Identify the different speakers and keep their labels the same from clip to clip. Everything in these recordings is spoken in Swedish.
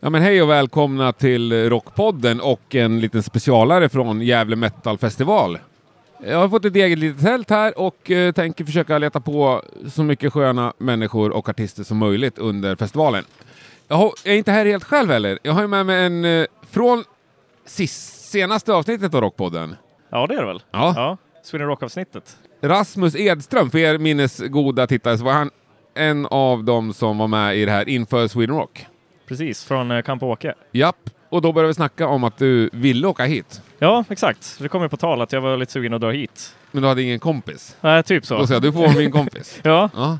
Speaker 1: Ja men hej och välkomna till Rockpodden och en liten specialare från Gävle Metal Festival. Jag har fått ett eget litet tält här och eh, tänker försöka leta på så mycket sköna människor och artister som möjligt under festivalen. Jag har- jag är inte här helt själv heller. Jag har ju med mig en eh, från sist, senaste avsnittet av Rockpodden.
Speaker 2: Ja, det är det väl?
Speaker 1: Ja.
Speaker 2: Sweden Rock-avsnittet.
Speaker 1: Rasmus Edström, för er minnesgoda tittare så var han en av dem som var med i det här inför Sweden Rock.
Speaker 2: Precis, från eh, Camp Åke.
Speaker 1: Japp, och då började vi snacka om att du ville åka hit.
Speaker 2: Ja, exakt. Det kom ju på tal att jag var lite sugen att dra hit.
Speaker 1: Men du hade ingen kompis.
Speaker 2: Nej, typ
Speaker 1: Då
Speaker 2: så.
Speaker 1: sa jag, du får vara min kompis.
Speaker 2: Ja,
Speaker 1: Ja.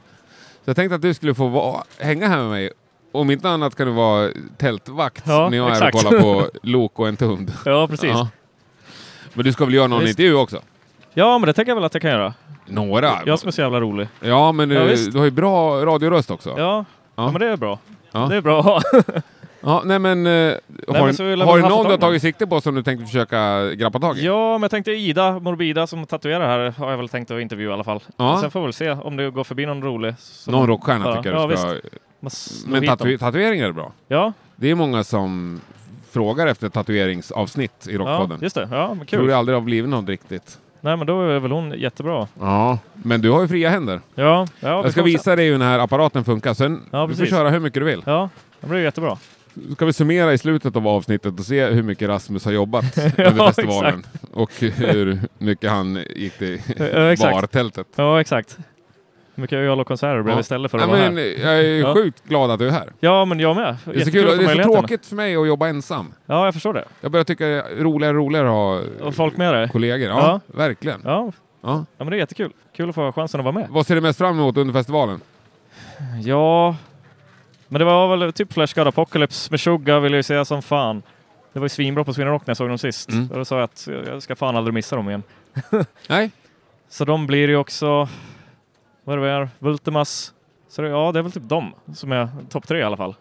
Speaker 1: Så jag tänkte att du skulle få vara, hänga här med mig. Om inte annat kan du vara tältvakt
Speaker 2: Ja,
Speaker 1: när jag är och
Speaker 2: exakt.
Speaker 1: kollar på lok och en hund.
Speaker 2: ja precis.
Speaker 1: Ja.
Speaker 2: Ja.
Speaker 1: Men du ska väl göra någon
Speaker 2: Visst.
Speaker 1: intervju också?
Speaker 2: men det tänker jag väl att jag kan göra.
Speaker 1: Några?
Speaker 2: Jag som är så jävla rolig.
Speaker 1: Ja, men eh, du,
Speaker 2: Ja, visst.
Speaker 1: du har ju bra radioröst också.
Speaker 2: Ja, ja. men det är bra.
Speaker 1: Ja.
Speaker 2: Det är bra att ha.
Speaker 1: Ja, nej men... eh,
Speaker 2: men
Speaker 1: har
Speaker 2: så
Speaker 1: du
Speaker 2: vill jag
Speaker 1: har
Speaker 2: väl
Speaker 1: du
Speaker 2: ha
Speaker 1: någon
Speaker 2: fått
Speaker 1: du har
Speaker 2: tag i
Speaker 1: tagit sikte på som du tänkte försöka grabba tag i?
Speaker 2: Ja, men jag tänkte Ida Morbida som tatuerar här har jag väl tänkt att intervjua i alla fall.
Speaker 1: Ja.
Speaker 2: Sen får vi väl se om det går förbi någon rolig. Så
Speaker 1: någon rockstjärna
Speaker 2: Ja,
Speaker 1: tycker
Speaker 2: ja,
Speaker 1: jag du ska...
Speaker 2: man slår
Speaker 1: Men
Speaker 2: hit dem.
Speaker 1: tatu tatueringar är bra.
Speaker 2: Ja,
Speaker 1: Det är många som frågar efter tatueringsavsnitt i
Speaker 2: ja,
Speaker 1: Rockpodden.
Speaker 2: just det. Ja, men
Speaker 1: Tror
Speaker 2: kul.
Speaker 1: det aldrig har blivit något riktigt.
Speaker 2: Nej, men då är väl hon jättebra.
Speaker 1: Ja, men du har ju fria händer.
Speaker 2: Ja, ja vi
Speaker 1: jag ska
Speaker 2: får se.
Speaker 1: visa dig hur den här apparaten funkar, sen
Speaker 2: Ja,
Speaker 1: du får
Speaker 2: precis.
Speaker 1: köra hur mycket du vill.
Speaker 2: Ja, det blir jättebra.
Speaker 1: ska vi summera i slutet av avsnittet och se hur mycket Rasmus har jobbat under festivalen. Och hur mycket han gick till
Speaker 2: Ja, exakt.
Speaker 1: bartältet.
Speaker 2: Ja, exakt. Hur mycket öl och konserter blev
Speaker 1: Ja.
Speaker 2: det istället för att
Speaker 1: Ja,
Speaker 2: vara
Speaker 1: men,
Speaker 2: här?
Speaker 1: jag är
Speaker 2: Ja.
Speaker 1: sjukt glad att du är här.
Speaker 2: Ja, men jag med.
Speaker 1: Det är, så
Speaker 2: Jättekul
Speaker 1: kul,
Speaker 2: att få
Speaker 1: det är så
Speaker 2: möjligheten.
Speaker 1: tråkigt för mig att jobba ensam.
Speaker 2: Ja, jag förstår det.
Speaker 1: Jag börjar tycka det är roligare och roligare att ha
Speaker 2: Och folk med dig.
Speaker 1: kollegor. Ja, verkligen.
Speaker 2: Ja,
Speaker 1: Ja.
Speaker 2: ja, men det är jättekul. Kul att få chansen att vara med.
Speaker 1: Vad ser du mest fram emot under festivalen?
Speaker 2: Ja, men det var väl typ Flash God Apocalypse. Meshuggah ville jag ju säga som fan. Det var ju svinbra på Sweden Rock när jag såg dem sist.
Speaker 1: Mm.
Speaker 2: Och då sa jag att jag ska fan aldrig missa dem igen.
Speaker 1: Nej?
Speaker 2: Så de blir ju också, vad är det vi är, Vultemas. Så det, ja, det är väl typ dem som är topp tre i alla fall.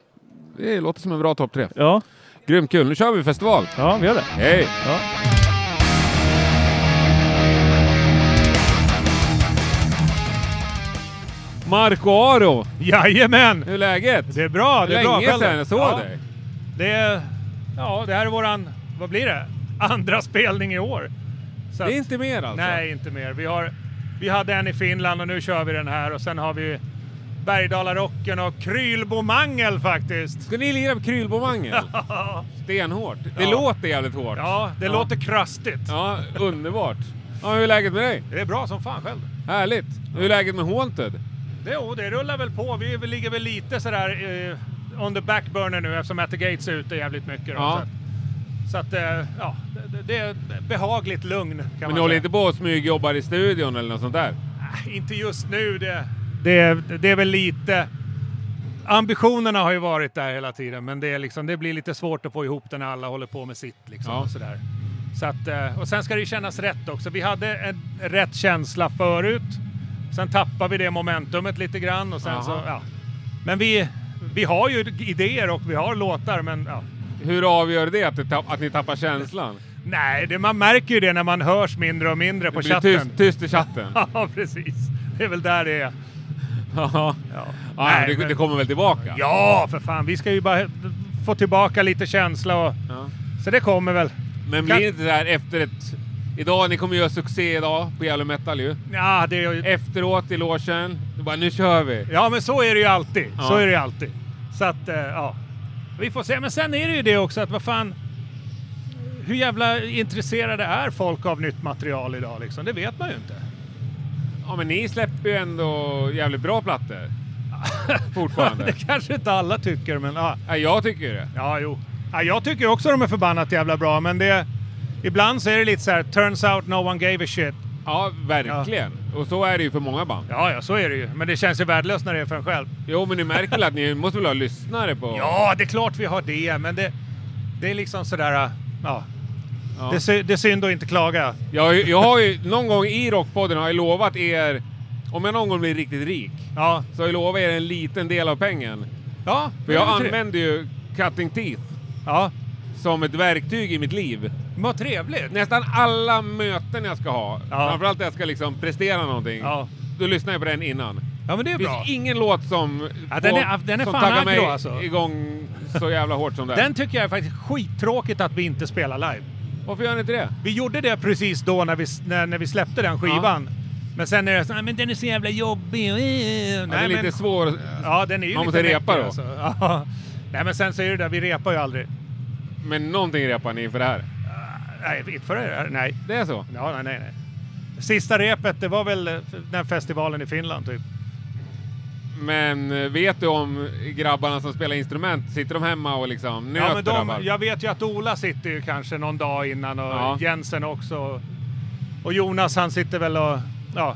Speaker 1: Det låter som en bra topp tre.
Speaker 2: Ja,
Speaker 1: Grymt kul. Nu kör vi festival.
Speaker 2: ja vi gör det.
Speaker 1: Hej!
Speaker 2: Ja.
Speaker 1: Marco Aro,
Speaker 3: Jajamän!
Speaker 1: hur är läget?
Speaker 3: Det är bra, det är bra.
Speaker 1: Länge
Speaker 3: Själv då?
Speaker 1: sedan jag såg
Speaker 3: ja,
Speaker 1: dig.
Speaker 3: Det är, ja, det här är våran, vad blir det? Andra spelning i år. Så
Speaker 1: Det är
Speaker 3: att-
Speaker 1: inte mer alltså?
Speaker 3: Nej, inte mer. Vi, har, vi hade en i Finland och nu kör vi den här och sen har vi Bergdalarocken och Krylbo Mangel faktiskt.
Speaker 1: Ska ni lira på Krylbomangel? Stenhårt. Det
Speaker 3: Ja.
Speaker 1: låter jävligt hårt.
Speaker 3: Ja, det låter krastigt.
Speaker 1: Ja, underbart. Ja, hur är läget med dig?
Speaker 3: Det är bra som fan själv.
Speaker 1: Härligt. Hur är läget med Haunted?
Speaker 3: Det, jo, det rullar väl på. Vi, vi ligger väl lite sådär eh, on the back burner nu eftersom At the Gates är ute jävligt mycket. Då,
Speaker 1: Ja.
Speaker 3: så att, så att, eh, ja, det, det är behagligt lugn kan man
Speaker 1: Men ni
Speaker 3: säga.
Speaker 1: håller inte på och smygjobbar i studion eller något sånt där?
Speaker 3: Nej, Inte just nu. Det, det, det är väl lite... Ambitionerna har ju varit där hela tiden, men det, är liksom, det blir lite svårt att få ihop det när alla håller på med sitt. Liksom,
Speaker 1: Ja.
Speaker 3: och, sådär. Så att, eh, och sen ska det ju kännas rätt också. Vi hade en rätt känsla förut. Sen tappade vi det momentumet lite grann. Och sen så,
Speaker 1: Aha.
Speaker 3: ja. Men vi, vi har ju idéer och vi har låtar, men ja.
Speaker 1: Hur avgör det att, det tapp, att ni tappar känslan?
Speaker 3: Nej, det, man märker ju det när man hörs mindre och mindre på
Speaker 1: det blir
Speaker 3: chatten.
Speaker 1: tyst, tyst i chatten.
Speaker 3: Ja, precis. Det är väl där det är.
Speaker 1: ja.
Speaker 3: Ja.
Speaker 1: Nej, det,
Speaker 3: men-
Speaker 1: det kommer väl tillbaka?
Speaker 3: Ja, för fan. Vi ska ju bara få tillbaka lite känsla och...
Speaker 1: Ja.
Speaker 3: Så det kommer väl.
Speaker 1: Men
Speaker 3: Kan-
Speaker 1: blir det inte det här efter ett... Idag, ni kommer göra succé idag på Yellow Metal ju.
Speaker 3: Ja, det är ju...
Speaker 1: Efteråt i logen, du bara nu kör vi.
Speaker 3: ja men så är det ju alltid.
Speaker 1: Ja.
Speaker 3: Så är det ju alltid. Så att, eh, ja. Vi får se. Men sen är det ju det också att vad fan... Hur jävla intresserade är folk av nytt material idag liksom? Det vet man ju inte.
Speaker 1: Ja men ni släpper ju ändå jävligt bra plattor. Fortfarande.
Speaker 3: Det kanske inte alla tycker, men ja.
Speaker 1: Ja, jag tycker ju det.
Speaker 3: Ja, jo. Ja, jag tycker också de är förbannat jävla bra, men det... Ibland så är det lite så här, turns out no one gave a shit.
Speaker 1: Ja, verkligen. Och så är det ju för många band.
Speaker 3: Ja, ja, så är det ju. Men det känns ju värdelöst när det är för en själv.
Speaker 1: Jo men ni märker väl att ni måste väl ha lyssnare på...
Speaker 3: Ja, det är klart vi har det, men det, det är liksom sådär... Ja.
Speaker 1: Ja.
Speaker 3: Det, är sy- det är synd att inte klaga.
Speaker 1: Jag, jag har ju någon gång i Rockpodden har jag lovat er, om jag någon gång blir riktigt rik,
Speaker 3: Ja,
Speaker 1: så har jag lovat er en liten del av pengen.
Speaker 3: ja
Speaker 1: För jag
Speaker 3: det är tre-
Speaker 1: använder ju Cutting Teeth
Speaker 3: Ja,
Speaker 1: som ett verktyg i mitt liv.
Speaker 3: vad trevligt.
Speaker 1: Nästan alla möten jag ska ha,
Speaker 3: Ja.
Speaker 1: framförallt när jag ska liksom prestera någonting,
Speaker 3: Ja.
Speaker 1: då lyssnar jag på den innan.
Speaker 3: Ja, men det är
Speaker 1: Det
Speaker 3: bra.
Speaker 1: finns ingen låt som,
Speaker 3: Ja, den är- den är
Speaker 1: som
Speaker 3: fan
Speaker 1: taggar
Speaker 3: aggro,
Speaker 1: mig
Speaker 3: alltså.
Speaker 1: igång så jävla hårt som den.
Speaker 3: Den tycker jag är faktiskt skittråkigt att vi inte spelar live.
Speaker 1: Varför gör ni inte det?
Speaker 3: Vi gjorde det precis då när vi, när, när vi släppte den skivan. Men sen är det så, "Nej, men den är så jävla jobbig. Eh, Nej,
Speaker 1: den är lite
Speaker 3: men,
Speaker 1: svår.
Speaker 3: ja, den är ju
Speaker 1: Man
Speaker 3: lite
Speaker 1: måste
Speaker 3: mäktig,
Speaker 1: repa då.
Speaker 3: Alltså. Ja. Nej, men sen så är det där, vi repar ju aldrig. Ah,
Speaker 1: Men någonting repar ni inför det här.
Speaker 3: Nej, inte för det här. Nej.
Speaker 1: Det är så?
Speaker 3: Ja, nej, nej, nej. Sista repet, det var väl eh, den festivalen i Finland typ.
Speaker 1: Men eh, vet du om grabbarna som spelar instrument, sitter de hemma och liksom nöter
Speaker 3: Ja, men de,
Speaker 1: grabbar?
Speaker 3: jag vet ju att Ola sitter ju kanske någon dag innan och
Speaker 1: Ja.
Speaker 3: Jensen också. Och Jonas han sitter väl och... Ja,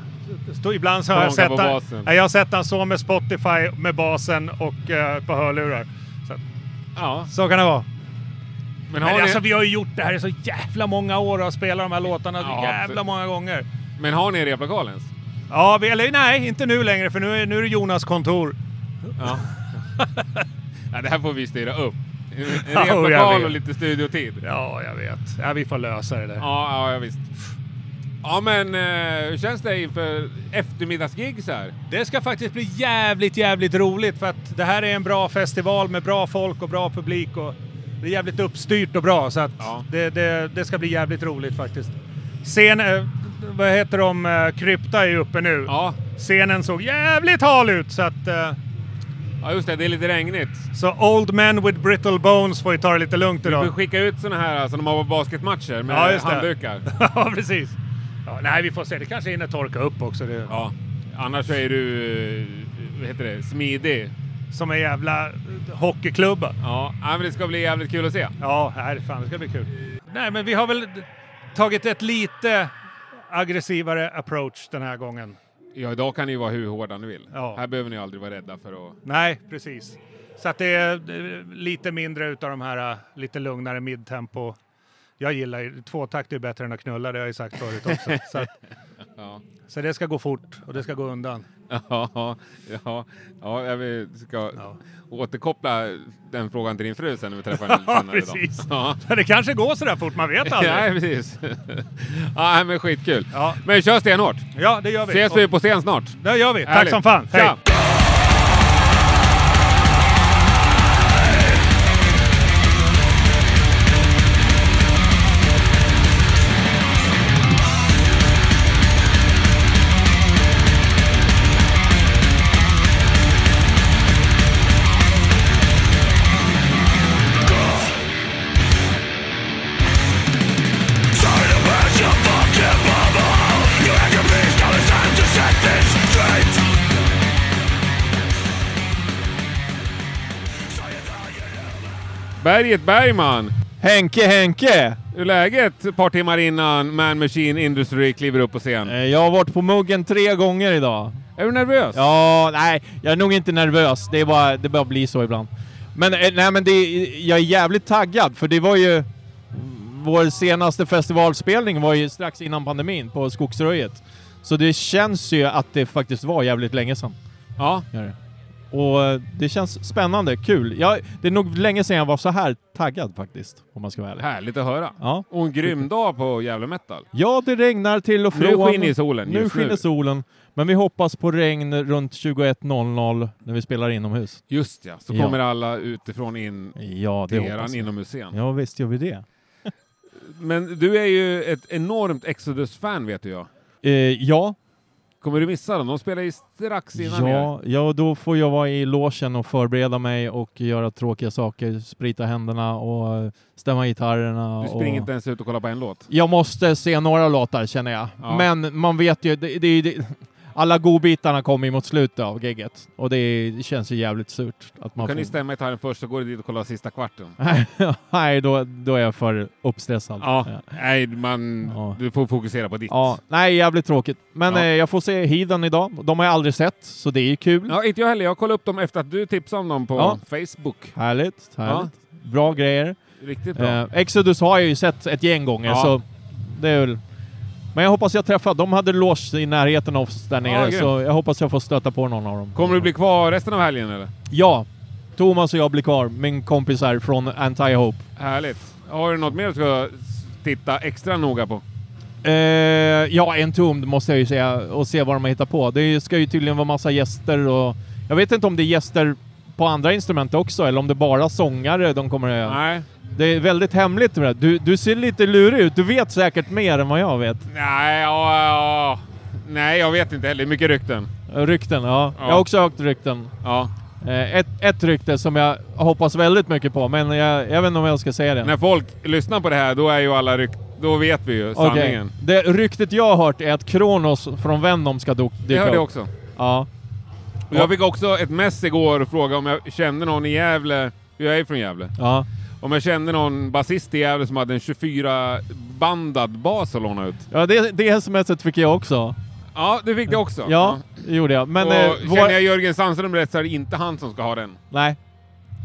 Speaker 3: stå- ibland så har jag
Speaker 1: Stångar
Speaker 3: sett,
Speaker 1: på
Speaker 3: han,
Speaker 1: basen.
Speaker 3: Nej, jag har sett han så med Spotify, med basen och eh, på hörlurar. Så,
Speaker 1: Ja,
Speaker 3: så kan det vara.
Speaker 1: men
Speaker 3: Men
Speaker 1: har,
Speaker 3: alltså,
Speaker 1: ni,
Speaker 3: vi har ju gjort det här i så jävla många år och spelat de här låtarna så
Speaker 1: Ja,
Speaker 3: jävla
Speaker 1: absolut.
Speaker 3: många gånger.
Speaker 1: men har ni en replokal ens?
Speaker 3: Ja, vi, eller nej, inte nu längre för nu är, nu är det Jonas kontor.
Speaker 1: Ja. ja, det här får vi styra upp. En
Speaker 3: Ja, jag
Speaker 1: replokal
Speaker 3: vet.
Speaker 1: och lite studiotid.
Speaker 3: Ja, jag vet. Ja, vi får lösa det där.
Speaker 1: Ja, ja visst. Ja, men eh, hur känns det inför eftermiddagsgigs här?
Speaker 3: Det ska faktiskt bli jävligt, jävligt roligt för att det här är en bra festival med bra folk och bra publik och det är jävligt uppstyrt och bra så att
Speaker 1: Ja.
Speaker 3: det, det, det ska bli jävligt roligt faktiskt. Scen, eh, vad heter de, eh, Krypta är ju uppe nu.
Speaker 1: Ja,
Speaker 3: Scenen såg jävligt hal ut så att eh,
Speaker 1: ja just det, det är lite regnigt.
Speaker 3: så Old Men with Brittle Bones får ju ta det lite lugnt
Speaker 1: Vi får
Speaker 3: idag.
Speaker 1: skicka ut såna här som de har på basketmatcher med
Speaker 3: Ja, just det.
Speaker 1: handdukar.
Speaker 3: ja, precis. Ja, nej, vi får se. Det kanske hinner torka upp också. Det,
Speaker 1: Ja, annars är du, eh, vad heter det, smidig.
Speaker 3: Som en jävla eh, hockeyklubba.
Speaker 1: Ja, ja, men det ska bli jävligt kul att se.
Speaker 3: Ja, nej, fan, det ska bli kul. Nej, men vi har väl tagit ett lite aggressivare approach den här gången.
Speaker 1: Ja, idag kan ni ju vara hur hårda ni vill.
Speaker 3: Ja.
Speaker 1: Här behöver ni aldrig vara rädda för att...
Speaker 3: Nej, precis. Så att det är eh, lite mindre utav de här eh, lite lugnare midtempo. Jag gillar ju, tvåtakt är ju bättre än att knulla, det har jag ju sagt förut också. Så, att,
Speaker 1: Ja.
Speaker 3: så det ska gå fort och det ska gå undan.
Speaker 1: Ja, ja, ja, jag vill- ska
Speaker 3: Ja.
Speaker 1: återkoppla den frågan till din fru sen när vi träffar henne senare
Speaker 3: Ja,
Speaker 1: idag.
Speaker 3: precis.
Speaker 1: Ja.
Speaker 3: Så det kanske går sådär fort, man vet
Speaker 1: Nej,
Speaker 3: aldrig.
Speaker 1: precis. ja, men skitkul.
Speaker 3: Ja.
Speaker 1: Men kör stenhårt.
Speaker 3: Ja, det gör vi.
Speaker 1: Ses vi på scen snart.
Speaker 3: Det gör vi. Tack
Speaker 1: Härligt.
Speaker 3: som fan. Hej!
Speaker 1: Tja. Berget Bergman.
Speaker 4: Henke, Henke!
Speaker 1: Hur är läget ett par timmar innan Man Machine Industry kliver upp på scen?
Speaker 4: Eh, Jag har varit på muggen tre gånger idag.
Speaker 1: Är du nervös?
Speaker 4: Ja, nej, jag är nog inte nervös. Det, är bara, det bara blir så ibland. Men, eh, nej, men det, jag är jävligt taggad, för det var ju... Vår senaste festivalspelning var ju strax innan pandemin på Skogsröjet. Så det känns ju att det faktiskt var jävligt länge sedan.
Speaker 1: Ja.
Speaker 4: Gör det. Och eh, det känns spännande, kul. Jag, det är nog länge sedan jag var så här taggad faktiskt, om man ska vara ärlig.
Speaker 1: Härligt att höra.
Speaker 4: Ja.
Speaker 1: Och en grym dag på Gävle Metal.
Speaker 4: Ja, det regnar till och
Speaker 1: Nu
Speaker 4: från.
Speaker 1: skiner solen
Speaker 4: Nu
Speaker 1: just nu.
Speaker 4: skiner solen. Men vi hoppas på regn runt 21.00 när vi spelar inomhus.
Speaker 1: Just ja, så
Speaker 4: Ja.
Speaker 1: kommer alla utifrån in
Speaker 4: Ja, det
Speaker 1: till eran
Speaker 4: hoppas jag.
Speaker 1: inomhusscen.
Speaker 4: Ja, visst gör vi det.
Speaker 1: Men du är ju ett enormt Exodus-fan vet jag.
Speaker 4: Eh, ja,
Speaker 1: Kommer du missa dem? De spelar ju strax innan er.
Speaker 4: ja, ja, då får jag vara i logen och förbereda mig och göra tråkiga saker, sprita händerna och eh, stämma gitarrerna.
Speaker 1: Du springer
Speaker 4: och...
Speaker 1: inte ens ut och kollar på en låt.
Speaker 4: Jag måste se några låtar känner jag.
Speaker 1: Ja.
Speaker 4: Men man vet ju, det, det, det, alla godbitarna kommer ju mot slutet av gigget och det känns ju jävligt surt. Att man
Speaker 1: Då kan ni
Speaker 4: får...
Speaker 1: stämma gitarren först, så går du dit och kollar sista kvarten.
Speaker 4: Nej, då, då är jag för uppstressad.
Speaker 1: Ja, nej, man,
Speaker 4: Ja.
Speaker 1: du får fokusera på ditt.
Speaker 4: Ja, nej, jävligt tråkigt. Men
Speaker 1: Ja.
Speaker 4: eh, jag får se Heathen idag. De har jag aldrig sett, så det är ju kul.
Speaker 1: Ja, inte jag heller. Jag kollade upp dem efter att du tipsade om dem på
Speaker 4: Ja.
Speaker 1: Facebook.
Speaker 4: Härligt, härligt. Bra grejer.
Speaker 1: Riktigt bra.
Speaker 4: Eh, Exodus har jag ju sett ett gäng gånger,
Speaker 1: Ja.
Speaker 4: så det är väl... Men jag hoppas jag träffar... De hade loge i närheten av oss där nere,
Speaker 1: grymt.
Speaker 4: så jag hoppas jag får stöta på någon av dem.
Speaker 1: Kommer du bli kvar resten av helgen eller?
Speaker 4: Ja, Thomas och jag blir kvar. Min kompis här från Anti-Hope.
Speaker 1: Härligt. Har du något mer du ska s- titta extra noga på?
Speaker 4: Eh, ja, entombed måste jag ju säga och se vad de har hittat på. Det ska ju tydligen vara massa gäster och... Jag vet inte om det är gäster på andra instrument också eller om det bara är sångare de kommer att göra.
Speaker 1: Nej.
Speaker 4: Det är väldigt hemligt med det. Du, du ser lite lurig ut. Du vet säkert mer än vad jag vet.
Speaker 1: Nej, ja, ja. Nej, jag vet inte heller. Mycket rykten.
Speaker 4: Rykten, ja.
Speaker 1: Ja.
Speaker 4: Jag har också hört rykten.
Speaker 1: Ja.
Speaker 4: Eh, ett, ett rykte som jag hoppas väldigt mycket på, men jag, jag vet inte om jag ska säga det.
Speaker 1: När folk lyssnar på det här, då är ju alla rykt... Då vet vi ju
Speaker 4: Okej.
Speaker 1: sanningen.
Speaker 4: Det ryktet jag har hört är att Kronos från Venom ska dok-
Speaker 1: Det
Speaker 4: dyka
Speaker 1: hörde jag
Speaker 4: upp.
Speaker 1: också.
Speaker 4: Ja.
Speaker 1: Och jag fick också ett mess igår och frågade om jag kände någon i Gävle. Jag är från Gävle.
Speaker 4: ja.
Speaker 1: Om jag kände någon basist i Gävle som hade en 24-bandad bas att låna ut.
Speaker 4: ja det, det smset fick jag också.
Speaker 1: Ja, du fick det också.
Speaker 4: Ja, det gjorde jag. Men...
Speaker 1: och
Speaker 4: eh, vår-
Speaker 1: känner jag Jörgen Sandström rätt så är det inte han som ska ha den.
Speaker 4: Nej.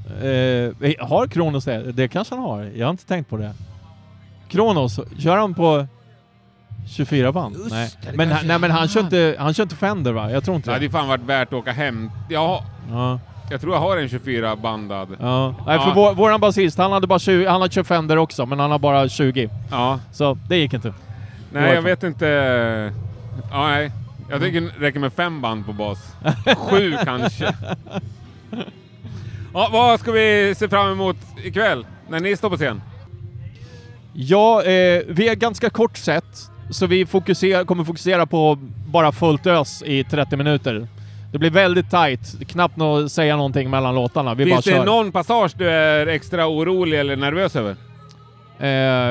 Speaker 4: Eh, har Kronos det? Det kanske han har. Jag har inte tänkt på det. Kronos, kör han på 24 band? nej. Men, han, nej, men han kör, inte, han kör inte Fender va? Jag tror
Speaker 1: Det
Speaker 4: inte
Speaker 1: hade
Speaker 4: det.
Speaker 1: ju fan varit värt att åka hem. Ja,
Speaker 4: Ja,
Speaker 1: jag tror jag har en 24-bandad.
Speaker 4: ja. Nej, för
Speaker 1: Ja.
Speaker 4: vår, våran basist, han hade bara 20, han har kört Fender också, men han har bara 20.
Speaker 1: Ja.
Speaker 4: Så det gick inte.
Speaker 1: Nej, jag
Speaker 4: Varför?
Speaker 1: vet inte. Ja, nej. Jag tycker det räcker med fem band på bas. Sju kanske. Ja, vad ska vi se fram emot ikväll när ni står på scen?
Speaker 4: Ja, eh, vi är ganska kort sett, så vi fokuserar, kommer fokusera på bara fullt ös i 30 minuter. Det blir väldigt tight, knappt att säga någonting mellan låtarna. Vi bara
Speaker 1: Finns det
Speaker 4: kör.
Speaker 1: någon passage du är extra orolig eller nervös över?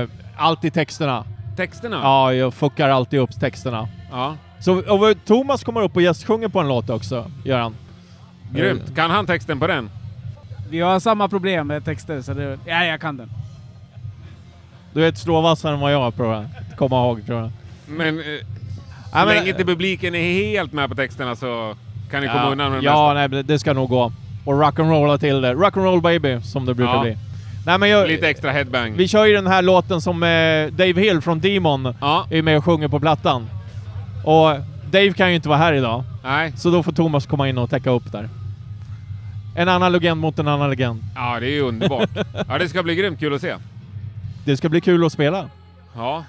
Speaker 4: Eh, allt i texterna.
Speaker 1: Texterna?
Speaker 4: Ja, jag fuckar alltid upp texterna.
Speaker 1: Ja.
Speaker 4: Så och vad- Thomas kommer upp och gästsjunger på en låt också, Eh, gör han.
Speaker 1: Grymt. Kan han texten på den?
Speaker 5: Vi har samma problem med texter, så det... Ja, jag kan den.
Speaker 4: Du är ett slåvassare än vad jag är, tror jag. Komma ihåg, tror jag.
Speaker 1: Men, eh, så
Speaker 4: Ja, men-
Speaker 1: länge inte publiken är helt med på texterna så kan ni komma
Speaker 4: ja,
Speaker 1: undan med det
Speaker 4: ja, nej, men det ska nog gå. Och rock'n'rolla till det. Rock'n'roll baby, som det brukar
Speaker 1: Ja.
Speaker 4: bli. Nej, men
Speaker 1: mesta.
Speaker 4: jag,
Speaker 1: Lite extra headbang.
Speaker 4: vi kör ju den här låten som eh, Dave Hill från Demon
Speaker 1: Ja,
Speaker 4: är med och sjunger på plattan. Och Dave kan ju inte vara här idag,
Speaker 1: nej.
Speaker 4: så då får Thomas komma in och täcka upp där. En annan legend mot en annan legend.
Speaker 1: Ja, det är ju underbart. ja, det ska bli grymt kul att se.
Speaker 4: Det ska bli kul att spela.
Speaker 1: Ja.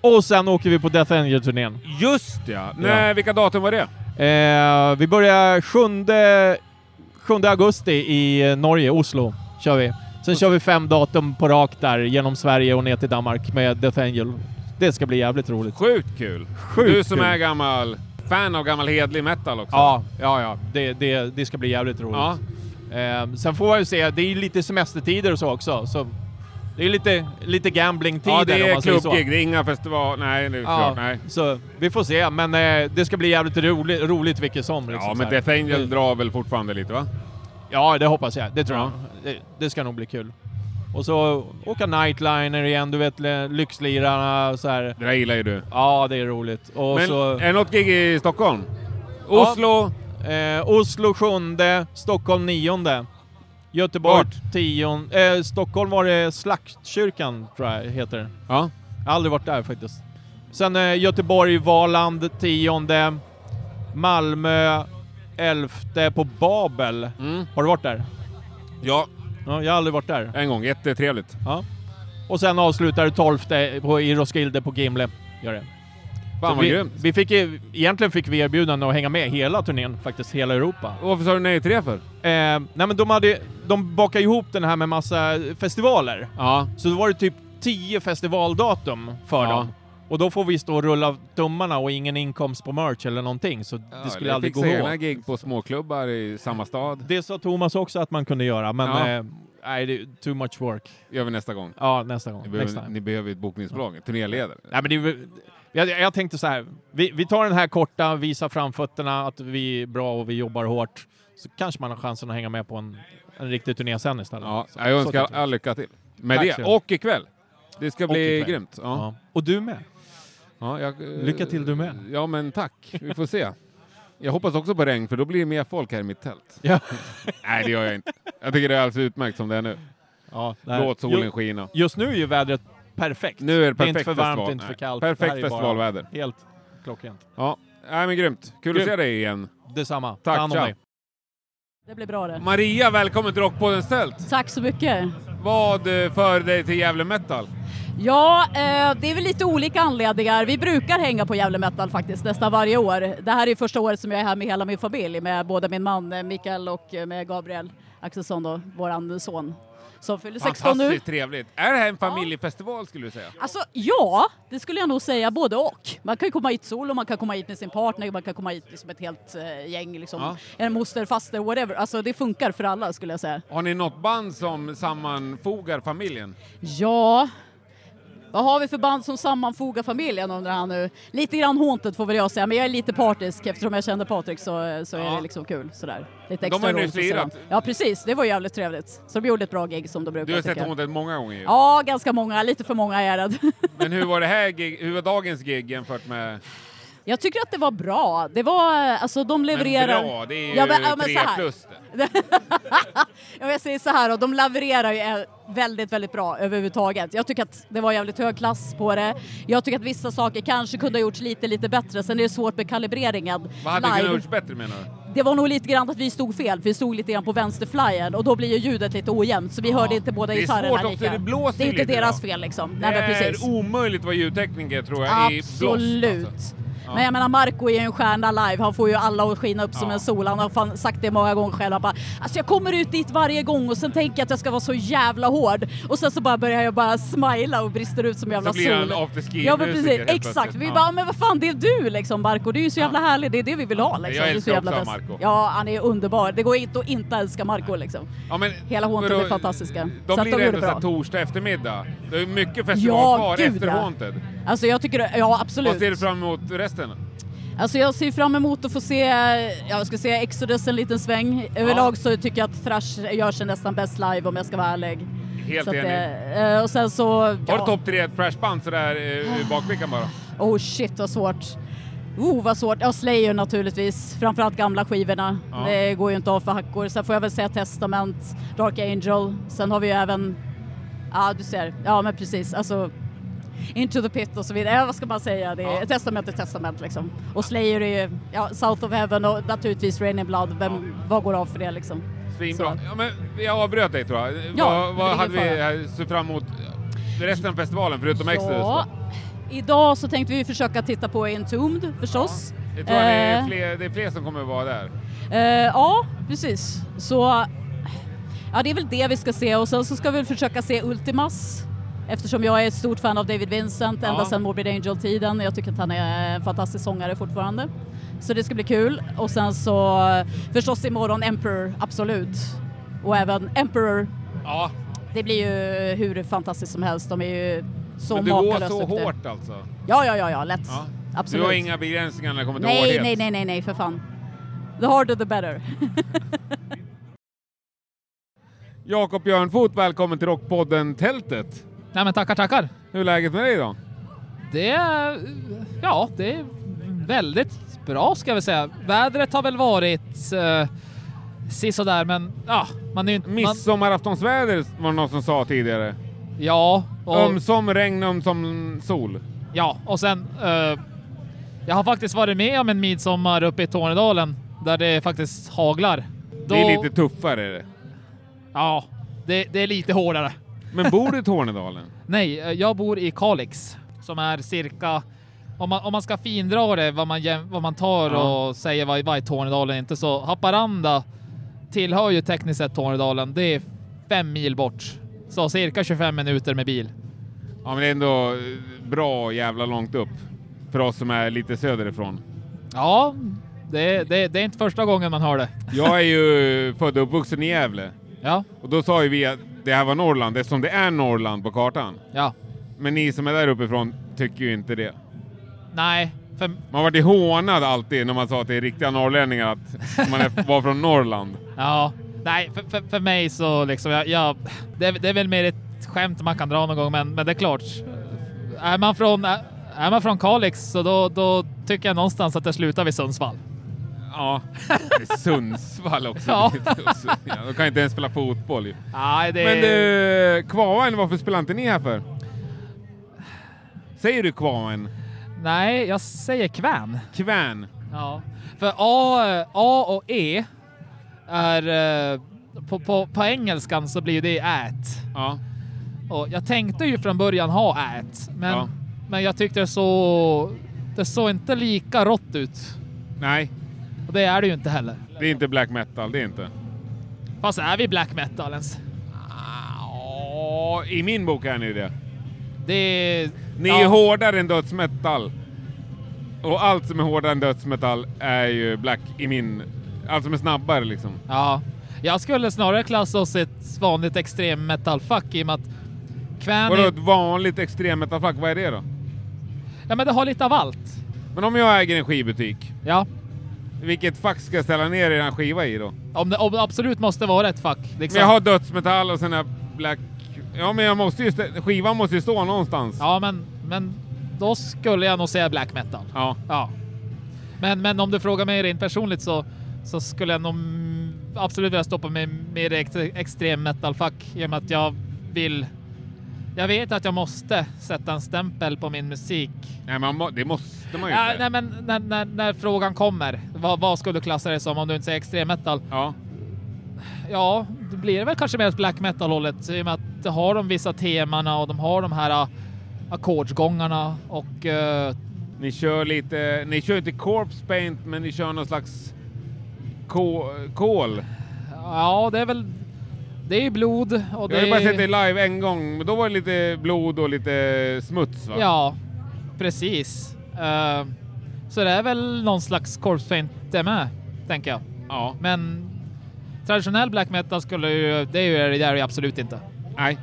Speaker 4: Och sen åker vi på Death Angel-turnén.
Speaker 1: Just ja! Nej, vilka datum var det?
Speaker 4: Eh, vi börjar 7, 7 augusti i eh, Norge, Oslo, kör vi. Sen kör vi fem datum på rak där, genom Sverige och ner till Danmark med Death Angel. Det ska bli jävligt roligt.
Speaker 1: Sjukt kul!
Speaker 4: Sjukt
Speaker 1: du som
Speaker 4: kul.
Speaker 1: är gammal fan av gammal hedlig metal också.
Speaker 4: Ja, ja, ja. Det, det, det ska bli jävligt roligt.
Speaker 1: Ja.
Speaker 4: Eh, sen får jag ju se, det är ju lite semestertider och så också, så det är lite, lite gambling-tider
Speaker 1: ja, det
Speaker 4: om
Speaker 1: är
Speaker 4: man säger så.
Speaker 1: klubbgig, det är inga festival... Nej, det är
Speaker 4: Ja,
Speaker 1: klart. Nej.
Speaker 4: så vi får se, men eh, det ska bli jävligt roligt, roligt vilket som. Liksom,
Speaker 1: Ja,
Speaker 4: så
Speaker 1: men
Speaker 4: här.
Speaker 1: Death Angel
Speaker 4: Det-
Speaker 1: drar väl fortfarande lite va?
Speaker 4: Ja, det hoppas jag. Det tror
Speaker 1: Ja.
Speaker 4: jag. Det, det ska nog bli kul. Och så åka nightliner igen, du vet le- lyxlirarna så här.
Speaker 1: Det där gillar ju du.
Speaker 4: Ja, det är roligt. Och
Speaker 1: Men
Speaker 4: så
Speaker 1: är det något gig i Stockholm?
Speaker 4: Ja.
Speaker 1: Oslo?
Speaker 4: eh, Oslo sjunde, Stockholm nionde. Göteborg tionde. Eh, Stockholm var det Slaktkyrkan, tror jag heter. det.
Speaker 1: Ja.
Speaker 4: Jag har aldrig varit där faktiskt. Sen eh, Göteborg, Valand tionde. Malmö elfte på Babel.
Speaker 1: Mm.
Speaker 4: Har du varit där?
Speaker 1: Ja,
Speaker 4: Ja, jag har aldrig varit där.
Speaker 1: en gång. Jättetrevligt.
Speaker 4: Ja. Och sen avslutar det 12 på, i Roskilde på Gimle. Gör det. Så
Speaker 1: Fan vad
Speaker 4: vi,
Speaker 1: grymt.
Speaker 4: vi fick, ju- egentligen fick vi erbjudande att hänga med hela turnén, faktiskt hela Europa.
Speaker 1: Varför sa du nej till det för?
Speaker 4: Eh, nej men de, hade, de bakade ihop den här med massa festivaler.
Speaker 1: Ja.
Speaker 4: Så då var det typ 10 festivaldatum för
Speaker 1: Ja.
Speaker 4: dem. Och då får vi stå och rulla tummarna och ingen inkomst på merch eller någonting, så det skulle aldrig gå
Speaker 1: Fixa egna
Speaker 4: ihop.
Speaker 1: gig på småklubbar i samma stad.
Speaker 4: Det sa Thomas också att man kunde göra, men
Speaker 1: Ja.
Speaker 4: eh, nej, det är too much work.
Speaker 1: gör vi nästa gång.
Speaker 4: Ja, nästa gång.
Speaker 1: Ni
Speaker 4: Next
Speaker 1: behöver,
Speaker 4: time.
Speaker 1: ni behöver ett bokningsbolag, turnéledare.
Speaker 4: Nej, men det, är väl- jag, jag tänkte så här. Vi, vi tar den här korta, visar framfötterna, att vi är bra och vi jobbar hårt. Så kanske man har chansen att hänga med på en, en riktig turné sen istället.
Speaker 1: Ja,
Speaker 4: så,
Speaker 1: jag
Speaker 4: så
Speaker 1: önskar
Speaker 4: tänkte jag.
Speaker 1: all lycka till med
Speaker 4: Tack
Speaker 1: det.
Speaker 4: så mycket.
Speaker 1: Och ikväll. Det ska bli
Speaker 4: ikväll.
Speaker 1: grymt. Ja.
Speaker 4: Ja. Och du med.
Speaker 1: Ja, jag, eh,
Speaker 4: Lycka till du med.
Speaker 1: Ja, men tack. Vi får se. Jag hoppas också på regn, för då blir det mer folk här i mitt tält.
Speaker 4: Ja.
Speaker 1: Nej, det gör jag inte. Jag tycker det är alldeles utmärkt som det är nu.
Speaker 4: Ja, nej.
Speaker 1: Låt solen
Speaker 4: Ju-
Speaker 1: skina.
Speaker 4: Just nu är ju vädret perfekt.
Speaker 1: Nu är det perfekt
Speaker 4: det är inte för varmt,
Speaker 1: festival.
Speaker 4: det är inte för
Speaker 1: Nej.
Speaker 4: kallt.
Speaker 1: Perfekt
Speaker 4: Det här är bara
Speaker 1: festivalväder.
Speaker 4: Helt klockrent.
Speaker 1: Ja, Nej, men grymt. Kul
Speaker 4: Grymt.
Speaker 1: att se dig igen.
Speaker 4: Detsamma.
Speaker 1: Tack,
Speaker 4: Ta hand om
Speaker 1: tja.
Speaker 4: dig.
Speaker 6: Det blir bra det.
Speaker 1: Maria, välkommen till Rockpoddens tält.
Speaker 6: Tack så mycket.
Speaker 1: Vad eh, för dig till Gävle Metal?
Speaker 6: Ja, eh, det är väl lite olika anledningar. Vi brukar hänga på Gävle Metal faktiskt nästan varje år. Det här är ju första året som jag är här med hela min familj, med både min man eh, Mikael och eh, med Gabriel Axelsson, då, våran son, som fyller 16 nu.
Speaker 1: Fantastiskt trevligt. Är det här en familjefestival skulle du säga?
Speaker 6: Alltså ja, det skulle jag nog säga både och. Man kan ju komma hit solo, man kan komma hit med sin partner, man kan komma hit liksom ett helt eh, gäng, liksom.
Speaker 1: Ja.
Speaker 6: en moster, faster, whatever. Alltså det funkar för alla skulle jag säga.
Speaker 1: Har ni något band som sammanfogar familjen?
Speaker 6: Ja, vad har vi för band som sammanfogar familjen undrar han nu. Lite grann Haunted får väl jag säga, men jag är lite partisk eftersom jag känner Patrik så, så är det liksom kul sådär. Lite
Speaker 1: De
Speaker 6: extra
Speaker 1: har ju nyss
Speaker 6: roligt att se
Speaker 1: lirat.
Speaker 6: dem. Ja precis, det var ju jävligt trevligt. Så de gjorde ett bra gig som de brukar
Speaker 1: Du har
Speaker 6: tycker
Speaker 1: sett
Speaker 6: jag.
Speaker 1: Haunted många gånger ju.
Speaker 6: Ja, ganska många, lite för många är jag rädd.
Speaker 1: Men hur var det här gig, hur var dagens gig jämfört med...
Speaker 6: Jag tycker att det var bra. Det var, alltså de levererar...
Speaker 1: Men bra, det är ju
Speaker 6: Ja, men- ja, men
Speaker 1: tre
Speaker 6: så här.
Speaker 1: plus.
Speaker 6: Ja, men jag säger så här då, de levererar ju eh, väldigt, väldigt bra överhuvudtaget. Jag tycker att det var jävligt hög klass på det. Jag tycker att vissa saker kanske kunde ha gjorts lite, lite bättre. Sen är det svårt med kalibreringen
Speaker 1: Vad hade kunnat
Speaker 6: live.
Speaker 1: gjorts bättre menar du?
Speaker 6: Det var nog lite grann att vi stod fel, för vi stod lite grann på vänsterflyern och då blir ju ljudet lite ojämnt så vi hörde inte båda
Speaker 1: Det är
Speaker 6: gitarrerna
Speaker 1: svårt också,
Speaker 6: lika.
Speaker 1: det blåser
Speaker 6: det är
Speaker 1: ju
Speaker 6: inte
Speaker 1: lite
Speaker 6: deras
Speaker 1: då.
Speaker 6: fel liksom.
Speaker 1: Det
Speaker 6: Nej, men
Speaker 1: är
Speaker 6: precis.
Speaker 1: omöjligt att vara ljudtekniker tror jag i blåst.
Speaker 6: Absolut.
Speaker 1: Alltså.
Speaker 6: Men jag menar Marco är ju en stjärna live, han får ju alla att skina upp som
Speaker 1: Ja.
Speaker 6: en sol. Han har fan sagt det många gånger själv. Han bara, alltså jag kommer ut dit varje gång och sen tänker jag att jag ska vara så jävla hård. Och sen så bara börjar jag bara smila och brister ut som jävla
Speaker 1: Så blir han
Speaker 6: sol.
Speaker 1: afterski
Speaker 6: Ja men precis,
Speaker 1: musiker helt
Speaker 6: exakt.
Speaker 1: plötsligt.
Speaker 6: Vi
Speaker 1: Ja.
Speaker 6: bara, men vad fan det är du liksom Marco, du är ju så jävla härlig, det är det vi vill ha
Speaker 1: Jag
Speaker 6: liksom. Du är så
Speaker 1: älskar
Speaker 6: jävla
Speaker 1: också
Speaker 6: bäst.
Speaker 1: Marco.
Speaker 6: Ja, han är underbar. Det går inte att inte älska Marco liksom.
Speaker 1: Ja, men,
Speaker 6: Hela Haunted
Speaker 1: men
Speaker 6: är fantastiska.
Speaker 1: De
Speaker 6: Så att
Speaker 1: blir ändå
Speaker 6: de gjorde
Speaker 1: så här
Speaker 6: bra.
Speaker 1: torsdag eftermiddag. Det är mycket festival
Speaker 6: Ja,
Speaker 1: kvar
Speaker 6: gud,
Speaker 1: efter
Speaker 6: ja.
Speaker 1: Haunted.
Speaker 6: Alltså jag tycker, ja absolut.
Speaker 1: Vad ser du fram emot resten?
Speaker 6: Alltså jag ser fram emot att få se, ja, jag ska se Exodus en liten sväng. Överlag så tycker jag att thrash gör sig nästan bäst live om jag ska vara ärlig.
Speaker 1: Helt
Speaker 6: så att,
Speaker 1: enig.
Speaker 6: eh, Och sen så...
Speaker 1: Har du topp tre trashband sådär eh,
Speaker 6: Ah.
Speaker 1: ur bakfickan bara?
Speaker 6: Oh shit vad svårt. Oh vad svårt. Ja Slayer naturligtvis, framförallt gamla skivorna.
Speaker 1: Ja.
Speaker 6: Det går ju inte av för hackor. Sen får jag väl säga Testament, Dark Angel. Sen har vi ju även, ja du ser, ja men precis. Alltså, Into the Pit och så vidare. Ja, vad ska man säga? Det är
Speaker 1: Ja.
Speaker 6: testament är testament liksom. Och Slayer är ju ja, South of Heaven och naturligtvis Rain in Blood. Vem, Vad går av för det liksom?
Speaker 1: Svinbra.
Speaker 6: Så.
Speaker 1: Ja, men jag avbröt dig tror jag.
Speaker 6: Ja,
Speaker 1: vad
Speaker 6: det är
Speaker 1: vad
Speaker 6: ingen
Speaker 1: hade vi
Speaker 6: fara.
Speaker 1: här, sett fram emot resten av festivalen förutom Exodus?
Speaker 6: Ja,
Speaker 1: då?
Speaker 6: idag så tänkte vi försöka titta på Entombed förstås.
Speaker 1: Jag tror att det, är
Speaker 6: Eh,
Speaker 1: fler, det är fler som kommer att vara där.
Speaker 6: Eh, ja, precis. Så ja, det är väl det vi ska se och sen så ska vi väl försöka se Ultimas eftersom jag är ett stort fan av David Vincent ända
Speaker 1: Ja.
Speaker 6: sedan Morbid Angel-tiden. Jag tycker att han är en fantastisk sångare fortfarande. Så det ska bli kul. Och sen så förstås imorgon Emperor, absolut. Och även Emperor,
Speaker 1: Ja,
Speaker 6: det blir ju hur fantastiskt som helst. De är ju så
Speaker 1: men du går
Speaker 6: makalöst
Speaker 1: så
Speaker 6: duktiga.
Speaker 1: hårt alltså?
Speaker 6: Ja, ja, ja, ja lätt.
Speaker 1: Ja. Du
Speaker 6: Absolut.
Speaker 1: har inga begränsningar när det kommer till
Speaker 6: nej,
Speaker 1: hårdhet?
Speaker 6: nej, nej, nej, nej, för fan. The harder the better.
Speaker 1: Jakob Björnfot, välkommen till Rockpodden Tältet.
Speaker 7: Nej men tackar, tackar.
Speaker 1: Hur är läget med dig idag?
Speaker 7: Det är, ja, det är väldigt bra ska jag väl säga. Vädret har väl varit eh, sisådär, men ja, man är ju inte... Man,
Speaker 1: Midsommaraftonsväder var det någon som sa tidigare.
Speaker 7: ja, och,
Speaker 1: Ömsom regn, ömsom sol.
Speaker 7: ja, och sen... eh, jag har faktiskt varit med om en midsommar uppe i Tornedalen där det faktiskt haglar.
Speaker 1: Det är
Speaker 7: Då-
Speaker 1: lite tuffare. är det.
Speaker 7: Ja, det, det är lite hårdare.
Speaker 1: Men bor du i Tornedalen?
Speaker 7: Nej, eh, jag bor i Kalix som är cirka om man, om man ska findra det, vad man, jäm- vad man tar
Speaker 1: Ja.
Speaker 7: och säger vad, vad är Tornedalen inte, så Haparanda tillhör ju tekniskt sett Tornedalen. Det är fem mil bort, så cirka 25 minuter med bil.
Speaker 1: Ja, men det är ändå eh, bra jävla långt upp. För oss som är lite söderifrån.
Speaker 7: Ja, det, det, det är inte första gången man hör det.
Speaker 1: Jag är ju född och uppvuxen i Gävle.
Speaker 7: Ja,
Speaker 1: Och då sa ju vi att det här var Norrland eftersom det är Norrland på kartan.
Speaker 7: ja,
Speaker 1: Men ni som är där uppifrån tycker ju inte det.
Speaker 7: nej, för,
Speaker 1: Man vart ju hånad alltid när man sa till riktiga norrlänningar att man är, var från Norrland.
Speaker 7: ja, nej, för, för, för mig så liksom, jag, jag, det, är- det är väl mer ett skämt man kan dra någon gång, men, men det är klart. Är man från, är man från Kalix så då, då tycker jag någonstans att det slutar vid Sundsvall.
Speaker 1: Ja, det är Sundsvall också.
Speaker 7: Ja.
Speaker 1: Ja, De kan inte ens spela fotboll ju.
Speaker 7: Nej, det...
Speaker 1: Men eh, du, Kvaven, varför spelar inte ni här för? Säger du Kvaven?
Speaker 7: Nej, jag säger kvän.
Speaker 1: Kvän?
Speaker 7: Ja. För A, A och E är... eh, På, på, på engelskan så blir det ät.
Speaker 1: Ja.
Speaker 7: Och jag tänkte ju från början ha ät, men,
Speaker 1: Ja.
Speaker 7: men jag tyckte det så... Det såg inte lika rått ut.
Speaker 1: Nej,
Speaker 7: Och det är det ju inte heller.
Speaker 1: det är inte black metal, det är inte.
Speaker 7: Fast är vi black metal ens?
Speaker 1: Ja, I min bok är ni det.
Speaker 7: Det är...
Speaker 1: Ni
Speaker 7: ja.
Speaker 1: är hårdare än dödsmetall. Och allt som är hårdare än dödsmetall är ju black i min... Allt som är snabbare liksom.
Speaker 7: Ja, jag skulle snarare klassa oss i ett vanligt extrem metalfack i och med att Kvän
Speaker 1: Vadå
Speaker 7: är,
Speaker 1: ett vanligt extremmetallfack, vad är det då?
Speaker 7: ja, men det har lite av allt.
Speaker 1: Men om jag äger en skivbutik,
Speaker 7: Ja,
Speaker 1: vilket fack ska jag ställa ner er skiva i då?
Speaker 7: om det, om det absolut måste vara ett fack. Liksom.
Speaker 1: Men jag har dödsmetall och sen är black... Ja men jag måste ju stä... skivan måste ju stå någonstans.
Speaker 7: Ja, men, men då skulle jag nog säga black metal.
Speaker 1: Ja.
Speaker 7: Ja. Men, men om du frågar mig rent personligt så, så skulle jag nog mm, absolut vilja stoppa mig mer i ex- extrem metalfack i och med att jag vill... Jag vet att jag måste sätta en stämpel på min musik
Speaker 1: Nej men må... det måste man ju
Speaker 7: Ja,
Speaker 1: inte.
Speaker 7: nej, men när, när, när frågan kommer, vad, vad skulle du klassa det som om du inte säger extrem metal?
Speaker 1: Ja.
Speaker 7: Ja, det blir det väl kanske mer åt black metal-hållet i och med att det har de vissa temana och de har de här ah, ackordsgångarna och eh,
Speaker 1: Ni kör lite... Ni kör inte corpse paint men ni kör någon slags... Ko... Kol.
Speaker 7: ja, det är väl... Det är ju blod och
Speaker 1: Jag
Speaker 7: det
Speaker 1: har ju bara sett
Speaker 7: är...
Speaker 1: det live en gång, men då var det lite blod och lite smuts va?
Speaker 7: Ja, precis. Eh, så det är väl någon slags corpse paint det med, tänker jag.
Speaker 1: Ja.
Speaker 7: Men traditionell black metal skulle ju... Det är ju det där är ju absolut inte.
Speaker 1: Nej.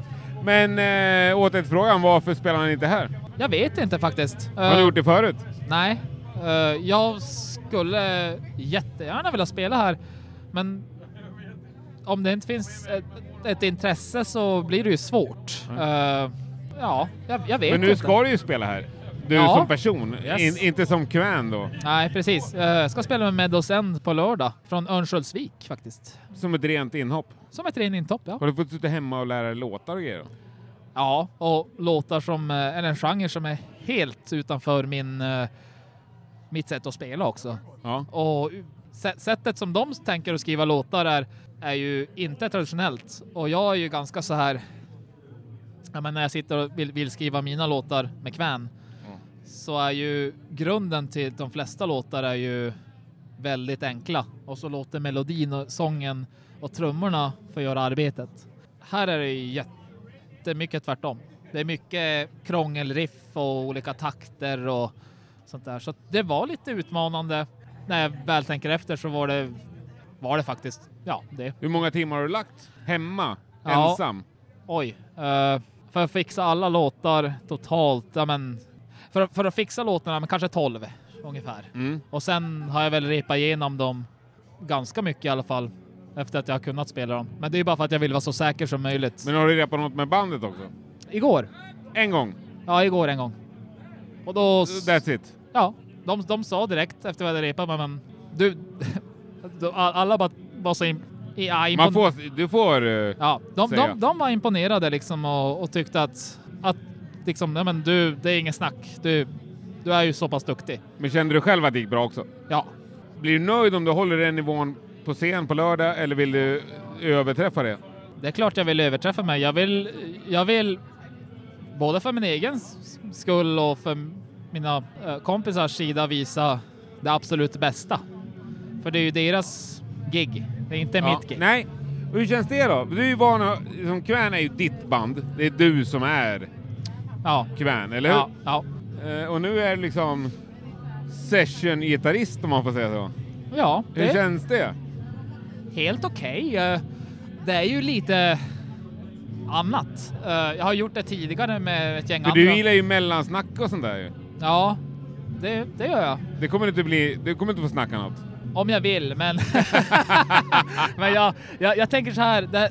Speaker 1: Men eh, åter till frågan, varför spelar han inte här?
Speaker 7: Jag vet inte faktiskt.
Speaker 1: Har
Speaker 7: Eh,
Speaker 1: du gjort det förut?
Speaker 7: Nej, Eh, jag skulle jättegärna vilja spela här, men om det inte finns ett, ett intresse så blir det ju svårt. Eh, ja, jag, jag vet
Speaker 1: Mm. Men nu
Speaker 7: inte.
Speaker 1: ska du ju spela här. Du
Speaker 7: Ja.
Speaker 1: som person,
Speaker 7: Yes.
Speaker 1: in, inte som QN då.
Speaker 7: Nej, precis. Eh, jag ska spela med Meadows End på lördag från Örnsköldsvik faktiskt.
Speaker 1: Som ett rent inhopp.
Speaker 7: Som ett ren intopp, ja.
Speaker 1: Har du fått sitta hemma och lära dig låtar och grejer? då?
Speaker 7: Ja, och låtar som, eh, eller en genre som är helt utanför min, eh, mitt sätt att spela också.
Speaker 1: Ja.
Speaker 7: Och sä- sättet som de tänker att skriva låtar är, är ju inte traditionellt. Och jag är ju ganska så här, ja, men när jag sitter och vill, vill skriva mina låtar med kvän,
Speaker 1: Mm.
Speaker 7: så är ju grunden till de flesta låtar är ju väldigt enkla. Och så låter melodin och sången och trummorna få göra arbetet. Här är det ju jättemycket tvärtom. Det är mycket krångelriff och olika takter och sånt där. Så att det var lite utmanande. När jag väl tänker efter så var det, var det faktiskt, ja, det.
Speaker 1: Hur många timmar har du lagt hemma,
Speaker 7: Ja.
Speaker 1: ensam?
Speaker 7: Oj. Eh, för att fixa alla låtar totalt, ja men, för, att- för att fixa låtarna, men kanske 12 ungefär.
Speaker 1: Mm.
Speaker 7: Och sen har jag väl repat igenom dem ganska mycket i alla fall efter att jag har kunnat spela dem. Men det är ju bara för att jag vill vara så säker som möjligt.
Speaker 1: Men har du repat något med bandet också?
Speaker 7: Igår?
Speaker 1: En gång?
Speaker 7: Ja, igår en gång. Och då...
Speaker 1: That's it?
Speaker 7: Ja, de, de sa direkt efter vad jag hade repat, men- men du... de- alla bara var så... im- i- ja, impon-
Speaker 1: Man får, du får... eh,
Speaker 7: Ja, de,
Speaker 1: säga.
Speaker 7: de, de var imponerade liksom och, och tyckte att, att liksom, nej men du, det är ingen snack. Du, du är ju så pass duktig.
Speaker 1: Men kände du själv att det gick bra också?
Speaker 7: Ja,
Speaker 1: Blir du nöjd om du håller den nivån på scen på lördag eller vill du överträffa det?
Speaker 7: det är klart jag vill överträffa mig. Jag vill, jag vill både för min egen s- skull och för mina eh, kompisars sida visa det absolut bästa. För det är ju deras gig, det är inte mitt gig.
Speaker 1: Nej. Och hur känns det då? Du är ju van att- som Kvän är ju ditt band. Det är du som är
Speaker 7: Ja,
Speaker 1: Kvän, eller hur?
Speaker 7: ja, ja,
Speaker 1: Eh, och nu är du liksom session-gitarrist om man får säga så.
Speaker 7: ja,
Speaker 1: Hur
Speaker 7: det är
Speaker 1: känns det?
Speaker 7: helt okej. Eh, Det är ju lite annat. Eh, Jag har gjort det tidigare med ett gäng
Speaker 1: För
Speaker 7: andra.
Speaker 1: du gillar ju mellansnack och sånt där ju.
Speaker 7: Ja, det, det gör jag.
Speaker 1: Det kommer inte bli... Du kommer inte få snacka något.
Speaker 7: Om jag vill, men... men jag, jag, jag tänker så här, det,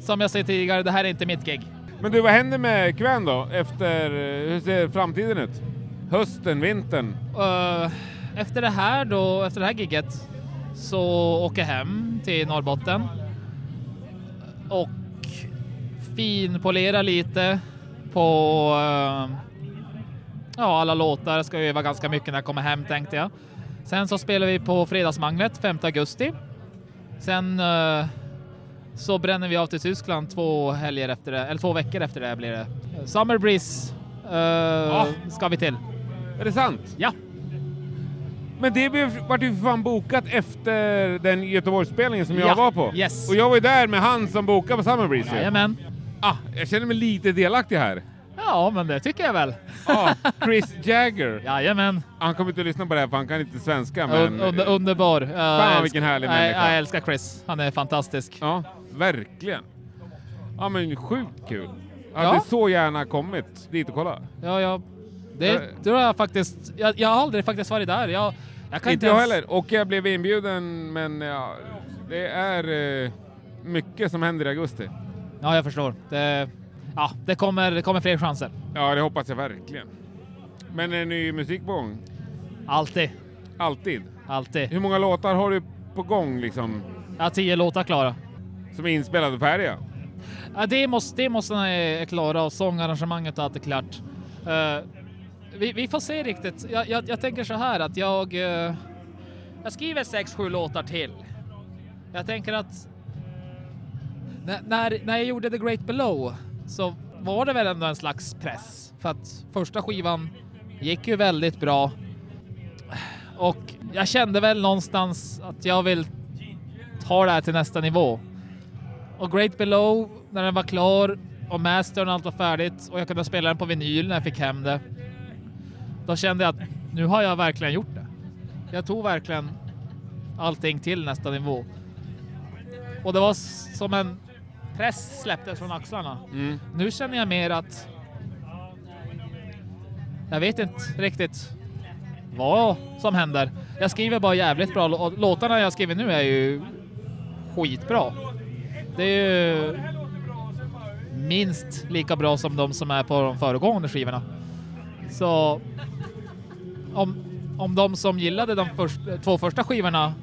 Speaker 7: som jag sa tidigare, det här är inte mitt gig.
Speaker 1: Men du, vad händer med Kvän då? Efter... eh, Hur ser framtiden ut? Hösten, vintern?
Speaker 7: Eh, efter det här då, efter det här gigget så åker jag hem till Norrbotten och finpolerar lite på eh, ja, alla låtar. Jag ska öva ganska mycket när jag kommer hem tänkte jag. Sen så spelar vi på Fredagsmanglet 5 augusti. Sen eh, så bränner vi av till Tyskland två helger efter det, eller två veckor efter det här blir det. Summer Breeze eh, ska vi till.
Speaker 1: Är det sant?
Speaker 7: Ja.
Speaker 1: Men det blev- vart ju för fan bokat efter den Göteborgsspelningen som jag
Speaker 7: Ja,
Speaker 1: var på.
Speaker 7: yes.
Speaker 1: Och jag var ju där med han som bokade på Summer Breeze. ju.
Speaker 7: Jajamän.
Speaker 1: Ah, jag känner mig lite delaktig här.
Speaker 7: Ja, men det tycker jag väl.
Speaker 1: Ah, Chris Jagger.
Speaker 7: Jajamän.
Speaker 1: Han kommer inte att lyssna på det här för han kan inte svenska. Men... eh,
Speaker 7: Un, un, underbar. Uh,
Speaker 1: Fan, vilken härlig människa.
Speaker 7: Jag älskar Chris. Han är fantastisk.
Speaker 1: Ja, verkligen. Ja men sjukt kul. Jag
Speaker 7: Ja.
Speaker 1: hade så gärna kommit dit och kolla.
Speaker 7: Ja, ja. Det
Speaker 1: Eh.
Speaker 7: tror jag faktiskt. Jag, jag har aldrig faktiskt varit där. Jag, jag kan
Speaker 1: Inte
Speaker 7: inte
Speaker 1: jag
Speaker 7: ens-
Speaker 1: heller. Och jag blev inbjuden men ja, det är eh, mycket som händer i augusti.
Speaker 7: Ja, jag förstår. Det, ja, det, kommer, det kommer fler chanser.
Speaker 1: Ja, det hoppas jag verkligen. Men är ny musik på gång?
Speaker 7: Alltid.
Speaker 1: Alltid.
Speaker 7: Alltid.
Speaker 1: Hur många låtar har du på gång liksom?
Speaker 7: Jag har tio låtar klara.
Speaker 1: Som är inspelade och färdiga?
Speaker 7: Ja, det måste, det måste är klara och sångarrangemanget och allt är klart. Eh, vi, vi får se riktigt. Jag, jag, jag tänker så här att jag... eh, jag skriver sex, sju låtar till. Jag tänker att... När, när, när jag gjorde The Great Below så var det väl ändå en slags press. För att första skivan gick ju väldigt bra. Och jag kände väl någonstans att jag vill ta det här till nästa nivå. Och Great Below, när den var klar och mastern och allt var färdigt och jag kunde spela den på vinyl när jag fick hem det. Då kände jag att nu har jag verkligen gjort det. Jag tog verkligen allting till nästa nivå. Och det var s- som en press släpptes från axlarna.
Speaker 1: Mm.
Speaker 7: Nu känner jag mer att jag vet inte riktigt vad som händer. Jag skriver bara jävligt bra. lå- Låtarna jag skriver nu är ju skitbra. Det är ju minst lika bra som de som är på de föregående skivorna. Så om, om de som gillade de först, två första skivorna,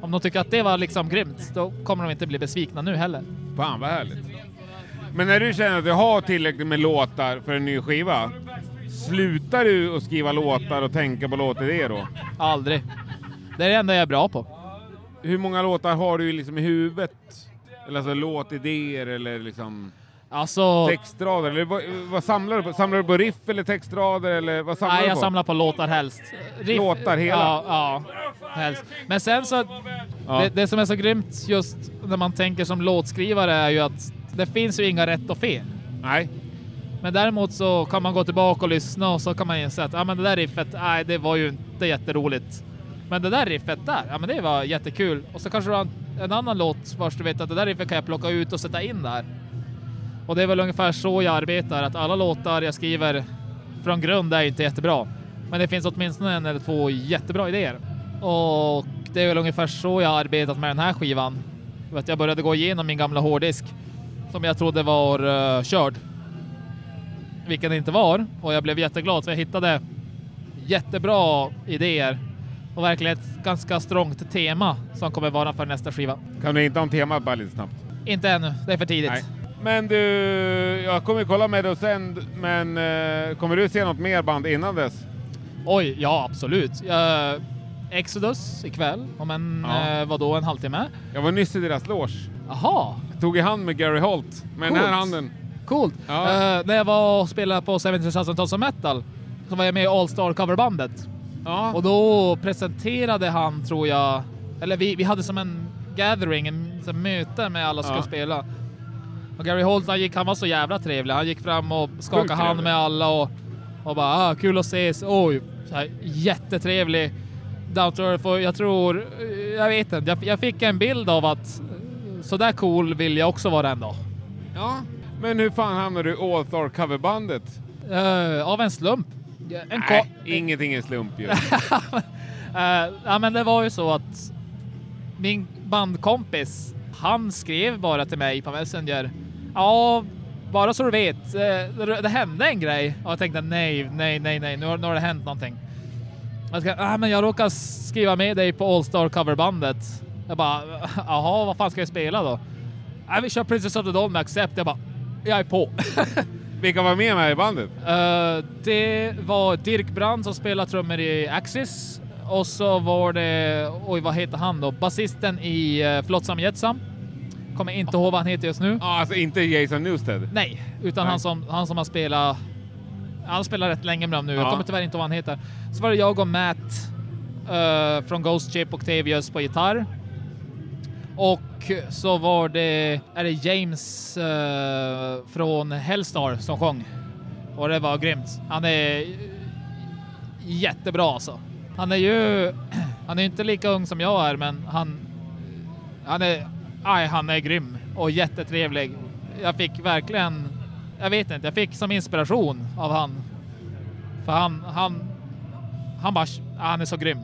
Speaker 7: om de tycker att det var liksom grymt, då kommer de inte bli besvikna nu heller.
Speaker 1: Fan vad härligt. Men när du känner att du har tillräckligt med låtar för en ny skiva, slutar du att skriva låtar och tänka på låtidéer då?
Speaker 7: Aldrig. Det är det enda jag är bra på.
Speaker 1: Hur många låtar har du liksom i huvudet? Eller alltså låtidéer eller liksom
Speaker 7: Alltså,
Speaker 1: textrader? Eller vad, vad samlar du på? Samlar du på riff eller textrader eller Eh, vad samlar
Speaker 7: nej,
Speaker 1: du
Speaker 7: jag
Speaker 1: på?
Speaker 7: samlar på låtar helst. Riff-
Speaker 1: Låtar hela?
Speaker 7: Ja, ja helst. Men sen så,
Speaker 1: Ja.
Speaker 7: det, det som är så grymt just när man tänker som låtskrivare är ju att det finns ju inga rätt och fel.
Speaker 1: Nej.
Speaker 7: Men däremot så kan man gå tillbaka och lyssna och så kan man inse att ah, men det där riffet, nej det var ju inte jätteroligt. Men det där riffet där, ja men det var jättekul. Och så kanske du har en- en annan låt vars du vet att det där riffet kan jag plocka ut och sätta in där. Och det är väl ungefär så jag arbetar, att alla låtar jag skriver från grund är ju inte jättebra. Men det finns åtminstone en eller två jättebra idéer. Och det är väl ungefär så jag har arbetat med den här skivan. För att jag började gå igenom min gamla hårddisk som jag trodde var eh, körd vilket det inte var. Och jag blev jätteglad för jag hittade jättebra idéer och verkligen ett ganska strångt tema som kommer vara för nästa skiva.
Speaker 1: Kan du inte ha en tema bara lite snabbt?
Speaker 7: Inte ännu, det är för tidigt.
Speaker 1: Nej. Men du, jag kommer kolla med dig sen, men eh, kommer du se något mer band innan dess?
Speaker 7: Oj, ja absolut. Eh, Exodus ikväll, om en,
Speaker 1: Ja.
Speaker 7: ja. vadå, en halvtimme?
Speaker 1: Jag var nyss i deras loge.
Speaker 7: Jaha,
Speaker 1: Jag tog i hand med Gary Holt med den här
Speaker 7: Coolt.
Speaker 1: handen.
Speaker 7: coolt!
Speaker 1: Ja.
Speaker 7: Eh, när jag var och spelade på 70 000 Tons of Metal så var jag med i All Star coverbandet.
Speaker 1: Ja.
Speaker 7: Och då presenterade han, tror jag, eller vi, vi hade som en gathering, en som möte med alla som
Speaker 1: Ja.
Speaker 7: ska spela. Och Gary Holt, han, gick, han var så jävla trevlig. Han gick fram och skakade
Speaker 1: Sjukt
Speaker 7: hand
Speaker 1: trevlig.
Speaker 7: med alla och, och bara ah, “kul att ses”. Oj, så här, jättetrevlig. Down to earth. Och jag tror, jag vet inte, jag, jag fick en bild av att eh, så där cool vill jag också vara en dag.
Speaker 1: ja. Men hur fan hamnade du i All Star coverbandet?
Speaker 7: Eh, av en slump. En, ko-
Speaker 1: Nej, ingenting är slump ju.
Speaker 7: Eh, ja, men det var ju så att min bandkompis, han skrev bara till mig på Messenger. Ja, bara så du vet, eh, det, det hände en grej. Och jag tänkte nej, nej, nej, nej, nu har, nu har det hänt någonting. Jag, ska, ah, men jag råkar skriva med dig på All Star coverbandet. Jag bara, jaha, vad fan ska jag spela då? Ah, vi kör Princess of the Dawn med Accept. Jag bara, jag är på.
Speaker 1: Vilka var med mig i bandet?
Speaker 7: Eh, det var Dirk Brand som spelade trummor i Axis. eh, Och så var det, oj vad heter han då, basisten i uh, Flotsam Jetsam. Kommer inte ihåg vad han heter just nu.
Speaker 1: Ja, alltså inte Jason Newsted.
Speaker 7: Nej, utan
Speaker 1: Nej.
Speaker 7: Han, som, han som har spelat... Han spelar rätt länge med dem nu.
Speaker 1: Ja.
Speaker 7: Jag kommer tyvärr inte ihåg vad han heter. Så var det jag och Matt eh, från Ghost Ship Octavius på gitarr. Och så var det, är det James eh, från Hellstar som sjöng. Och det var grymt. Han är jättebra alltså. Han är ju, han är inte lika ung som jag är, men han, han är, aj, han är grym och jättetrevlig. Jag fick verkligen, jag vet inte, jag fick som inspiration av han. För han, han, han bara, "Ah, han är så grym.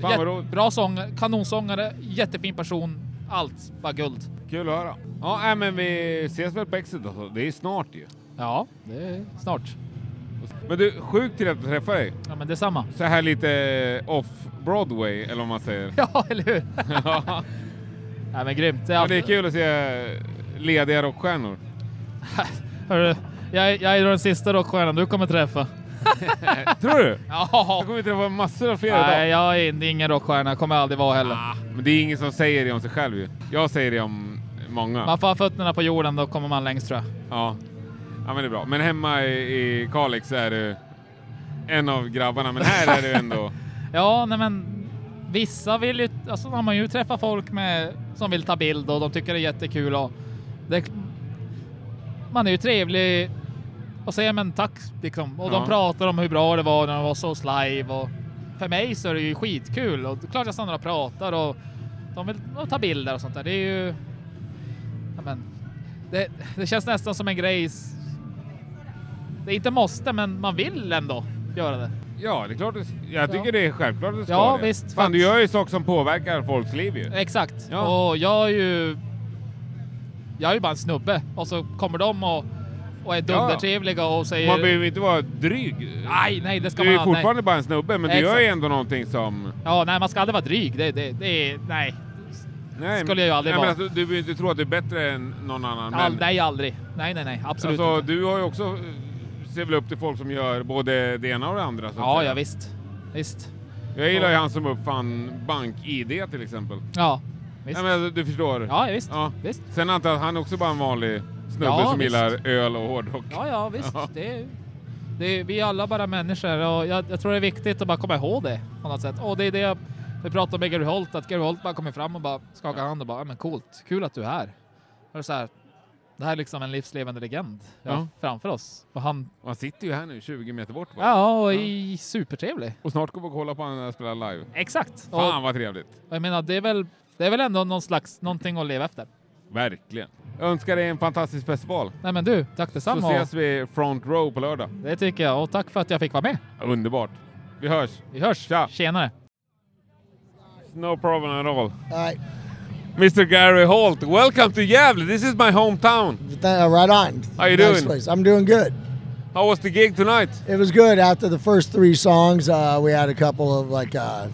Speaker 1: vad
Speaker 7: Jätte-
Speaker 1: roligt.
Speaker 7: bra sång, kanonsångare, jättefin person, allt bara guld.
Speaker 1: Kul att höra. Ja, nej, men vi ses väl på Exit alltså. Det är snart ju.
Speaker 7: Ja, det är snart.
Speaker 1: Men du, sjukt till att träffa dig.
Speaker 7: Ja, men detsamma.
Speaker 1: Så här lite off-Broadway, eller vad man säger.
Speaker 7: Ja, eller hur? Nej, men grymt. Det är
Speaker 1: Ja, det är
Speaker 7: alltid-
Speaker 1: kul att se lediga rockstjärnor.
Speaker 7: Hörru, jag, jag är den sista rockstjärnan du kommer träffa.
Speaker 1: Eh, Tror du?
Speaker 7: Ja.
Speaker 1: Jag kommer träffa massor av fler idag.
Speaker 7: Nej, jag är in- ingen rockstjärna. Kommer aldrig vara heller.
Speaker 1: Ah, men det är ingen som säger det om sig själv ju. Jag säger det om många.
Speaker 7: Man får ha fötterna på jorden, då kommer man längst tror jag.
Speaker 1: Ja. ja, men det är bra. Men hemma i, i Kalix är du en av grabbarna, men här är du ändå...
Speaker 7: Ja, nej men vissa vill ju... Alltså man har ju träffat folk med, som vill ta bild och de tycker det är jättekul och det, man är ju trevlig och säger men tack liksom. Och
Speaker 1: Ja.
Speaker 7: de pratar om hur bra det var när de var så live och för mig så är det ju skitkul och det är klart jag stannar och pratar och de vill och ta bilder och sånt där. Det är ju... Ja, men, det, det känns nästan som en grej. s- Det är inte måste, men man vill ändå göra det.
Speaker 1: Ja, det är klart. du- Jag tycker det är självklart att du ska
Speaker 7: Ja,
Speaker 1: det.
Speaker 7: visst,
Speaker 1: Fan,
Speaker 7: fast-
Speaker 1: du gör ju saker som påverkar folks liv ju.
Speaker 7: Exakt.
Speaker 1: Ja.
Speaker 7: Och jag är ju... Jag är ju bara en snubbe. Och så kommer de och, och är dundertrevliga och säger...
Speaker 1: Man behöver inte vara dryg.
Speaker 7: Nej, nej, det ska
Speaker 1: Du är
Speaker 7: man
Speaker 1: ju
Speaker 7: aldrig-
Speaker 1: fortfarande bara en snubbe, men du
Speaker 7: Exakt.
Speaker 1: gör ju ändå någonting som...
Speaker 7: Nej. Ja, nej, man ska aldrig vara dryg. Det, det, det är... Nej.
Speaker 1: Nej,
Speaker 7: Skulle jag ju aldrig
Speaker 1: nej, men
Speaker 7: vara.
Speaker 1: alltså, du behöver inte tro att du är bättre än någon annan.
Speaker 7: All,
Speaker 1: men-
Speaker 7: nej, aldrig. Nej, nej, nej. Absolut
Speaker 1: Alltså,
Speaker 7: inte.
Speaker 1: du har ju också, eh, ser väl upp till folk som gör både det ena och det andra. Så att
Speaker 7: Ja,
Speaker 1: säga.
Speaker 7: ja, visst. Visst.
Speaker 1: Jag gillar ju han som uppfann bank-id till exempel.
Speaker 7: Ja, visst.
Speaker 1: Nej, men alltså, du förstår.
Speaker 7: Ja, visst.
Speaker 1: Ja.
Speaker 7: Visst.
Speaker 1: Sen antar jag att han också bara är en vanlig snubbe
Speaker 7: Ja,
Speaker 1: som
Speaker 7: visst.
Speaker 1: gillar öl och hårdrock.
Speaker 7: Ja, ja, visst.
Speaker 1: Ja.
Speaker 7: Det är, det är, vi är alla bara människor och jag, jag tror det är viktigt att bara komma ihåg det på något sätt. Och det är det jag vi pratade med Gary Holt, att Gary Holt bara kommer fram och bara skakar hand och bara, "Ja, men coolt, kul att du är här. Och det, är så här det här är liksom en livslevande legend vi har
Speaker 1: Ja.
Speaker 7: framför oss. Och han,
Speaker 1: Och Han sitter ju här nu, 20 meter bort. Va?
Speaker 7: ja, och är supertrevlig.
Speaker 1: Och snart kommer vi kolla på honom spela live.
Speaker 7: Exakt. Och,
Speaker 1: Fan
Speaker 7: och
Speaker 1: vad trevligt.
Speaker 7: jag menar, det är väl, det är väl ändå någon slags, någonting att leva efter.
Speaker 1: Verkligen. Jag önskar dig en fantastisk festival.
Speaker 7: Nej men du, tack
Speaker 1: Så
Speaker 7: detsamma.
Speaker 1: ses vi front row på lördag.
Speaker 7: och Det tycker jag. Och tack för att jag fick vara med.
Speaker 1: Underbart. Vi hörs.
Speaker 7: Vi hörs.
Speaker 1: Tja.
Speaker 7: Tjenare.
Speaker 1: No problem at all.
Speaker 8: All
Speaker 1: Mr Gary Holt, welcome to Gävle. This is my hometown.
Speaker 8: right, uh, right on.
Speaker 1: How you
Speaker 8: Nice
Speaker 1: doing?
Speaker 8: place. I'm doing good.
Speaker 1: How was the gig tonight?
Speaker 8: It was good. After the first three songs, uh, we had a couple of like uh,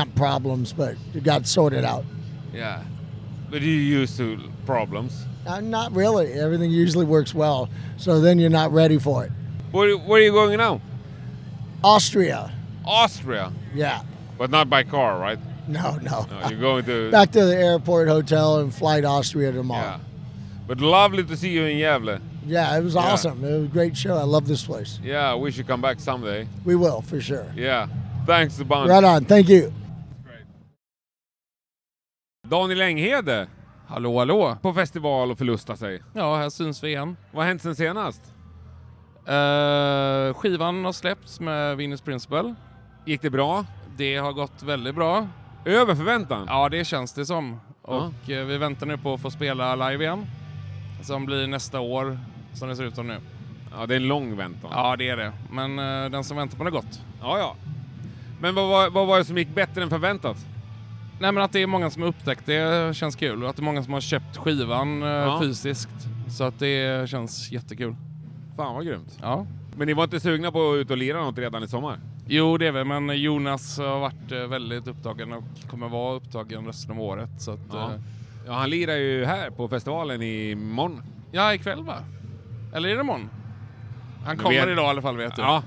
Speaker 8: amp problems, but it got sorted out.
Speaker 1: Yeah. But you used to problems.
Speaker 8: Uh, not really. Everything usually works well, so then you're not ready for it.
Speaker 1: Where, where are you going now?
Speaker 8: Austria.
Speaker 1: Austria.
Speaker 8: Yeah.
Speaker 1: But not by car, right?
Speaker 8: No, no.
Speaker 1: No, you're going to...
Speaker 8: Back to the airport hotel and fly to Austria
Speaker 1: Yeah.
Speaker 8: tomorrow.
Speaker 1: But lovely to see you in Gävle.
Speaker 8: Yeah, it was
Speaker 1: Yeah.
Speaker 8: awesome. It was a great show. I love this place.
Speaker 1: Yeah, we should come back someday.
Speaker 8: We will for sure.
Speaker 1: Yeah. Thanks a bunch.
Speaker 8: Right on. Thank you.
Speaker 1: Daniel Enghede
Speaker 9: Hallå, hallå!
Speaker 1: på festival och förlusta sig.
Speaker 9: Ja, här syns vi igen.
Speaker 1: Vad har hänt sen senast?
Speaker 9: Eh, skivan har släppts med Venus Principle.
Speaker 1: Gick det bra?
Speaker 9: Det har gått väldigt bra.
Speaker 1: Över förväntan?
Speaker 9: Ja, det känns det som.
Speaker 1: Ja.
Speaker 9: Och eh, vi väntar nu på att få spela live igen. Som blir nästa år, som det ser ut som nu.
Speaker 1: Ja, det är en lång väntan.
Speaker 9: Ja, det är det. Men eh, den som väntar på något gott.
Speaker 1: ja. ja. Men vad, var- vad var det som gick bättre än förväntat?
Speaker 9: Nej, men att det är många som har upptäckt det känns kul. Och att det är många som har köpt skivan eh,
Speaker 1: Ja.
Speaker 9: fysiskt. Så att det känns jättekul.
Speaker 1: Fan vad grymt.
Speaker 9: Ja.
Speaker 1: Men ni var inte sugna på att ut och lira något redan i sommar?
Speaker 9: Jo, det är vi, men Jonas har varit eh, väldigt upptagen och kommer vara upptagen resten av året. Så att,
Speaker 1: Ja.
Speaker 9: eh,
Speaker 1: Ja, han lirar ju här på festivalen imorgon.
Speaker 9: Ja, ikväll va? Eller är det imorgon? Han
Speaker 1: Du
Speaker 9: kommer
Speaker 1: vet-
Speaker 9: idag i alla fall vet du.
Speaker 1: Ja,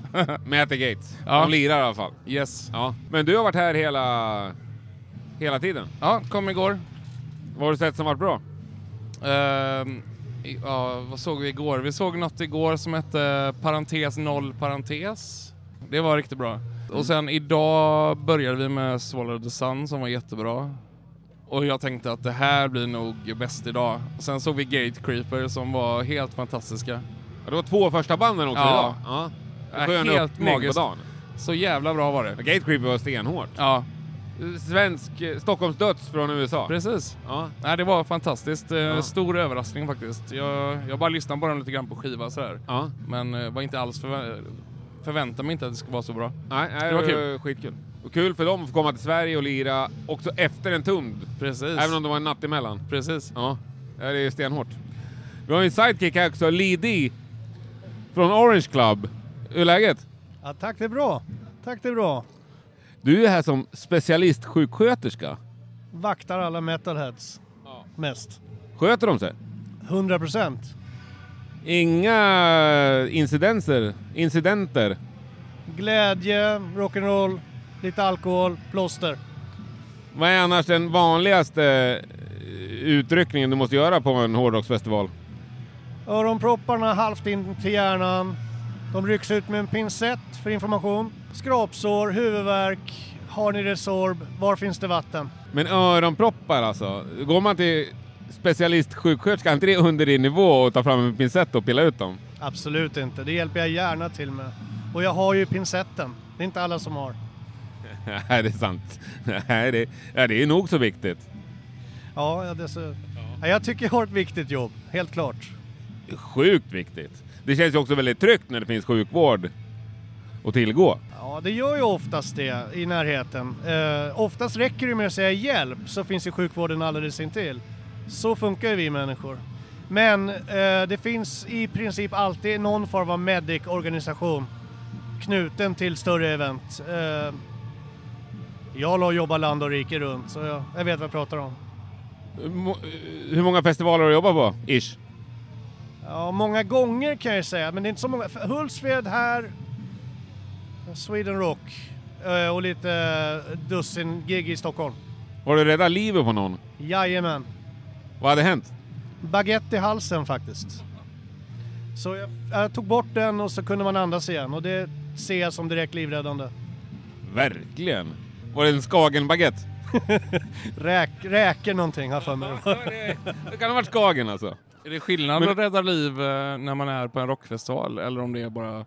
Speaker 1: med At the Gates.
Speaker 9: Ja.
Speaker 1: De lirar i alla fall.
Speaker 9: Yes.
Speaker 1: Ja. Men du har varit här hela, hela tiden.
Speaker 9: Ja, kom igår.
Speaker 1: Vad har du sett som varit bra?
Speaker 9: Ehm, i- ja, vad såg vi igår? Vi såg något igår som hette parentes noll parentes. Det var riktigt bra. Och sen idag började vi med Swallow the Sun som var jättebra. Och jag tänkte att det här blir nog bäst idag. Sen såg vi Gatecreeper som var helt fantastiska.
Speaker 1: Ja, det var två första banden också idag. Ja. Skön
Speaker 9: Äh, helt
Speaker 1: öppning på
Speaker 9: magiskt.
Speaker 1: dagen.
Speaker 9: Så jävla bra var det.
Speaker 1: Gatecreeper var stenhårt.
Speaker 9: Ja.
Speaker 1: Svensk, eh, Stockholms döds från USA.
Speaker 9: Precis.
Speaker 1: Ja.
Speaker 9: Nej, det var fantastiskt. Eh, Stor överraskning faktiskt. Jag, jag bara lyssnade på den lite grann på skiva sådär.
Speaker 1: Ja.
Speaker 9: Men eh, var inte alls förvä- förväntade mig inte att det skulle vara så bra.
Speaker 1: Nej, nej, eh,
Speaker 9: det var kul.
Speaker 1: skitkul. Och kul för dem att få komma till Sverige och lira också efter en tund.
Speaker 9: Precis.
Speaker 1: Även om det var en natt emellan.
Speaker 9: Precis.
Speaker 1: Ja, Ja, det är ju stenhårt. Vi har ju en sidekick här också, Lidi från Orange Club. Hur är läget?
Speaker 10: Ja, tack, det är bra. Tack, det är bra.
Speaker 1: Du är här som specialistsjuksköterska.
Speaker 10: Vaktar alla metalheads mest.
Speaker 1: Sköter de sig?
Speaker 10: 100 procent.
Speaker 1: Inga incidenser? Incidenter?
Speaker 10: Glädje, rock'n'roll, lite alkohol, plåster.
Speaker 1: Vad är annars den vanligaste eh, utryckningen du måste göra på en hårdrocksfestival?
Speaker 10: Öronpropparna halvt in till hjärnan. De rycks ut med en pincett för information. Skrapsår, huvudvärk. Har ni Resorb? Var finns det vatten?
Speaker 1: Men öronproppar alltså? Går man till specialistsjuksköterska, är inte det under din nivå att ta fram en pincett och pilla ut dem?
Speaker 10: Absolut inte. Det hjälper jag gärna till med. Och jag har ju pincetten. Det är inte alla som har.
Speaker 1: Nej, det är sant. Nej, det, ja, det är nog så viktigt.
Speaker 10: Ja, ja, det är så... Ja, jag tycker jag har ett viktigt jobb, helt klart.
Speaker 1: Sjukt viktigt. Det känns ju också väldigt tryggt när det finns sjukvård att tillgå.
Speaker 10: Ja, det gör ju oftast det i närheten. Eh, oftast räcker det med att säga hjälp så finns ju sjukvården alldeles intill. Så funkar ju vi människor. Men eh, det finns i princip alltid någon form av medic-organisation knuten till större event. Eh, jag har jobbat land och rike runt så jag, jag vet vad jag pratar om.
Speaker 1: Mo- Hur många festivaler har du jobbat på? Ish.
Speaker 10: Ja, många gånger kan jag ju säga, men det är inte så många. För Hultsfred här, Sweden Rock eh, och lite eh, dussin gig i Stockholm.
Speaker 1: Har du räddat livet på någon?
Speaker 10: Jajamän.
Speaker 1: Vad hade hänt?
Speaker 10: Baguette i halsen faktiskt. Så jag, jag tog bort den och så kunde man andas igen och det ser jag som direkt livräddande.
Speaker 1: Verkligen. Var det en Skagen-baguette?
Speaker 10: Räk, räker någonting här för mig.
Speaker 1: Det kan ha varit Skagen alltså.
Speaker 9: Är det skillnad
Speaker 1: Men-
Speaker 9: att rädda liv eh, när man är på en rockfestival eller om det är bara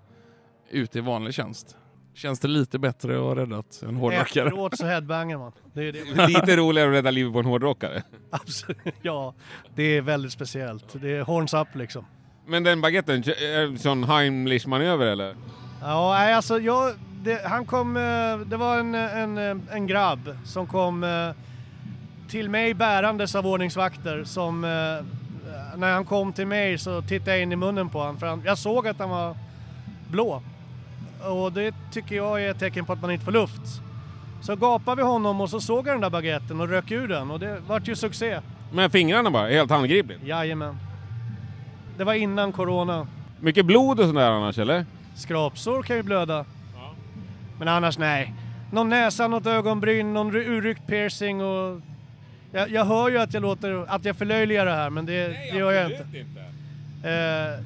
Speaker 9: ute i vanlig tjänst? Känns det lite bättre att ha räddat en hårdrockare?
Speaker 10: Efteråt så headbangar man. Det är det.
Speaker 1: Lite roligare att rädda livet på en hårdrockare.
Speaker 10: Absolut. Ja, det är väldigt speciellt. Det är horns up liksom.
Speaker 1: Men den baguetten, är det en sån Heimlich-manöver eller?
Speaker 10: Ja, nej, alltså jag, det, han kom, eh, det var en, en, eh, en grabb som kom eh, till mig bärandes av ordningsvakter som eh, när han kom till mig så tittade jag in i munnen på honom för han, jag såg att han var blå. Och det tycker jag är ett tecken på att man inte får luft. Så gapade vi honom och så såg jag den där baguetten och rök ur den och det vart ju succé.
Speaker 1: Med fingrarna bara, helt handgripligt.
Speaker 10: Jajamän. Det var innan corona.
Speaker 1: Mycket blod och sånt där annars eller?
Speaker 10: Skrapsår kan ju blöda. Men annars nej. Någon näsa, något ögonbryn, någon ru- urryckt piercing och... Jag, jag hör ju att jag låter, att jag förlöjligar det här men det, det gör jag inte. Eh,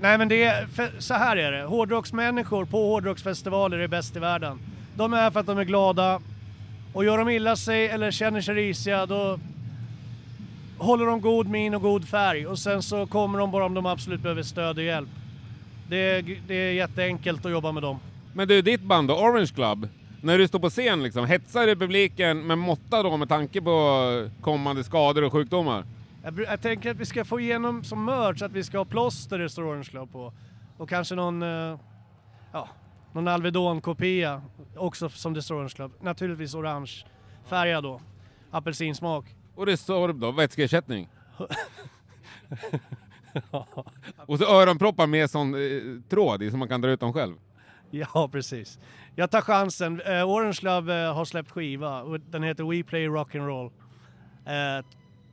Speaker 10: nej men det är, för, så här är det. Hårdrocksmänniskor på hårdrocksfestivaler är bäst i världen. De är här för att de är glada och gör de illa sig eller känner sig risiga då håller de god min och god färg och sen så kommer de bara om de absolut behöver stöd och hjälp. Det är, det är jätteenkelt att jobba med dem.
Speaker 1: Men du, ditt band då, Orange Club. När du står på scen liksom, hetsar du publiken med måtta då med tanke på kommande skador och sjukdomar?
Speaker 10: Jag, bru- jag tänker att vi ska få igenom som merch att vi ska ha plåster det står Orange Club på. Och kanske någon, eh, ja, någon Alvedon-kopia också som det står Orange Club. Naturligtvis orange färgad då. Apelsinsmak.
Speaker 1: Och det är sorb då, vätskeersättning. och så öronproppar med sån eh, tråd i så man kan dra ut dem själv.
Speaker 10: Ja, precis. Jag tar chansen. Eh, Orange Club eh, har släppt skiva. och Den heter We Play Rock'n'Roll. Eh,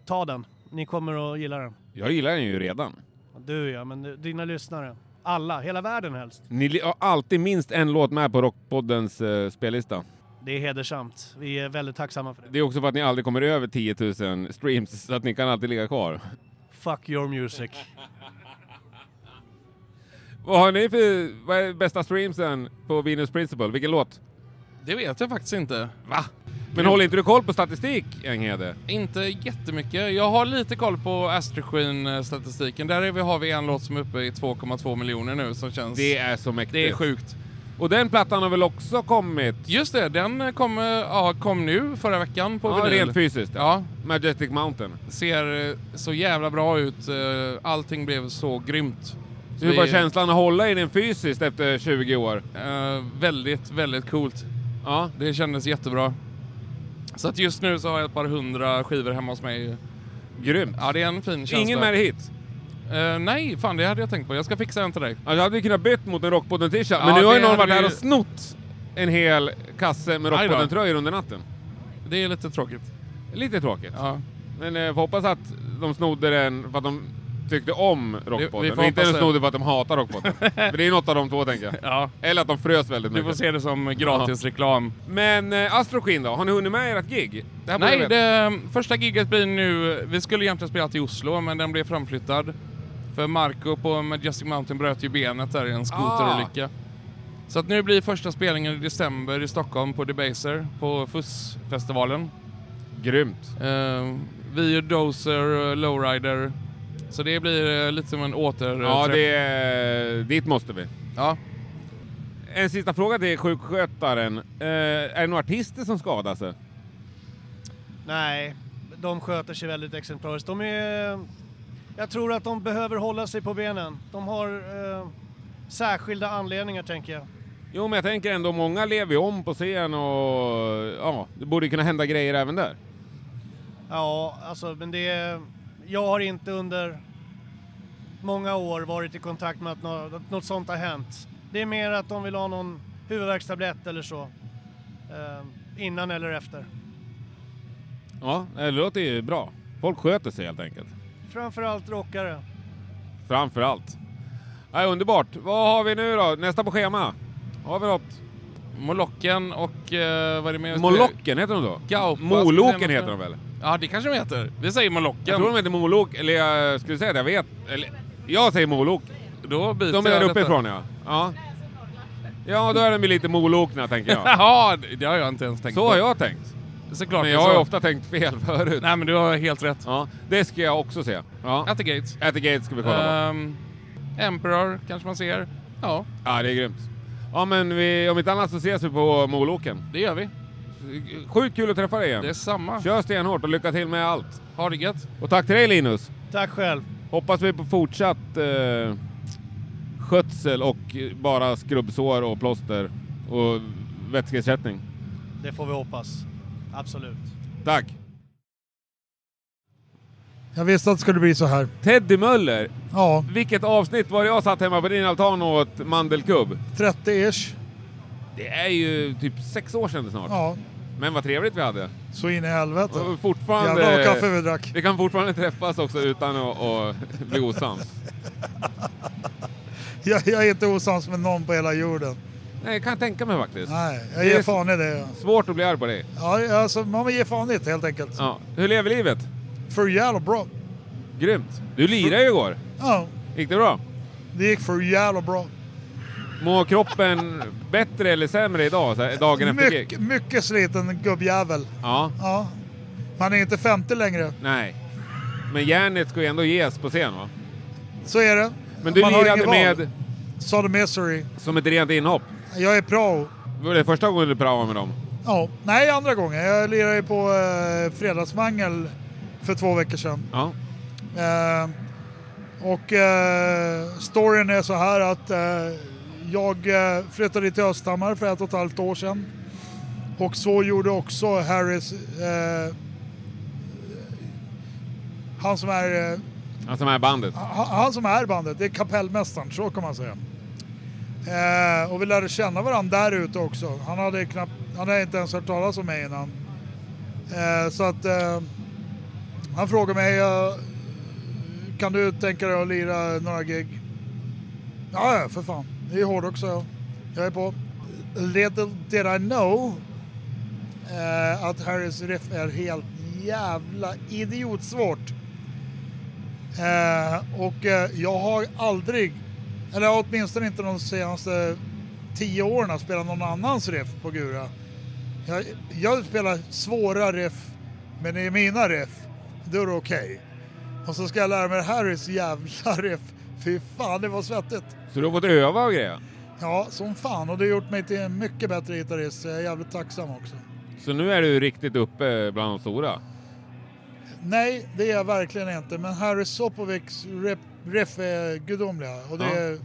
Speaker 10: ta den. Ni kommer att gilla den.
Speaker 1: Jag gillar den ju redan.
Speaker 10: Du ja, men eh, dina lyssnare. Alla, hela världen helst.
Speaker 1: Ni li- har alltid minst en låt med på Rockpoddens eh, spellista.
Speaker 10: Det är hedersamt. Vi är väldigt tacksamma för det.
Speaker 1: Det är också för att ni aldrig kommer över 10 000 streams, så att ni kan alltid ligga kvar.
Speaker 10: Fuck your music.
Speaker 1: Vad har ni för vad är bästa streamsen på Venus Principle? Vilken låt?
Speaker 9: Det vet jag faktiskt inte.
Speaker 1: Va? Men håller inte du koll på statistik, Enghede?
Speaker 9: Inte jättemycket. Jag har lite koll på Astroskin-statistiken. Där är vi, har vi en låt som är uppe i 2,2 miljoner nu som känns...
Speaker 1: Det är så mäktigt.
Speaker 9: Det är sjukt.
Speaker 1: Och den plattan har väl också kommit?
Speaker 9: Just det, den kom, eh, ja, kom nu förra veckan på
Speaker 1: Ja,
Speaker 9: vinyl.
Speaker 1: rent fysiskt.
Speaker 9: Ja.
Speaker 1: Majestic Mountain.
Speaker 9: Ser eh, så jävla bra ut. Eh, Allting blev så grymt. Så
Speaker 1: Hur var
Speaker 9: vi-
Speaker 1: känslan att hålla i den fysiskt efter 20 år?
Speaker 9: Eh, väldigt, väldigt coolt.
Speaker 1: Ja.
Speaker 9: Det kändes jättebra. Så att just nu så har jag ett par hundra skivor hemma hos mig.
Speaker 1: Grymt.
Speaker 9: Ja, det är en fin känsla.
Speaker 1: Ingen med dig hit?
Speaker 9: Eh, nej, fan det hade jag tänkt på. Jag ska fixa en till dig.
Speaker 1: Ja, du hade ju kunnat bytt mot en Rockpodden-t-shirt,
Speaker 9: Ja,
Speaker 1: men nu har ju
Speaker 9: det
Speaker 1: någon
Speaker 9: hade
Speaker 1: varit här
Speaker 9: vi-
Speaker 1: och snott en hel kasse med
Speaker 9: Aj då.
Speaker 1: Rockpodden-tröjor under natten.
Speaker 9: Det är lite tråkigt.
Speaker 1: Lite tråkigt.
Speaker 9: Ja.
Speaker 1: Men eh, får hoppas att de snodde den för att de tyckte om
Speaker 9: vi
Speaker 1: Rockpodden.
Speaker 9: får
Speaker 1: och inte
Speaker 9: hoppas
Speaker 1: de
Speaker 9: det.
Speaker 1: snodde för att de hatar Rockpodden. För det är något av de två, tänker jag.
Speaker 9: Ja.
Speaker 1: Eller att de frös väldigt
Speaker 9: Du
Speaker 1: mycket.
Speaker 9: får se det som gratisreklam.
Speaker 1: Men eh, Astroskin då? Har ni hunnit med ert gig? Det här borde
Speaker 9: Nej,
Speaker 1: jag
Speaker 9: det, ehm, första giget blir nu... Vi skulle egentligen spela till Oslo, men den blev framflyttad. För Marco på Majestic Mountain bröt ju benet där i en
Speaker 1: Ah.
Speaker 9: skoterolycka. Så att nu blir första spelningen i december i Stockholm på Debaser, på FUS-festivalen.
Speaker 1: Grymt.
Speaker 9: Eh, vi och Dozer, eh, Lowrider. Så det blir eh, lite som en åter...
Speaker 1: Ja, det är, dit måste vi.
Speaker 9: Ja.
Speaker 1: En sista fråga till sjukskötaren. Eh, är det några artister som skadas?
Speaker 10: Nej, de sköter sig väldigt exemplariskt. De är... Jag tror att de behöver hålla sig på benen. De har eh, särskilda anledningar, tänker jag.
Speaker 1: Jo, men jag tänker ändå, många lever ju om på scen och ja, det borde ju kunna hända grejer även där.
Speaker 10: Ja, alltså, men det... är- Jag har inte under många år varit i kontakt med att något, att något sånt har hänt. Det är mer att de vill ha någon huvudvärkstablett eller så. Eh, innan eller efter.
Speaker 1: Ja, det låter ju bra. Folk sköter sig helt enkelt.
Speaker 10: Framförallt rockare.
Speaker 1: Framför allt. Ja, underbart. Vad har vi nu då? Nästa på schema? Har vi något?
Speaker 9: Molocken och... eh, vad är det mer?
Speaker 1: Molocken heter de då?
Speaker 9: Gaupas-
Speaker 1: Moloken heter de väl?
Speaker 9: Ja, det kanske de heter. Vi säger Molocken.
Speaker 1: Jag tror de heter Molok, eller
Speaker 9: eh,
Speaker 1: jag skulle säga det, jag vet. Eller, jag säger Molok.
Speaker 9: Då byter
Speaker 1: De är där
Speaker 9: jag detta.
Speaker 1: uppifrån ja. ja. Ja, då är de ju lite molokna tänker jag.
Speaker 9: Jaha, det- det har jag inte ens tänkt
Speaker 1: Så
Speaker 9: på.
Speaker 1: har jag tänkt.
Speaker 9: Såklart
Speaker 1: men
Speaker 9: det är
Speaker 1: jag har
Speaker 9: så.
Speaker 1: ju ofta tänkt fel förut.
Speaker 9: Nej, men du har helt rätt.
Speaker 1: Ja, det ska jag också se. Ja. Eh.
Speaker 9: At the Gates.
Speaker 1: At the Gates ska vi kolla på.
Speaker 9: Ehm, Emperor kanske man ser. Ja,
Speaker 1: Ja, det är grymt. Ja, men vi, om inte annat så ses vi på Moloken.
Speaker 9: det gör vi.
Speaker 1: Sjukt kul att träffa dig igen.
Speaker 9: Det är samma.
Speaker 1: Kör stenhårt och lycka till med allt.
Speaker 9: Ha det gött.
Speaker 1: Och tack till dig Linus.
Speaker 10: Tack själv.
Speaker 1: Hoppas vi på fortsatt eh, skötsel och eh, bara skrubbsår och plåster och vätskeersättning.
Speaker 10: Det får vi hoppas. Absolut.
Speaker 1: Tack!
Speaker 11: Jag visste att det skulle bli så här.
Speaker 1: Teddy Möller,
Speaker 11: Ja,
Speaker 1: vilket avsnitt var det jag satt hemma på din altan och åt mandelkubb?
Speaker 11: 30-ish.
Speaker 1: Det är ju typ sex år sedan det snart.
Speaker 11: Ja,
Speaker 1: Men vad trevligt vi hade.
Speaker 11: så in i helvete.
Speaker 1: Och fortfarande...
Speaker 11: Jävlar vad kaffe vi drack.
Speaker 1: Vi kan fortfarande träffas också utan att, att bli osams.
Speaker 11: Jag, jag är inte osams med någon på hela jorden.
Speaker 1: Nej, jag kan tänka mig faktiskt.
Speaker 11: Nej, jag
Speaker 1: Det är
Speaker 11: ger
Speaker 1: s-
Speaker 11: fan i det.
Speaker 1: Svårt att bli arg på dig.
Speaker 11: Ja, alltså, man ger fan i det helt enkelt.
Speaker 1: Ja. Hur lever livet?
Speaker 11: För jävla bra.
Speaker 1: Grymt. Du lirade ju igår.
Speaker 11: Ja,
Speaker 1: Gick det bra?
Speaker 11: det gick för jävla bra.
Speaker 1: Mår kroppen bättre eller sämre idag, så här, dagen efter gig?
Speaker 11: Mycket, mycket sliten gubbjävel.
Speaker 1: Ja,
Speaker 11: Ja. Man är inte 50 längre.
Speaker 1: nej. Men järnet ska ju ändå ges på scen va?
Speaker 11: Så är det.
Speaker 1: Men du
Speaker 11: Man har
Speaker 1: lirade
Speaker 11: ingen val.
Speaker 1: med
Speaker 11: Sodomisery.
Speaker 1: som ett rent inhopp.
Speaker 11: Jag är prao.
Speaker 1: Var det första gången du praoade med dem?
Speaker 11: Ja, nej andra gången. Jag lirade ju på eh, Fredagsmangel för två veckor sedan.
Speaker 1: Ja.
Speaker 11: Eh, och eh, storyn är så här att eh, jag eh, flyttade till Östhammar för ett och ett halvt år sedan. Och så gjorde också Harris, eh, han som är eh,
Speaker 1: Alltså med bandet?
Speaker 11: han, han som är bandet, det är kapellmästaren, så kan man säga. Eh, och vi lärde känna varandra där ute också. Han hade, knappt, han hade inte ens hört talas om mig innan. Eh, så att eh, han frågade mig, eh, kan du tänka dig att lira några gig? Ja, ja, för fan. Det är hårdrock, så jag. Jag är på. Little did I know eh, att Harrys riff är helt jävla idiotsvårt. Eh, och eh, jag har aldrig, eller åtminstone inte de senaste tio åren, spelat någon annans riff på Gura. Jag, jag spelar svåra riff, men det är mina riff. Då är det okej. Och så ska jag lära mig Harrys jävla riff. Fy fan, det var svettigt.
Speaker 1: Så du har fått öva och grejer?
Speaker 11: Ja, som fan. Och det har gjort mig till en mycket bättre gitarrist. så Jag är jävligt tacksam också.
Speaker 1: Så nu är du riktigt uppe bland de stora?
Speaker 11: Nej, det är jag verkligen inte. Men Harry Sopovics riff, riff är eh, gudomliga. Och det,
Speaker 1: Ja.
Speaker 11: är,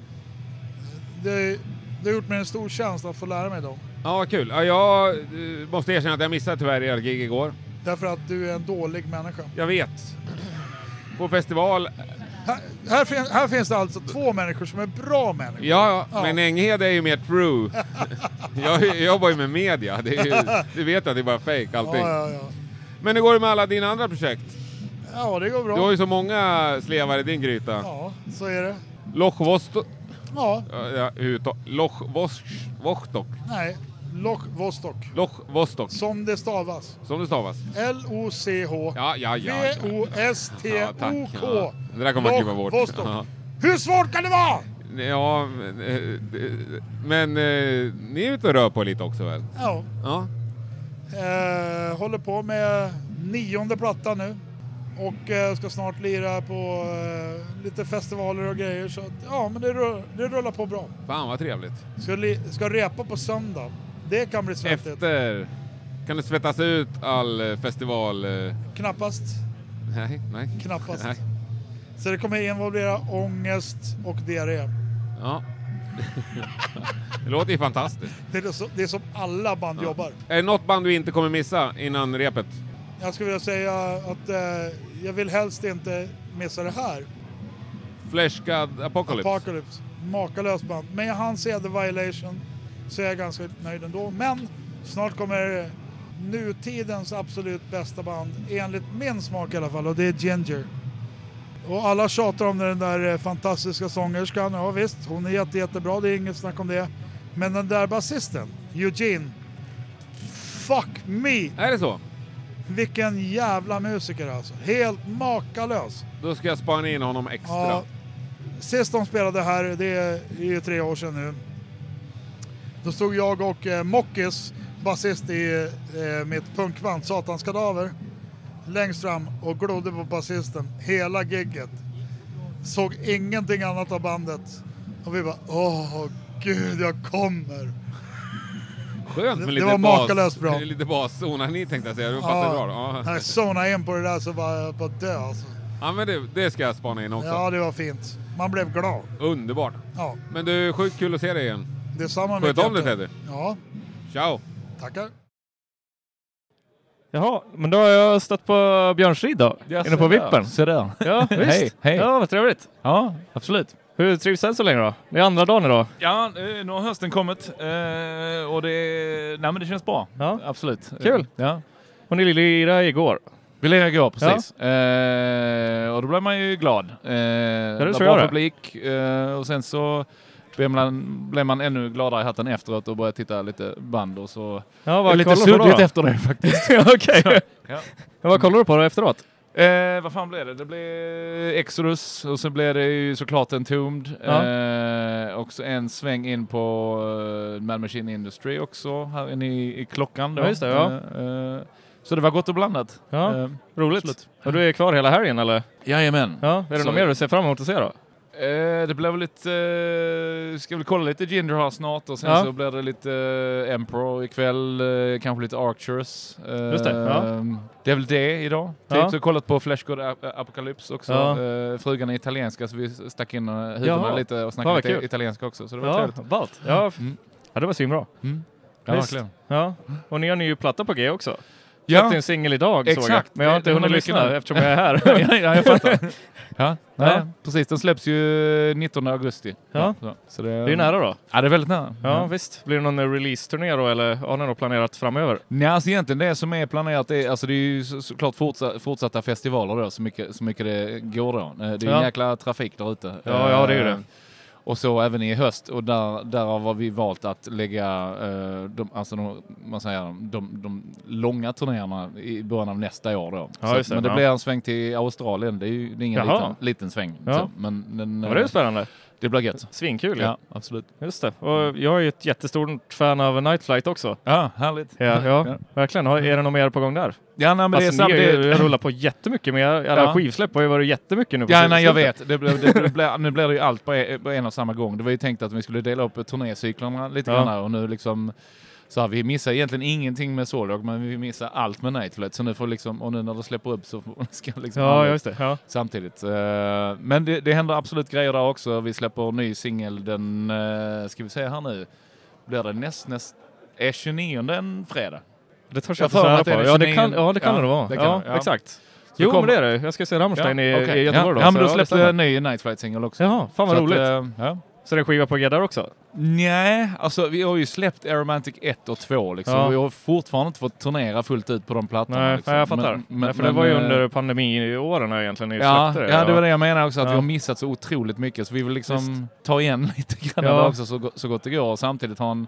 Speaker 11: det, det har gjort mig en stor tjänst att få lära mig dem.
Speaker 1: Ja, vad kul. Ja, jag eh, måste erkänna att jag missade tyvärr er gig igår.
Speaker 11: Därför att du är en dålig människa.
Speaker 1: Jag vet. På festival...
Speaker 11: Här, här, fin, här finns det alltså två människor som är bra människor.
Speaker 1: Ja, ja,
Speaker 11: Ja.
Speaker 1: men Enghed är ju mer true. jag jobbar ju med media. Det är ju, du vet att det är bara fake allting.
Speaker 11: Ja, ja, ja.
Speaker 1: Men hur går det med alla dina andra projekt?
Speaker 11: ja, det går bra.
Speaker 1: Du har ju så många slevar i din gryta.
Speaker 11: Ja, så är det.
Speaker 1: Lochvosto...
Speaker 11: Ja,
Speaker 1: Ja, ja, uttal- Lochvostok.
Speaker 11: nej. Loch Vostok.
Speaker 1: Lochvostok.
Speaker 11: Som det stavas.
Speaker 1: Som det stavas.
Speaker 11: L-O-C-H.
Speaker 1: Ja, ja, ja. ja. tack.
Speaker 11: V-O-S-T-O-K.
Speaker 1: Ja. Det där kommer man klippa bort.
Speaker 11: Vostok.
Speaker 1: Ja.
Speaker 11: Hur svårt kan det vara?
Speaker 1: Ja, men, eh, d- men eh, ni är ute och rör på er lite också väl?
Speaker 11: Ja.
Speaker 1: Ja.
Speaker 11: Eh, håller på med nionde plattan nu. Och eh, ska snart lira på eh, lite festivaler och grejer. Så att, ja, men det, rull, det rullar på bra.
Speaker 1: Fan vad trevligt.
Speaker 11: Ska, li, ska repa på söndag. Det kan bli svettigt.
Speaker 1: Efter... Kan det svettas ut all eh, festival... eh,
Speaker 11: Knappast.
Speaker 1: Nej, nej.
Speaker 11: Knappast.
Speaker 1: Nej.
Speaker 11: Så det kommer involvera ångest och diarré.
Speaker 1: Ja. det låter ju fantastiskt.
Speaker 11: Det är, så, det är som alla band jobbar.
Speaker 1: Är det något band du inte kommer missa innan repet?
Speaker 11: Jag skulle vilja säga att eh, jag vill helst inte missa det här.
Speaker 1: Flesh God Apocalypse?
Speaker 11: Apocalypse. Makalöst band. Men jag hann se The Violation så jag är ganska nöjd ändå. Men snart kommer nutidens absolut bästa band, enligt min smak i alla fall, och det är Ginger. Och alla tjatar om den där eh, fantastiska sångerskan. Ja visst, hon är jätte, jättebra, det är inget snack om det. Men den där basisten, Eugene. Fuck me!
Speaker 1: Är det så?
Speaker 11: Vilken jävla musiker alltså. Helt makalös.
Speaker 1: Då ska jag spana in honom extra.
Speaker 11: Ja. Sist de spelade här, det är ju tre år sedan nu. Då stod jag och eh, Mockis, basist i eh, mitt punkband Satans Kadaver, längst fram och glodde på basisten hela gigget. Såg ingenting annat av bandet. Och vi bara, åh gud, jag kommer.
Speaker 1: Skönt med
Speaker 11: Det-
Speaker 1: lite
Speaker 11: det var
Speaker 1: bas-
Speaker 11: makalöst bra.
Speaker 1: Lite bassonani tänkte jag säga, det passar bra. då. Ja.
Speaker 11: Jag zonade in på det där så var jag på att dö alltså.
Speaker 1: Ja men det, det ska jag spana in också.
Speaker 11: Ja, det var fint. Man blev glad.
Speaker 1: Underbart.
Speaker 11: Ja,
Speaker 1: Men du, sjukt kul att se dig igen.
Speaker 11: detsamma.
Speaker 1: Sköt
Speaker 11: Micke.
Speaker 1: om dig Teddy.
Speaker 11: Ja,
Speaker 1: Ciao!
Speaker 11: tackar.
Speaker 2: Jaha, men då har jag stött på Björnstrid då,
Speaker 7: Ja,
Speaker 2: inne
Speaker 7: se
Speaker 2: på
Speaker 7: där.
Speaker 2: vippen.
Speaker 7: Se där.
Speaker 2: Ja, visst.
Speaker 7: Hej, hej.
Speaker 2: Ja, vad trevligt.
Speaker 7: Ja, absolut.
Speaker 2: Hur trivs än så länge då? Det är andra dagen idag.
Speaker 12: Ja, eh, nu har hösten kommit eh, och det, nej, men det känns bra.
Speaker 2: Ja.
Speaker 12: Absolut.
Speaker 2: Kul.
Speaker 12: Ja.
Speaker 2: Och ni lirade igår.
Speaker 12: Vi lirade igår, precis. Eh, och då blir man ju glad. Eh,
Speaker 2: det
Speaker 12: det var
Speaker 2: tror jag
Speaker 12: bra
Speaker 2: det.
Speaker 12: publik eh, och sen så blev man, blev man ännu gladare i hatten efteråt och började titta lite band och så...
Speaker 2: Ja, vad
Speaker 12: det är lite
Speaker 2: kollar du på
Speaker 12: suddigt
Speaker 2: då?
Speaker 12: efter det faktiskt.
Speaker 2: Ja, okej.
Speaker 12: Så, ja.
Speaker 2: Men vad kollar du på då efteråt?
Speaker 12: Eh, vad fan blev det? Det blev Exodus och sen blev det ju såklart en Tomb.
Speaker 2: Ja.
Speaker 12: Eh, och så en sväng in på eh, Mad Machine Industry också, här inne i, i klockan. Då.
Speaker 2: Ja, just det, ja.
Speaker 12: Eh, eh, så det var gott och blandat.
Speaker 2: Ja,
Speaker 12: Eh,
Speaker 2: roligt.
Speaker 12: absolut.
Speaker 2: Och du är kvar hela helgen eller?
Speaker 12: Jajamän.
Speaker 2: Ja, är det
Speaker 12: Så-
Speaker 2: något mer du ser fram emot att se då?
Speaker 12: Eh, det blir väl lite, eh, ska väl kolla lite Ginger här snart och sen
Speaker 2: Ja.
Speaker 12: så blir det lite eh, Emperor ikväll, eh, kanske lite Archers. Eh,
Speaker 2: Just det, ja.
Speaker 12: det är väl det idag. Typ.
Speaker 2: Ja.
Speaker 12: Så jag har kollat på Flash God Ap- Apocalypse också.
Speaker 2: Ja.
Speaker 12: Eh, frugan är italienska så vi stack in eh,
Speaker 2: Jaha.
Speaker 12: huvudena lite och
Speaker 2: Ja,
Speaker 12: snackade
Speaker 2: vad
Speaker 12: lite
Speaker 2: kul.
Speaker 12: italienska också. Så det var
Speaker 2: ja,
Speaker 12: trevligt.
Speaker 2: ballt. Ja.
Speaker 12: Mm.
Speaker 2: ja, det var svinbra.
Speaker 12: Ja,
Speaker 2: Visst.
Speaker 12: verkligen.
Speaker 2: Ja. Och ni har ny platta på G också.
Speaker 12: Ja.
Speaker 2: Släppte en singel idag såg jag.
Speaker 12: Exakt.
Speaker 2: Men jag har inte
Speaker 12: Det- det
Speaker 2: hunnit
Speaker 12: har
Speaker 2: lyssna
Speaker 12: lyssnat.
Speaker 2: eftersom jag är här.
Speaker 12: ja, ja, jag fattar. Ja, nej,
Speaker 2: Ja.
Speaker 12: precis. Den släpps ju 19 augusti.
Speaker 2: Ja.
Speaker 12: så, så
Speaker 2: Det är nära då.
Speaker 12: Ja, det är väldigt nära.
Speaker 2: Ja, visst. Blir det någon eh, release-turné då eller har ni något planerat framöver?
Speaker 12: Nej, alltså egentligen det som är planerat är, alltså det är ju så, såklart fortsatta, fortsatta festivaler då, så mycket, så mycket det går då. Eh, Det är
Speaker 2: Ja.
Speaker 12: en jäkla trafik där ute. Eh,
Speaker 2: Ja, ja, det är ju det.
Speaker 12: Och så även i höst och där, därav har vi valt att lägga eh, de, alltså de, man säger, de, de långa turnéerna i början av nästa år. Då.
Speaker 2: Ja,
Speaker 12: Så att-
Speaker 2: just det,
Speaker 12: men det
Speaker 2: ja.
Speaker 12: blir en sväng till Australien, det är ju det är ingen
Speaker 2: Jaha.
Speaker 12: liten, liten sväng.
Speaker 2: Ja.
Speaker 12: Så, men, den,
Speaker 2: Ja, men det är ju
Speaker 12: eh,
Speaker 2: spännande.
Speaker 12: Det blir gött.
Speaker 2: Svinkul ju.
Speaker 12: Ja, absolut. Mm.
Speaker 2: Just det. Och jag är ju ett jättestort fan av Night Flight också.
Speaker 12: Ja, härligt.
Speaker 2: Ja, ja,
Speaker 12: Ja.
Speaker 2: verkligen. Har, är det något mer på gång där? Alltså,
Speaker 12: Ja, nej, men det är
Speaker 2: ni
Speaker 12: sam-
Speaker 2: har ju-
Speaker 12: det-
Speaker 2: jag rullar på jättemycket med alla
Speaker 12: Ja.
Speaker 2: skivsläpp har ju varit jättemycket nu. på
Speaker 12: Ja,
Speaker 2: slutet.
Speaker 12: nej, jag vet. Det blev, det blev, nu blir det ju allt på e- på en och samma gång. Det var ju tänkt att vi skulle dela upp turnécyklerna lite
Speaker 2: Ja.
Speaker 12: grann här och nu liksom så här, vi missar egentligen ingenting med Solog, men vi missar allt med Nightflight. Så nu får liksom, och nu när det släpper upp så får- ska liksom
Speaker 2: Ja,
Speaker 12: alla ut
Speaker 2: just det, ja.
Speaker 12: samtidigt. Eh, Men det, det händer absolut grejer där också. Vi släpper ny singel den, eh, ska vi se här nu, blir det näst, näst, är 29 en fredag?
Speaker 2: Det törs
Speaker 12: Jag
Speaker 2: jag inte
Speaker 12: har för mig
Speaker 2: svära
Speaker 12: att
Speaker 2: på.
Speaker 12: är den
Speaker 2: Ja, det
Speaker 12: 29.
Speaker 2: kan, ja, det kan det vara.
Speaker 12: det kan
Speaker 2: ja,
Speaker 12: det, ja.
Speaker 2: exakt.
Speaker 12: Så
Speaker 2: Jo,
Speaker 12: kommer-
Speaker 2: men det är det. Jag ska se Rammstein
Speaker 12: Ja,
Speaker 2: i,
Speaker 12: okej.
Speaker 2: i Göteborg
Speaker 12: ja.
Speaker 2: då.
Speaker 12: Ja, men
Speaker 2: så
Speaker 12: då
Speaker 2: det
Speaker 12: släppte
Speaker 2: stämmer.
Speaker 12: en ny Nightflight-singel också.
Speaker 2: Jaha, fan vad
Speaker 12: Så att,
Speaker 2: roligt.
Speaker 12: eh, ja.
Speaker 2: Så det är skiva på g där också?
Speaker 12: Nej, alltså vi har ju släppt Aromantic 1 och 2 liksom.
Speaker 2: Ja.
Speaker 12: Vi har fortfarande inte fått turnera fullt ut på de plattorna.
Speaker 2: Nej,
Speaker 12: liksom.
Speaker 2: nej, jag fattar.
Speaker 12: Men- men-
Speaker 2: nej, för
Speaker 12: men,
Speaker 2: det var ju
Speaker 12: eh,
Speaker 2: under pandemiåren här egentligen ni
Speaker 12: Ja,
Speaker 2: släppte
Speaker 12: ja, det var det jag menade också, att vi
Speaker 2: Ja.
Speaker 12: har missat så otroligt mycket. Så vi vill liksom
Speaker 2: Visst.
Speaker 12: ta igen lite grann
Speaker 2: Ja.
Speaker 12: där också så, go- så gott det går och samtidigt ha en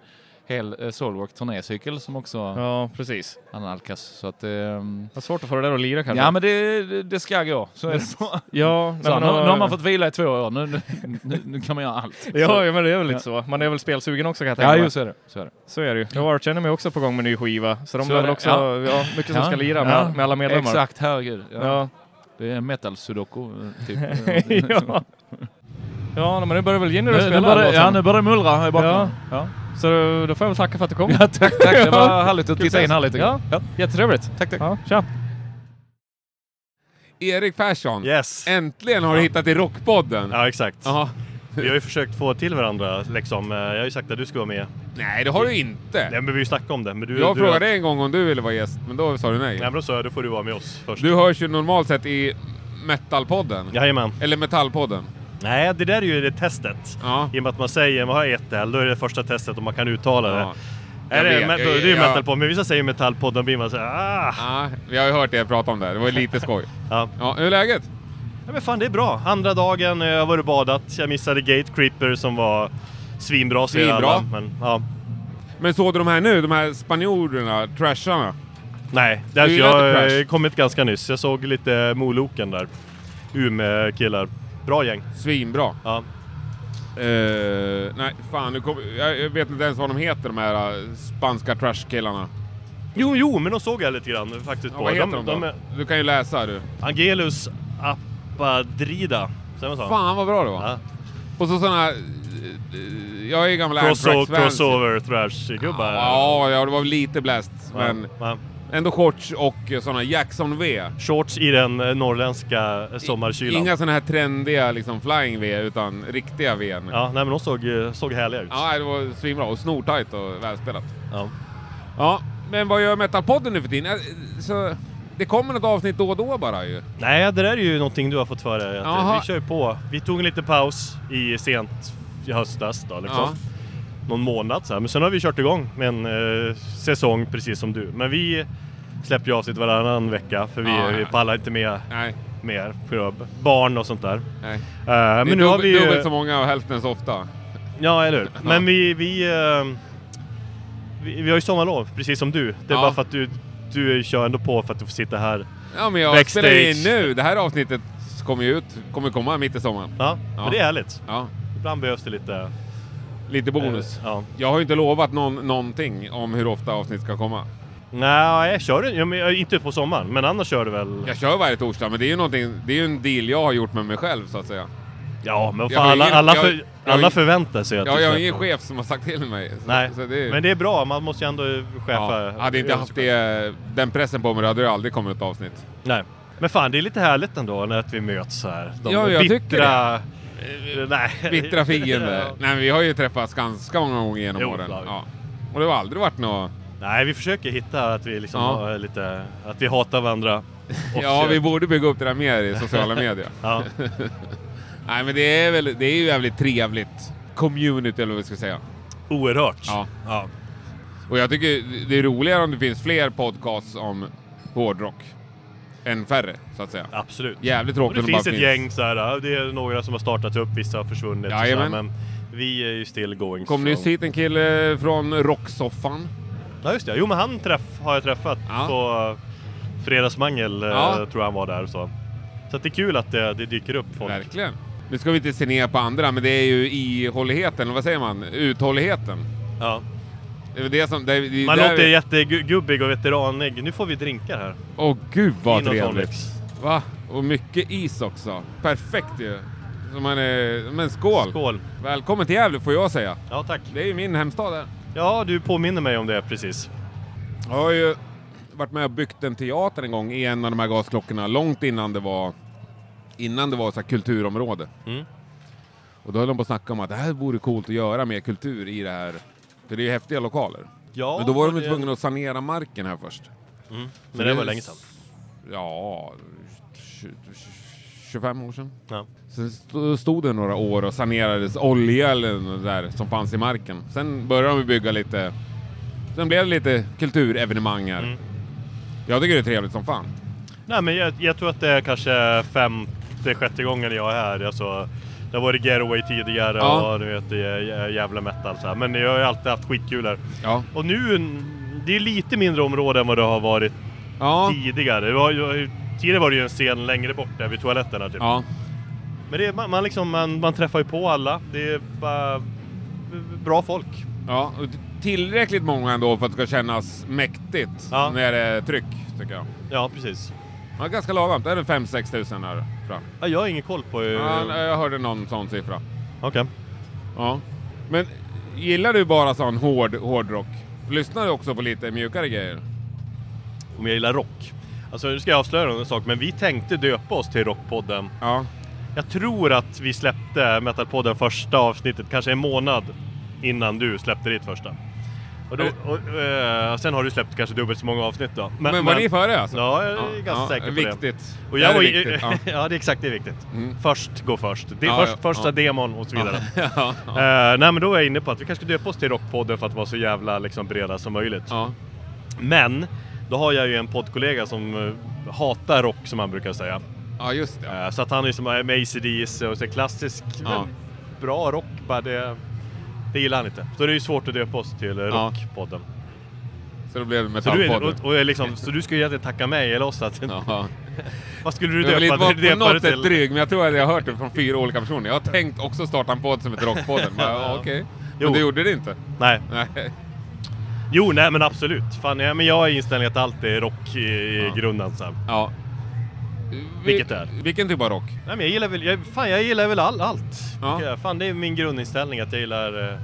Speaker 12: hel eh, Soulwork turnécykel som också
Speaker 2: Ja, precis.
Speaker 12: analkas. Så att, ehm,
Speaker 2: Vad svårt att få det där att lira kanske.
Speaker 12: Ja, men det, det- det ska gå. Så är det
Speaker 2: Visst.
Speaker 12: bara.
Speaker 2: Ja, nej,
Speaker 12: så,
Speaker 2: men
Speaker 12: nu,
Speaker 2: då-
Speaker 12: nu har man fått vila i två år. Nu, nu, nu, nu kan man göra allt.
Speaker 2: Ja,
Speaker 12: Så-
Speaker 2: ja, men det är väl lite
Speaker 12: Ja.
Speaker 2: så. Man är väl spelsugen också kan jag
Speaker 12: Ja,
Speaker 2: tänka mig.
Speaker 12: jo, så är det. Så är det.
Speaker 2: Så är det ju. Och Arch Enemy är också på gång med ny skiva. Så de
Speaker 12: Så
Speaker 2: blir
Speaker 12: är
Speaker 2: väl
Speaker 12: det.
Speaker 2: också
Speaker 12: Ja.
Speaker 2: ja. mycket som
Speaker 12: Ja.
Speaker 2: ska lira med,
Speaker 12: Ja.
Speaker 2: med alla medlemmar.
Speaker 12: Exakt, herregud. Ja.
Speaker 2: Ja.
Speaker 12: Det är metal-sudoku, eh, typ.
Speaker 2: ja. ja, men nu börjar väl Jenny
Speaker 12: Nu-
Speaker 2: att
Speaker 12: nu
Speaker 2: spela
Speaker 12: börjar-
Speaker 2: här då sen.
Speaker 12: ja, nu börjar det mullra här i bakgrunden. Ja.
Speaker 2: Så då får jag väl tacka för att du kom.
Speaker 12: Ja, tack, tack. Det var
Speaker 2: Ja.
Speaker 12: härligt att
Speaker 2: Kul
Speaker 12: titta in
Speaker 2: ses.
Speaker 12: här lite
Speaker 2: Ja,
Speaker 12: grann. Ja.
Speaker 2: jättetrevligt.
Speaker 12: Tack, tack.
Speaker 2: Ja, tja.
Speaker 1: Erik Persson,
Speaker 13: yes.
Speaker 1: äntligen har du hittat till Rockpodden.
Speaker 13: Ja, exakt. Vi har ju försökt få till varandra liksom. Eh, Jag har ju sagt att du ska vara med.
Speaker 1: Nej, det har du inte.
Speaker 13: Nej, men vi har ju snackat om det. Men du,
Speaker 1: jag
Speaker 13: du,
Speaker 1: frågade en gång om du ville vara gäst, men då sa du nej.
Speaker 13: Nej, men då sa jag då får du vara med oss först.
Speaker 1: Du hörs ju normalt sett i Metalpodden.
Speaker 13: Jajamän.
Speaker 1: Eller Metallpodden.
Speaker 13: Nej, det där är ju det testet. I och med att man säger vad har ett L, då är det första testet om man kan uttala det.
Speaker 1: Jag
Speaker 13: Är det,
Speaker 1: vet,
Speaker 13: men, då,
Speaker 1: jag-
Speaker 13: det är ju
Speaker 1: jag-
Speaker 13: metalpodden, men vissa säger metalpodden blir man så här, ah.
Speaker 1: Ja, vi har ju hört er prata om det. här. Det var ju lite skoj.
Speaker 13: ja.
Speaker 1: hur är läget?
Speaker 13: Ja, men fan, det är bra. Andra dagen, eh, jag har varit och badat. Jag missade Gate Creeper som var svinbra. säger
Speaker 1: Svinbra.
Speaker 13: alla, Men, ja.
Speaker 1: Men såg du de här nu? De här spanjorerna, trasharna?
Speaker 13: Nej, det
Speaker 1: Du
Speaker 13: här,
Speaker 1: gillar
Speaker 13: jag
Speaker 1: inte
Speaker 13: har
Speaker 1: Crash?
Speaker 13: eh, kommit ganska nyss. Jag såg lite Moloken där. Umeå-killar. Bra gäng.
Speaker 1: Svinbra.
Speaker 13: Ja.
Speaker 1: Eh, nej, fan. Nu kom, jag jag vet inte ens vad de heter, de här eh, spanska trashkillarna.
Speaker 13: Jo, jo, men de såg jag lite grann faktiskt
Speaker 1: Ja,
Speaker 13: på.
Speaker 1: vad heter de, då?
Speaker 13: är-
Speaker 1: Du kan ju läsa du.
Speaker 13: Angelus Appadrida. Säger man så?
Speaker 1: Fan vad bra det var.
Speaker 13: Ja.
Speaker 1: Och så sådana här... eh, Jag är ju gammal Anthrax-fans.
Speaker 13: Crossover, crossover thrash-gubbar.
Speaker 1: Ja, ja, det var väl lite bläst,
Speaker 13: Ja,
Speaker 1: men...
Speaker 13: ja.
Speaker 1: Ändå shorts och sådana Jackson V.
Speaker 13: Shorts i den eh, norrländska eh, sommarkylan.
Speaker 1: Inga sådana här trendiga liksom flying V, utan riktiga V.
Speaker 13: Ja, nej men de såg, eh, såg härliga ut.
Speaker 1: Ja, det var svinbra och snortajt och välspelat.
Speaker 13: Ja.
Speaker 1: Ja, men vad gör Metalpodden nu för tiden? Eh, Så, det kommer något avsnitt då och då bara ju.
Speaker 13: Nej, det där är ju någonting du har fått för dig. att, eh,
Speaker 1: Jaha.
Speaker 13: Vi kör ju på. Vi tog en liten paus i sent i höstas då, liksom.
Speaker 1: Ja.
Speaker 13: Någon månad så här. Men sen har vi kört igång med en eh, säsong precis som du. Men vi släpper ju avsnitt varannan vecka för vi,
Speaker 1: Ja, ja.
Speaker 13: vi pallar inte med mer för att- barn och sånt där.
Speaker 1: Nej.
Speaker 13: Eh, men
Speaker 1: det är
Speaker 13: nu har
Speaker 1: dubbel-
Speaker 13: vi ju-
Speaker 1: dubbelt så många och hälften så ofta.
Speaker 13: Ja, eller hur. Men vi, vi, eh, vi, vi har ju sommarlov, precis som du. Det är
Speaker 1: Ja.
Speaker 13: bara för att du, du kör ändå på för att du får sitta här
Speaker 1: Ja, men jag
Speaker 13: backstage.
Speaker 1: spelar in nu. Det här avsnittet kommer ju ut, kommer komma mitt i sommaren.
Speaker 13: Ja, men det är härligt.
Speaker 1: Ja.
Speaker 13: Ibland behövs det lite...
Speaker 1: Lite bonus.
Speaker 13: Eh, ja.
Speaker 1: Jag har ju inte lovat någon, någonting om hur ofta avsnitt ska komma.
Speaker 13: Nej, jag kör ja, men, jag- inte på sommaren, men annars kör du väl?
Speaker 1: Jag kör varje torsdag, men det är ju någonting, det är ju en deal jag har gjort med mig själv så att säga.
Speaker 13: Ja, men
Speaker 1: Jag
Speaker 13: fan,
Speaker 1: har
Speaker 13: alla,
Speaker 1: ingen-
Speaker 13: alla,
Speaker 1: jag-
Speaker 13: för,
Speaker 1: jag har
Speaker 13: alla
Speaker 1: ingen-
Speaker 13: förväntar sig att
Speaker 1: Ja,
Speaker 13: du
Speaker 1: jag har
Speaker 13: släpper.
Speaker 1: ingen chef som har sagt till mig. Så,
Speaker 13: Nej,
Speaker 1: så det är,
Speaker 13: men det är bra. Man måste ju ändå chefa.
Speaker 1: ja, hade inte jag haft det, den pressen på mig då hade det aldrig kommit ett avsnitt.
Speaker 13: Nej. Men fan, det är lite härligt ändå när att vi möts så här. De
Speaker 1: Ja, jag
Speaker 13: bittra...
Speaker 1: tycker det.
Speaker 13: Eh, Nej.
Speaker 1: Bittra fiender.
Speaker 13: Ja.
Speaker 1: Nej, men vi har ju träffats ganska många gånger genom
Speaker 13: Jo,
Speaker 1: åren.
Speaker 13: det har vi.
Speaker 1: Ja. Och det har aldrig varit något...
Speaker 13: Nej, vi försöker hitta att vi liksom
Speaker 1: Ja.
Speaker 13: har lite... Att vi hatar varandra.
Speaker 1: Ja, vi borde bygga upp det där mer i sociala medier.
Speaker 13: Ja.
Speaker 1: Nej, men det är, väl, det är ju jävligt trevligt community, eller vad vi ska säga.
Speaker 13: Oerhört.
Speaker 1: Ja.
Speaker 13: ja.
Speaker 1: Och jag tycker det är roligare om det finns fler podcasts om hårdrock. än färre, så att säga.
Speaker 13: Absolut.
Speaker 1: Jävligt tråkigt
Speaker 13: Och
Speaker 1: om
Speaker 13: Det finns
Speaker 1: bara
Speaker 13: ett gäng så här, ja, det är några som har startat upp, vissa har försvunnit. och så här,
Speaker 1: Jajamän.
Speaker 13: men vi är ju still going
Speaker 1: Kom nyss
Speaker 13: strong.
Speaker 1: hit en kille från Rocksoffan.
Speaker 13: Ja just det, jo men han träff, har jag träffat på eh, Fredagsmangel, eh,
Speaker 1: Ja.
Speaker 13: tror jag han var där. Så, så att det är kul att det, det dyker upp folk.
Speaker 1: Verkligen. Nu ska vi inte se ner på andra, men det är ju ihålligheten, eller vad säger man? Uthålligheten.
Speaker 13: Ja.
Speaker 1: Det är väl det som... Det, det,
Speaker 13: Man
Speaker 1: där-
Speaker 13: låter jättegubbig och veteranig. Nu får vi drinkar här.
Speaker 1: Åh gud vad
Speaker 13: Gin och
Speaker 1: trevligt.
Speaker 13: tonics.
Speaker 1: Va? Och mycket is också. Perfekt ju. Så man är, men skål!
Speaker 13: Skål!
Speaker 1: Välkommen till Gävle får jag säga.
Speaker 13: Ja tack.
Speaker 1: Det är ju min hemstad där.
Speaker 13: Ja, du påminner mig om det precis.
Speaker 1: Jag har ju varit med och byggt en teater en gång i en av de här gasklockorna långt innan det var, innan det var så här kulturområde. Och då höll de på att snacka om att det här vore coolt att göra mer kultur i det här. För det är ju häftiga lokaler.
Speaker 13: Ja,
Speaker 1: Men då var
Speaker 13: och
Speaker 1: de ju
Speaker 13: det-
Speaker 1: tvungna att sanera marken här först.
Speaker 13: Mm. Men
Speaker 1: Så
Speaker 13: det var länge sedan.
Speaker 1: Ja, 25 år sedan.
Speaker 13: Ja.
Speaker 1: Sen st- stod det några år och sanerades olja eller något där som fanns i marken. Sen började de bygga lite. Sen blev det lite kulturevenemang här.
Speaker 13: Mm.
Speaker 1: Jag tycker det är trevligt som fan.
Speaker 13: Nej, men jag, jag tror att det är kanske femte, sjätte gången jag är här. Alltså, det har varit getaway tidigare
Speaker 1: Ja.
Speaker 13: och du vet, det är jä- jävla metal så här. Men jag har ju alltid haft skitkul här.
Speaker 1: Ja.
Speaker 13: Och nu, det är lite mindre område än vad det har varit tidigare. Det var, ju- tidigare var det ju en scen längre bort där vid toaletterna typ.
Speaker 1: Ja.
Speaker 13: Men det, är- man, man, liksom, man, man träffar ju på alla. Det är bara bra folk.
Speaker 1: Ja, och t- tillräckligt många ändå för att det ska kännas mäktigt när det är tryck, tycker jag.
Speaker 13: Ja, precis.
Speaker 1: Ja, ganska lagom. Det är 5-6 tusen här fram.
Speaker 13: Ja, jag har ingen koll på hur...
Speaker 1: Ja, nej, jag hörde någon sån siffra.
Speaker 13: Okej.
Speaker 1: Ja. Men gillar du bara sån hård hårdrock? Lyssnar du också på lite mjukare grejer?
Speaker 13: Om jag gillar rock? Alltså nu ska jag avslöja en sak, men vi tänkte döpa oss till Rockpodden.
Speaker 1: Ja.
Speaker 13: Jag tror att vi släppte Metalpodden första avsnittet, kanske en månad innan du släppte ditt första. Och då, och, eh, sen har du släppt kanske dubbelt så många avsnitt då.
Speaker 1: Men, var ni före alltså?
Speaker 13: Ja, jag är ganska säker på det.
Speaker 1: Viktigt.
Speaker 13: Och
Speaker 1: Det
Speaker 13: jag
Speaker 1: här
Speaker 13: var,
Speaker 1: är
Speaker 13: ju-
Speaker 1: viktigt. Ja.
Speaker 13: ja, det är exakt, det är viktigt.
Speaker 1: Mm.
Speaker 13: Först gå först. Det är
Speaker 1: Ja,
Speaker 13: först,
Speaker 1: ja,
Speaker 13: första
Speaker 1: ja.
Speaker 13: demon och så vidare.
Speaker 1: Ja, ja,
Speaker 13: Eh, nej men då är jag inne på att vi kanske ska döpa oss till Rockpodden för att vara så jävla liksom, breda som möjligt. Men, då har jag ju en poddkollega som eh, hatar rock som han brukar säga.
Speaker 1: Ja just det.
Speaker 13: så att han är liksom är med ACDC och så här klassisk,
Speaker 1: Ja.
Speaker 13: bra rock bara det, det gillar han inte. Så det är ju svårt att döpa oss till eh,
Speaker 1: Ja.
Speaker 13: Rockpodden.
Speaker 1: Så då blev det
Speaker 13: Så du, är,
Speaker 1: Metallpodden.
Speaker 13: och, och är liksom, så du skulle egentligen tacka mig eller oss att... Vad skulle du
Speaker 1: Jag vill inte
Speaker 13: döpa,
Speaker 1: vara på
Speaker 13: döpa det
Speaker 1: något sätt
Speaker 13: till?
Speaker 1: dryg, men jag tror att jag har hört det från fyra olika personer. Jag har tänkt också starta en podd som heter Rockpodden. Men, ja, okej.
Speaker 13: Jo.
Speaker 1: Men det gjorde det inte.
Speaker 13: Nej.
Speaker 1: Nej.
Speaker 13: Jo, nej men absolut. Fan, ja, men jag är inställd att allt är rock i, i grunden. Så. här.
Speaker 1: Ja.
Speaker 13: Vilket är?
Speaker 1: Vilken typ av rock?
Speaker 13: Nej, men jag gillar väl, jag, fan, jag gillar väl all, allt. Ja. Fan, det är min grundinställning att jag gillar eh,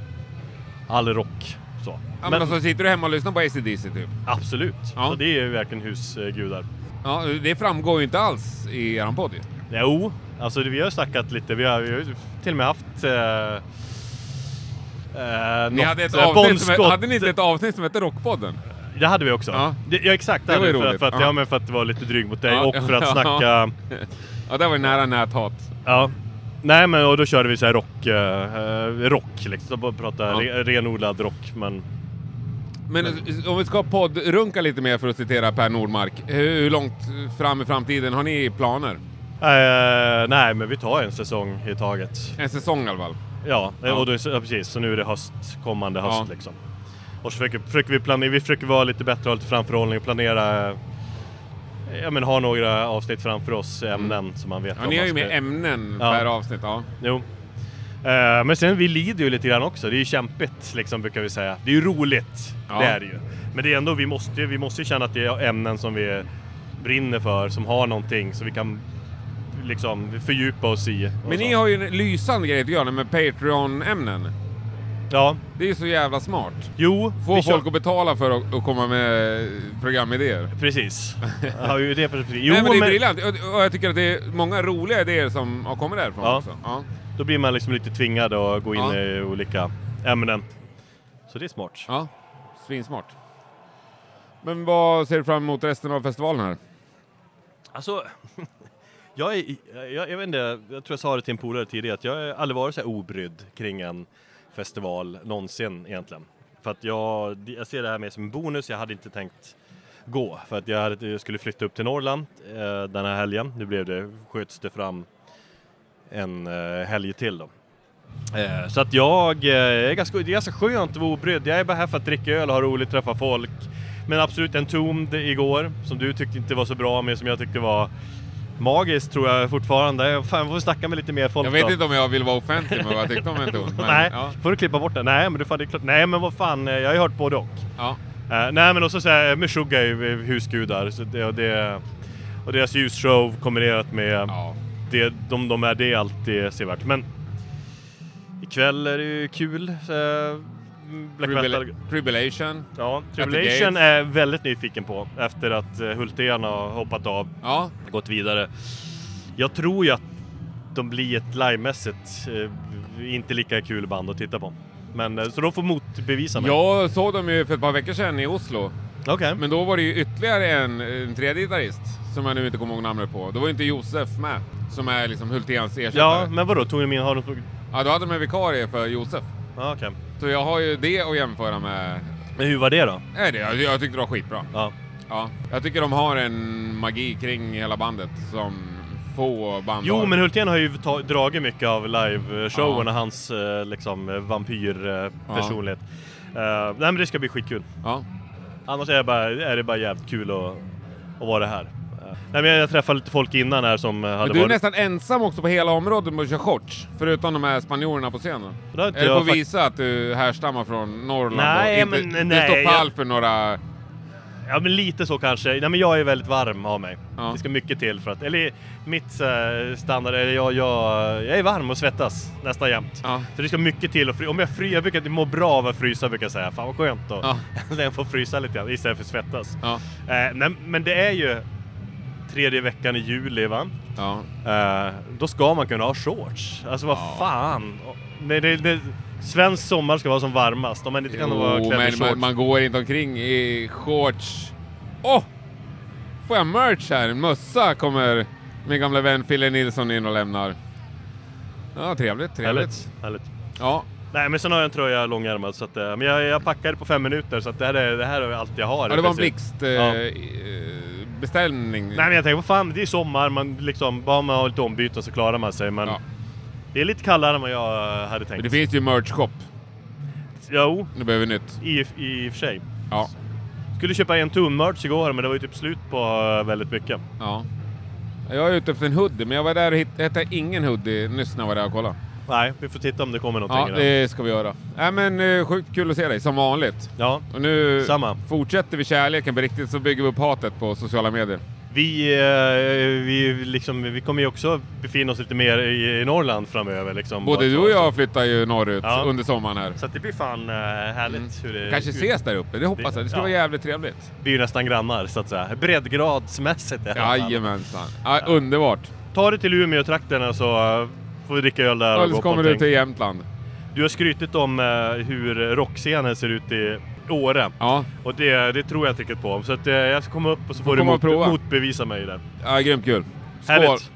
Speaker 13: all rock. Så.
Speaker 1: Ja, men alltså, sitter du hemma och lyssnar på ACDC typ?
Speaker 13: Absolut. Så det är ju verkligen husgudar.
Speaker 1: Ja, det framgår ju inte alls i eran podd ju.
Speaker 13: Jo, alltså det- vi har snackat lite. Vi har, vi har ju till och med haft... Eh, eh,
Speaker 1: Ni
Speaker 13: något,
Speaker 1: hade, ett
Speaker 13: eh,
Speaker 1: avsnitt
Speaker 13: Bon
Speaker 1: som,
Speaker 13: Scott-
Speaker 1: hade ni inte ett avsnitt som hette Rockpodden?
Speaker 13: Det hade vi också.
Speaker 1: Ja.
Speaker 13: Det, ja exakt, det
Speaker 1: Det var ju
Speaker 13: hade vi för,
Speaker 1: roligt.
Speaker 13: för, att,
Speaker 1: Ja.
Speaker 13: ja. men för att det var lite dryg mot dig
Speaker 1: Ja.
Speaker 13: och för att
Speaker 1: Ja.
Speaker 13: snacka...
Speaker 1: Ja, det var ju nära näthat.
Speaker 13: Ja. Nej men och då körde vi så här rock, eh, rock liksom, bara prata
Speaker 1: Ja.
Speaker 13: re, renodlad rock men...
Speaker 1: Men om vi ska poddrunka lite mer för att citera Per Nordmark. Hur hur långt fram i framtiden har ni planer?
Speaker 13: Eh, nej men vi tar en säsong i taget.
Speaker 1: En säsong i alla fall?
Speaker 13: Ja, eh,
Speaker 1: Ja.
Speaker 13: Och då, ja precis, så nu är det höst, kommande höst
Speaker 1: Ja.
Speaker 13: liksom. Och så försöker, försöker vi planera, vi försöker vara lite bättre och ha lite framförhållning och planera eh, Ja men ha några avsnitt framför oss, ämnen som man vet
Speaker 1: Mm. Ja,
Speaker 13: vad
Speaker 1: ni
Speaker 13: man
Speaker 1: har ju
Speaker 13: ska-
Speaker 1: med ämnen
Speaker 13: Ja.
Speaker 1: per avsnitt. Ja.
Speaker 13: Jo. Eh, men sen vi lider ju lite grann också. Det är ju kämpigt liksom brukar vi säga. Det är ju roligt.
Speaker 1: Ja.
Speaker 13: Det är det ju. Men det är ändå, vi måste, vi måste ju känna att det är ämnen som vi brinner för, som har någonting som vi kan liksom fördjupa oss i. och
Speaker 1: Men
Speaker 13: så.
Speaker 1: ni har ju en lysande grej att göra med Patreon-ämnen.
Speaker 13: Ja.
Speaker 1: Det är ju så jävla smart.
Speaker 13: Jo.
Speaker 1: Få
Speaker 13: vi
Speaker 1: folk
Speaker 13: kör-
Speaker 1: att betala för att, att komma med programidéer.
Speaker 13: Precis. Ja, ju det perspektivet. Jo,
Speaker 1: Nej, men det är
Speaker 13: men-
Speaker 1: briljant. Och, och jag tycker att det är många roliga idéer som har kommit därifrån
Speaker 13: Ja.
Speaker 1: också. Ja.
Speaker 13: Då blir man liksom lite tvingad att gå in
Speaker 1: Ja.
Speaker 13: i olika ämnen. Så det är smart.
Speaker 1: Ja, svinsmart. Men vad ser du fram emot resten av festivalen här?
Speaker 13: Alltså, jag, är, jag, jag vet inte, jag tror jag sa det till en polare tidigare att jag har aldrig varit så här obrydd kring en festival någonsin egentligen. För att jag, jag ser det här mer som en bonus, jag hade inte tänkt gå för att jag hade- jag skulle flytta upp till Norrland eh, den här helgen. Nu blev det, sköts det fram en eh, helg till då. Eh, Så att jag eh, är ganska, det är ganska skönt att vara obrydd. Jag är bara här för att dricka öl och ha roligt, träffa folk. Men absolut en tomd igår som du tyckte inte var så bra men som jag tyckte var magiskt tror jag fortfarande. Fan, får vi snacka med lite mer folk
Speaker 1: Jag vet
Speaker 13: då.
Speaker 1: inte om jag vill vara offentlig med vad jag tyckte om en ton. men,
Speaker 13: Nej,
Speaker 1: ja.
Speaker 13: får du klippa bort det? Nej, men du fan, det är klart. Nej, men vad fan, eh, jag har ju hört både och. Eh, nej, men också så här, Meshuggah är ju husgudar. Så det, och, det, och deras ljusshow kombinerat med det, de, de är, det är alltid sevärt. Men ikväll är det ju kul. eh, Black
Speaker 1: Tribula-
Speaker 13: Metal-
Speaker 1: Tribulation.
Speaker 13: Ja,
Speaker 1: At the
Speaker 13: Tribulation
Speaker 1: Gates.
Speaker 13: är jag väldigt nyfiken på efter att eh, Hultén har hoppat av, gått vidare. Jag tror ju att de blir ett livemässigt eh, inte lika kul band att titta på. Men, eh, så de får motbevisa mig.
Speaker 1: Jag såg dem ju för ett par veckor sedan i Oslo.
Speaker 13: Men
Speaker 1: då var det ju ytterligare en, en tredje gitarrist som jag nu inte kommer ihåg namnet på. Då var ju inte Josef med, som är liksom Hulténs ersättare.
Speaker 13: Ja, men vadå, tog ni min... Har de tog...
Speaker 1: Ja, då hade de en vikarie för Josef.
Speaker 13: Ja, okej.
Speaker 1: Så jag har ju det att jämföra med.
Speaker 13: Men hur var det då?
Speaker 1: Nej, det, jag, jag tyckte det var skitbra.
Speaker 13: Ja.
Speaker 1: ja. Jag tycker de har en magi kring hela bandet som få band
Speaker 13: Jo,
Speaker 1: har.
Speaker 13: men Hultén har ju ta- dragit mycket av live-showen och hans eh, liksom, eh, vampyrpersonlighet. Eh, nej, men det ska bli skitkul. Annars är det, bara, är det bara jävligt kul att, att vara här. Eh, nej, men jag, jag träffade lite folk innan här som eh, hade
Speaker 1: Men du är
Speaker 13: varit...
Speaker 1: nästan ensam också på hela området med att köra shorts, förutom de här spanjorerna på scenen.
Speaker 13: Det har inte
Speaker 1: Är det
Speaker 13: jag
Speaker 1: på att
Speaker 13: fakt-
Speaker 1: visa att du härstammar från Norrland?
Speaker 13: Nej,
Speaker 1: och inte,
Speaker 13: men
Speaker 1: Du
Speaker 13: nej,
Speaker 1: står pall
Speaker 13: jag-
Speaker 1: för några...
Speaker 13: Ja, men lite så kanske. Nej, men jag är väldigt varm av mig. Det ska mycket till för att... Eller mitt eh, standard är jag, jag, jag är varm och svettas nästan jämt. Så det ska mycket till. Och fry- om jag fryser, jag brukar må bra av att frysa brukar jag säga. Fan vad skönt då.
Speaker 1: Ja.
Speaker 13: Sen får frysa lite grann istället för att svettas. Eh, nej, men det är ju tredje veckan i juli va? Eh, då ska man kunna ha shorts. Alltså vad fan. Nej, det, det, svensk sommar ska vara som varmast. Om man inte kan vara
Speaker 1: Jo,
Speaker 13: klädd i
Speaker 1: men
Speaker 13: shorts.
Speaker 1: man, man går inte omkring i shorts. Åh! Oh! Får jag merch här? En mössa kommer min gamla vän Fille Nilsson in och lämnar. Ja, trevligt, trevligt.
Speaker 13: Härligt, härligt.
Speaker 1: Ja.
Speaker 13: Nej men sen har jag en tröja långärmad så att, eh, men jag, jag packade på fem minuter så att det här är, det här är allt jag har.
Speaker 1: Ja, det var en eh,
Speaker 13: i princip. Ja.
Speaker 1: blixtbeställning.
Speaker 13: Nej men jag tänker, vad fan det är sommar, man liksom, bara man har lite ombyten så klarar man sig men det är lite kallare än vad jag eh, hade tänkt.
Speaker 1: Men det finns ju merch shop.
Speaker 13: Jo.
Speaker 1: Nu behöver vi nytt.
Speaker 13: I, i och för sig.
Speaker 1: Ja.
Speaker 13: Skulle köpa en tunn-merch igår men det var ju typ slut på eh, väldigt mycket.
Speaker 1: Ja. Jag är ute efter en hoodie, men jag var där och hitt- hittade ingen hoodie nyss när jag var där och kollade.
Speaker 13: Nej, vi får titta om det kommer
Speaker 1: Ja,
Speaker 13: någonting.
Speaker 1: det ska vi göra. Nej men eh, sjukt kul att se dig, som vanligt.
Speaker 13: Ja,
Speaker 1: och nu
Speaker 13: samma.
Speaker 1: fortsätter vi kärleken på riktigt, så bygger vi upp hatet på sociala medier.
Speaker 13: Vi, eh, vi, liksom, vi kommer ju också befinna oss lite mer i, i Norrland framöver. Liksom,
Speaker 1: Både du och jag flyttar ju norrut
Speaker 13: Ja.
Speaker 1: under sommaren här. Mm.
Speaker 13: Så att det blir fan eh, härligt. Hur det,
Speaker 1: Kanske
Speaker 13: hur-
Speaker 1: ses där uppe, det hoppas jag. Det skulle vara jävligt trevligt.
Speaker 13: Vi är ju nästan grannar så att säga. Breddgradsmässigt i alla fall.
Speaker 1: Jajamensan. Ja, underbart.
Speaker 13: Ta dig till Umeå-trakterna så eh, får vi dricka öl där
Speaker 1: Eller
Speaker 13: och
Speaker 1: så
Speaker 13: gå på
Speaker 1: kommer du
Speaker 13: någonting.
Speaker 1: till Jämtland.
Speaker 13: Du har skrytit om eh, hur rockscenen ser ut i Åre.
Speaker 1: Ja.
Speaker 13: Och det, det tror jag inte riktigt på. Så att, eh, jag ska komma upp och så får du
Speaker 1: komma och
Speaker 13: mot,
Speaker 1: prova.
Speaker 13: motbevisa mig där.
Speaker 1: Ja, grymt kul. Skål!
Speaker 13: Härligt.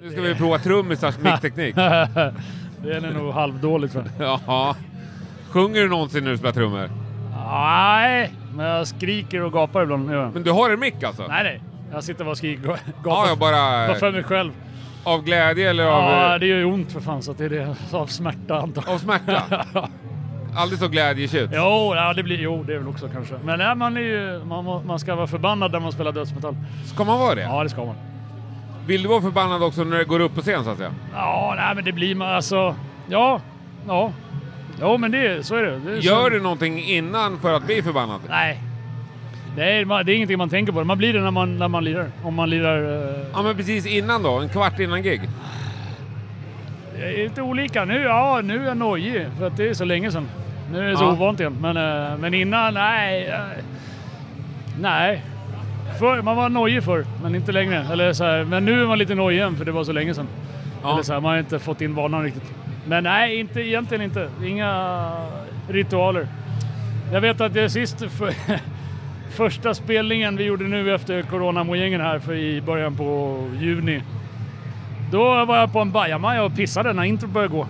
Speaker 1: Nu ska vi prova trummisars mickteknik.
Speaker 14: Det är nog halvdåligt tror
Speaker 1: jag. Ja. Sjunger du någonsin när du spelar trummor?
Speaker 14: Nej, men jag skriker och gapar ibland.
Speaker 1: Men du har en mick alltså?
Speaker 14: Nej, nej. Jag sitter bara och skriker och gapar.
Speaker 1: Ja, jag bara- eh,
Speaker 14: för mig själv.
Speaker 1: Av glädje eller av... eh,
Speaker 14: Ja, det gör ju ont för fan så att det är det. Av smärta antar
Speaker 1: Av smärta? Aldrig så glädjetjut?
Speaker 14: Jo, ja, det blir, jo, det är väl också kanske. Men nej, man, är ju, man, må- man ska vara förbannad när man spelar dödsmetall.
Speaker 1: Ska man vara det?
Speaker 14: Ja, det ska man.
Speaker 1: Vill du vara förbannad också när du går upp på scen så att säga?
Speaker 14: Ja, nej, men det blir man alltså. Ja, ja. Jo, men det, så är det. det är så-
Speaker 1: Gör du någonting innan för att bli förbannad?
Speaker 14: Nej. Nej, man- det är ingenting man tänker på. Man blir det när man, när man lirar. Om man lirar... eh,
Speaker 1: Ja, men precis innan då? En kvart innan gig?
Speaker 14: Det är lite olika. Nu, ja, nu är jag nojig för att det är så länge sedan. Nu är det så
Speaker 1: Ja.
Speaker 14: ovant igen. Men, eh, men innan, nej. eh, Nej. Förr, man var nojig förr, men inte längre. Eller så här, men nu är man lite nojig igen för det var så länge sedan. Eller så här, man har inte fått in vanan riktigt. Men nej, inte, egentligen inte. Inga ritualer. Jag vet att det sist... För, första spelningen vi gjorde nu efter coronamojängen här för i början på juni. Då var jag på en bajamaja och pissade när intro började gå.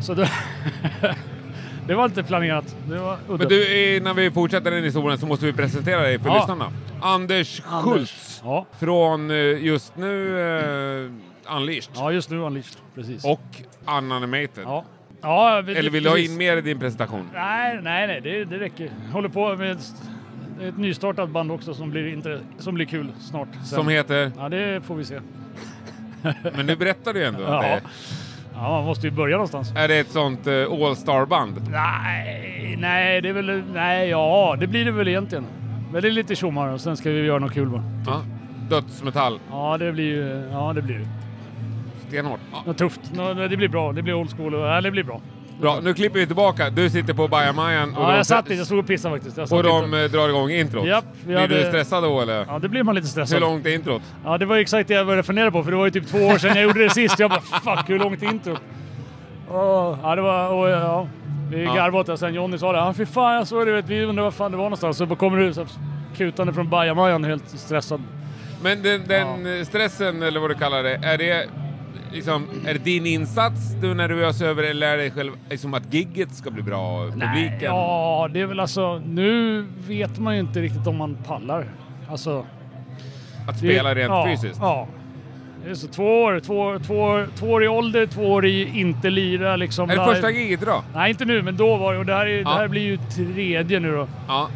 Speaker 14: Så då, det var inte planerat. Det var udda.
Speaker 1: Men du, innan vi fortsätter den historien så måste vi presentera dig för
Speaker 14: Ja.
Speaker 1: lyssnarna. Anders Schultz från eh, just nu eh, Unleashed.
Speaker 14: Ja, just nu Unleashed. Precis.
Speaker 1: Och Unanimated. Ja.
Speaker 14: Ja,
Speaker 1: Eller vill du ha in mer i din presentation?
Speaker 14: Nej, nej, nej, det, det räcker. Håller på med ett, ett nystartat band också som blir, inte, som blir kul snart. Sen.
Speaker 1: Som heter?
Speaker 14: Ja, det får vi se.
Speaker 1: Men nu berättar du ju ändå
Speaker 14: Ja.
Speaker 1: att det är.
Speaker 14: Ja, man måste ju börja någonstans.
Speaker 1: Är det ett sånt eh, All-star-band?
Speaker 14: Nej, nej, det är väl... Nej, ja, det blir det väl egentligen. Men det är lite tjommar och sen ska vi göra något kul bara.
Speaker 1: Ja. Dödsmetall?
Speaker 14: Ja, det blir ju... Ja, det blir det.
Speaker 1: Stenhårt.
Speaker 14: Något tufft. Nå, det blir bra. Det blir old school. och- Ja, det blir bra.
Speaker 1: Bra, nu klipper vi tillbaka. Du sitter på bajamajan och,
Speaker 14: Ja,
Speaker 1: de-
Speaker 14: jag satt inte. Jag stod och pissade faktiskt. Jag satt
Speaker 1: och de
Speaker 14: inte.
Speaker 1: eh, drar igång introt.
Speaker 14: Japp, vi
Speaker 1: Blir du
Speaker 14: hade-
Speaker 1: stressad då eller?
Speaker 14: Ja, det blir man lite stressad.
Speaker 1: Hur långt är introt?
Speaker 14: Ja, det var ju exakt det jag började fundera på, för det var ju typ två år sedan jag gjorde det sist. Jag bara fuck, hur långt är introt? Och, ja, det var... Och, ja, vi
Speaker 1: Ja.
Speaker 14: garvade åt det. Sen Johnny sa det. Ja, fy fan, jag såg det. vet, Vi undrar var fan det var någonstans. Så bara kommer du så, här kutande från bajamajan helt stressad.
Speaker 1: Men den, den eh, stressen, eller vad du kallar det, är det, liksom, är det din insats du är nervös över eller är det själv, liksom att gigget ska bli bra? och Publiken?
Speaker 14: Ja, det är väl alltså... Nu vet man ju inte riktigt om man pallar. Alltså...
Speaker 1: Att
Speaker 14: det-
Speaker 1: spela rent
Speaker 14: ja,
Speaker 1: fysiskt?
Speaker 14: Ja. Det är så två år, två, år- två, år- två år i ålder, två år i inte lira liksom.
Speaker 1: Är det
Speaker 14: Live.
Speaker 1: första giget då?
Speaker 14: Nej, inte nu, men då var det. Och det här, är,
Speaker 1: Ja.
Speaker 14: det här blir ju tredje nu då.
Speaker 1: Ja.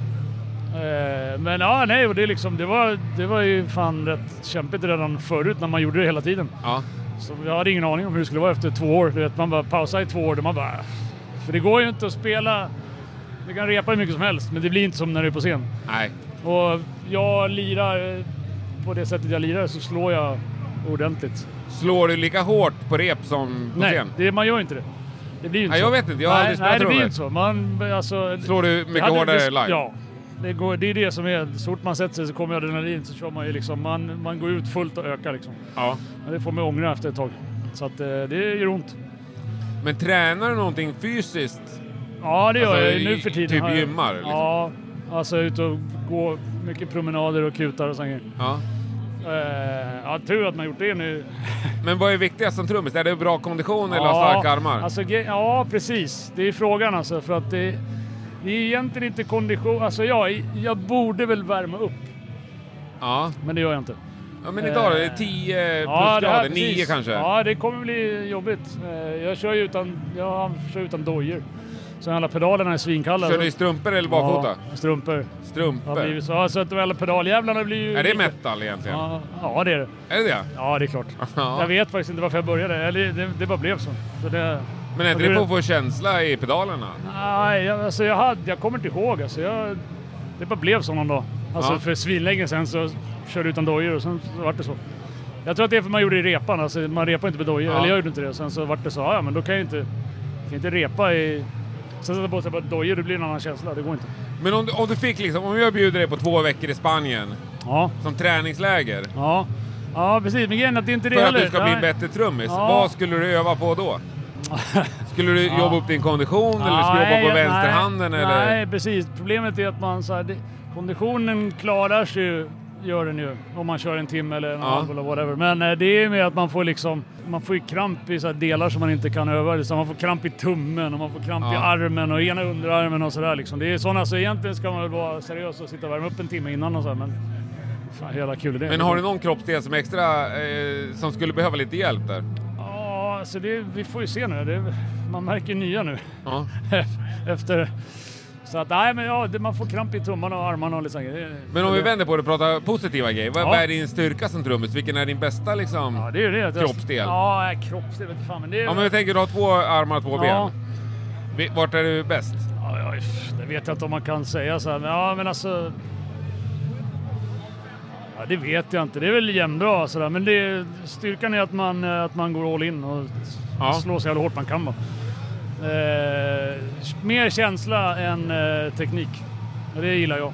Speaker 14: Eh, Men ja, nej, och det, är liksom, det, var, det var ju fan rätt kämpigt redan förut när man gjorde det hela tiden.
Speaker 1: Ja.
Speaker 14: Så jag hade ingen aning om hur det skulle vara efter två år. Du vet, man bara pausar i två år, då man bara... För det går ju inte att spela... Du kan repa hur mycket som helst, men det blir inte som när du är på scen.
Speaker 1: Nej.
Speaker 14: Och jag lirar eh, på det sättet jag lirar så slår jag ordentligt.
Speaker 1: Slår du lika hårt på rep som på
Speaker 14: Nej,
Speaker 1: scen?
Speaker 14: det, man gör inte det. Det blir ju
Speaker 12: Ah,
Speaker 14: inte
Speaker 1: Nej,
Speaker 14: så.
Speaker 1: jag vet inte. Jag har
Speaker 14: nej,
Speaker 1: aldrig spelat
Speaker 14: Nej, det blir
Speaker 1: trummor.
Speaker 14: inte så. Man, alltså,
Speaker 1: Slår du mycket
Speaker 14: jag hade-
Speaker 1: hårdare
Speaker 14: det-
Speaker 1: live?
Speaker 14: Ja. Det, går, det är det som är, så fort man sätter sig så kommer adrenalin så kör man ju liksom, man, man går ut fullt och ökar liksom.
Speaker 1: Ja.
Speaker 14: Men det får man ångra efter ett tag. Så att eh, det gör ont.
Speaker 1: Men tränar du någonting fysiskt?
Speaker 14: Ja, det gör
Speaker 1: Alltså,
Speaker 14: jag ju.
Speaker 1: i-
Speaker 14: nu för tiden.
Speaker 1: Typ
Speaker 14: har jag-
Speaker 1: gymmar? Liksom.
Speaker 14: Ja, alltså ut och gå mycket promenader och kutar och sånt.
Speaker 1: Ja.
Speaker 14: Eh, ja, tur att man gjort det nu.
Speaker 1: Men vad är viktigast som trummis? Är det bra kondition eller starka armar?
Speaker 14: Alltså, ge- ja, precis. Det är frågan alltså. För att det, det är egentligen inte kondition. Alltså jag, jag borde väl värma upp.
Speaker 1: Ja.
Speaker 14: Men det gör jag inte.
Speaker 1: Ja, men idag är eh, det
Speaker 14: Eh,
Speaker 1: 10 plusgrader, 9 kanske?
Speaker 14: Ja, det kommer bli jobbigt. Eh, Jag kör ju utan, jag kör utan dojor. Så alla pedalerna är svinkalla.
Speaker 1: Kör du i strumpor eller barfota?
Speaker 14: Ja, strumpor.
Speaker 1: Strumpor.
Speaker 14: Det har blivit så. Ja, så att de alla pedaljävlarna blir ju...
Speaker 1: Är det
Speaker 14: lite-
Speaker 1: metal egentligen?
Speaker 14: Ja, ja, det är det.
Speaker 1: Är det det?
Speaker 14: Ja, det är klart.
Speaker 1: Ja.
Speaker 14: Jag vet faktiskt inte varför jag började. Eller det, det bara blev så. så det,
Speaker 1: Men är
Speaker 14: och
Speaker 1: inte det
Speaker 14: blir-
Speaker 1: för att få känsla i pedalerna?
Speaker 14: Nej, jag, alltså jag, hade, jag kommer inte ihåg. Alltså jag, det bara blev så någon dag. Alltså
Speaker 1: Ja.
Speaker 14: för svinlänge sen så körde jag utan dojor och sen så vart det så. Jag tror att det är för man gjorde det i repan. Alltså man repar inte med dojor.
Speaker 1: Ja.
Speaker 14: Eller jag gjorde inte det. Sen så vart det så. "Ah, Ja, men då kan jag inte, kan inte repa i... Sen sätta på sig bara dojor, det blir en annan känsla. Det går inte.
Speaker 1: Men om du, om du fick liksom, om jag bjuder dig på två veckor i Spanien som träningsläger
Speaker 14: Ja, ja precis. Men grejen är att det är inte det
Speaker 1: för att
Speaker 14: heller.
Speaker 1: du ska bli en
Speaker 14: Nej.
Speaker 1: bättre trummis,
Speaker 14: Ja.
Speaker 1: vad skulle du öva på då? Skulle du
Speaker 14: Ja.
Speaker 1: jobba upp din kondition eller skulle du jobba på
Speaker 14: Nej,
Speaker 1: vänsterhanden?
Speaker 14: nej,
Speaker 1: eller?
Speaker 14: Nej, precis. Problemet är att man så här, det, konditionen klarar sig ju, gör den ju, om man kör en timme eller en
Speaker 1: Ja.
Speaker 14: halv eller whatever. Men eh, det är mer att man får liksom, man får ju kramp i så här delar som man inte kan öva. Så man får kramp i tummen och man får kramp i
Speaker 1: Ja.
Speaker 14: armen och ena underarmen och sådär liksom. Det är sådana, så egentligen ska man väl vara seriös och sitta och värma upp en timme innan och så här, men fan, hela kul det är.
Speaker 1: Men har du någon kroppsdel som extra, eh, som skulle behöva lite hjälp där?
Speaker 14: Ja, så det, vi får ju se nu. Det, man märker ju nya nu.
Speaker 1: Ja.
Speaker 14: Efter... Så att, nej, men ja, det, man får kramp i tummarna och armarna och lite sånt. Det-
Speaker 1: Men om
Speaker 14: det-
Speaker 1: vi vänder på det och pratar positiva grejer. Vad
Speaker 14: Ja.
Speaker 1: vad är din styrka som trummis? Vilken är din bästa liksom,
Speaker 14: Ja, det är ju det. att jag-
Speaker 1: kroppsdel?
Speaker 14: Ja, kroppsdel vet fan, men det är...
Speaker 1: Ja, men jag tänker du har två armar och två
Speaker 14: Ja.
Speaker 1: ben. Vi- Vart är du bäst?
Speaker 14: Ja, ja, uff, det vet jag inte om man kan säga så här, men ja, men alltså... Ja, det vet jag inte. Det är väl jämnbra sådär, men det, styrkan är att man, eh, att man går all in och s-
Speaker 1: Ja.
Speaker 14: slår så jävla hårt man kan. va. Eh, mer känsla än eh, teknik. Och Det gillar jag.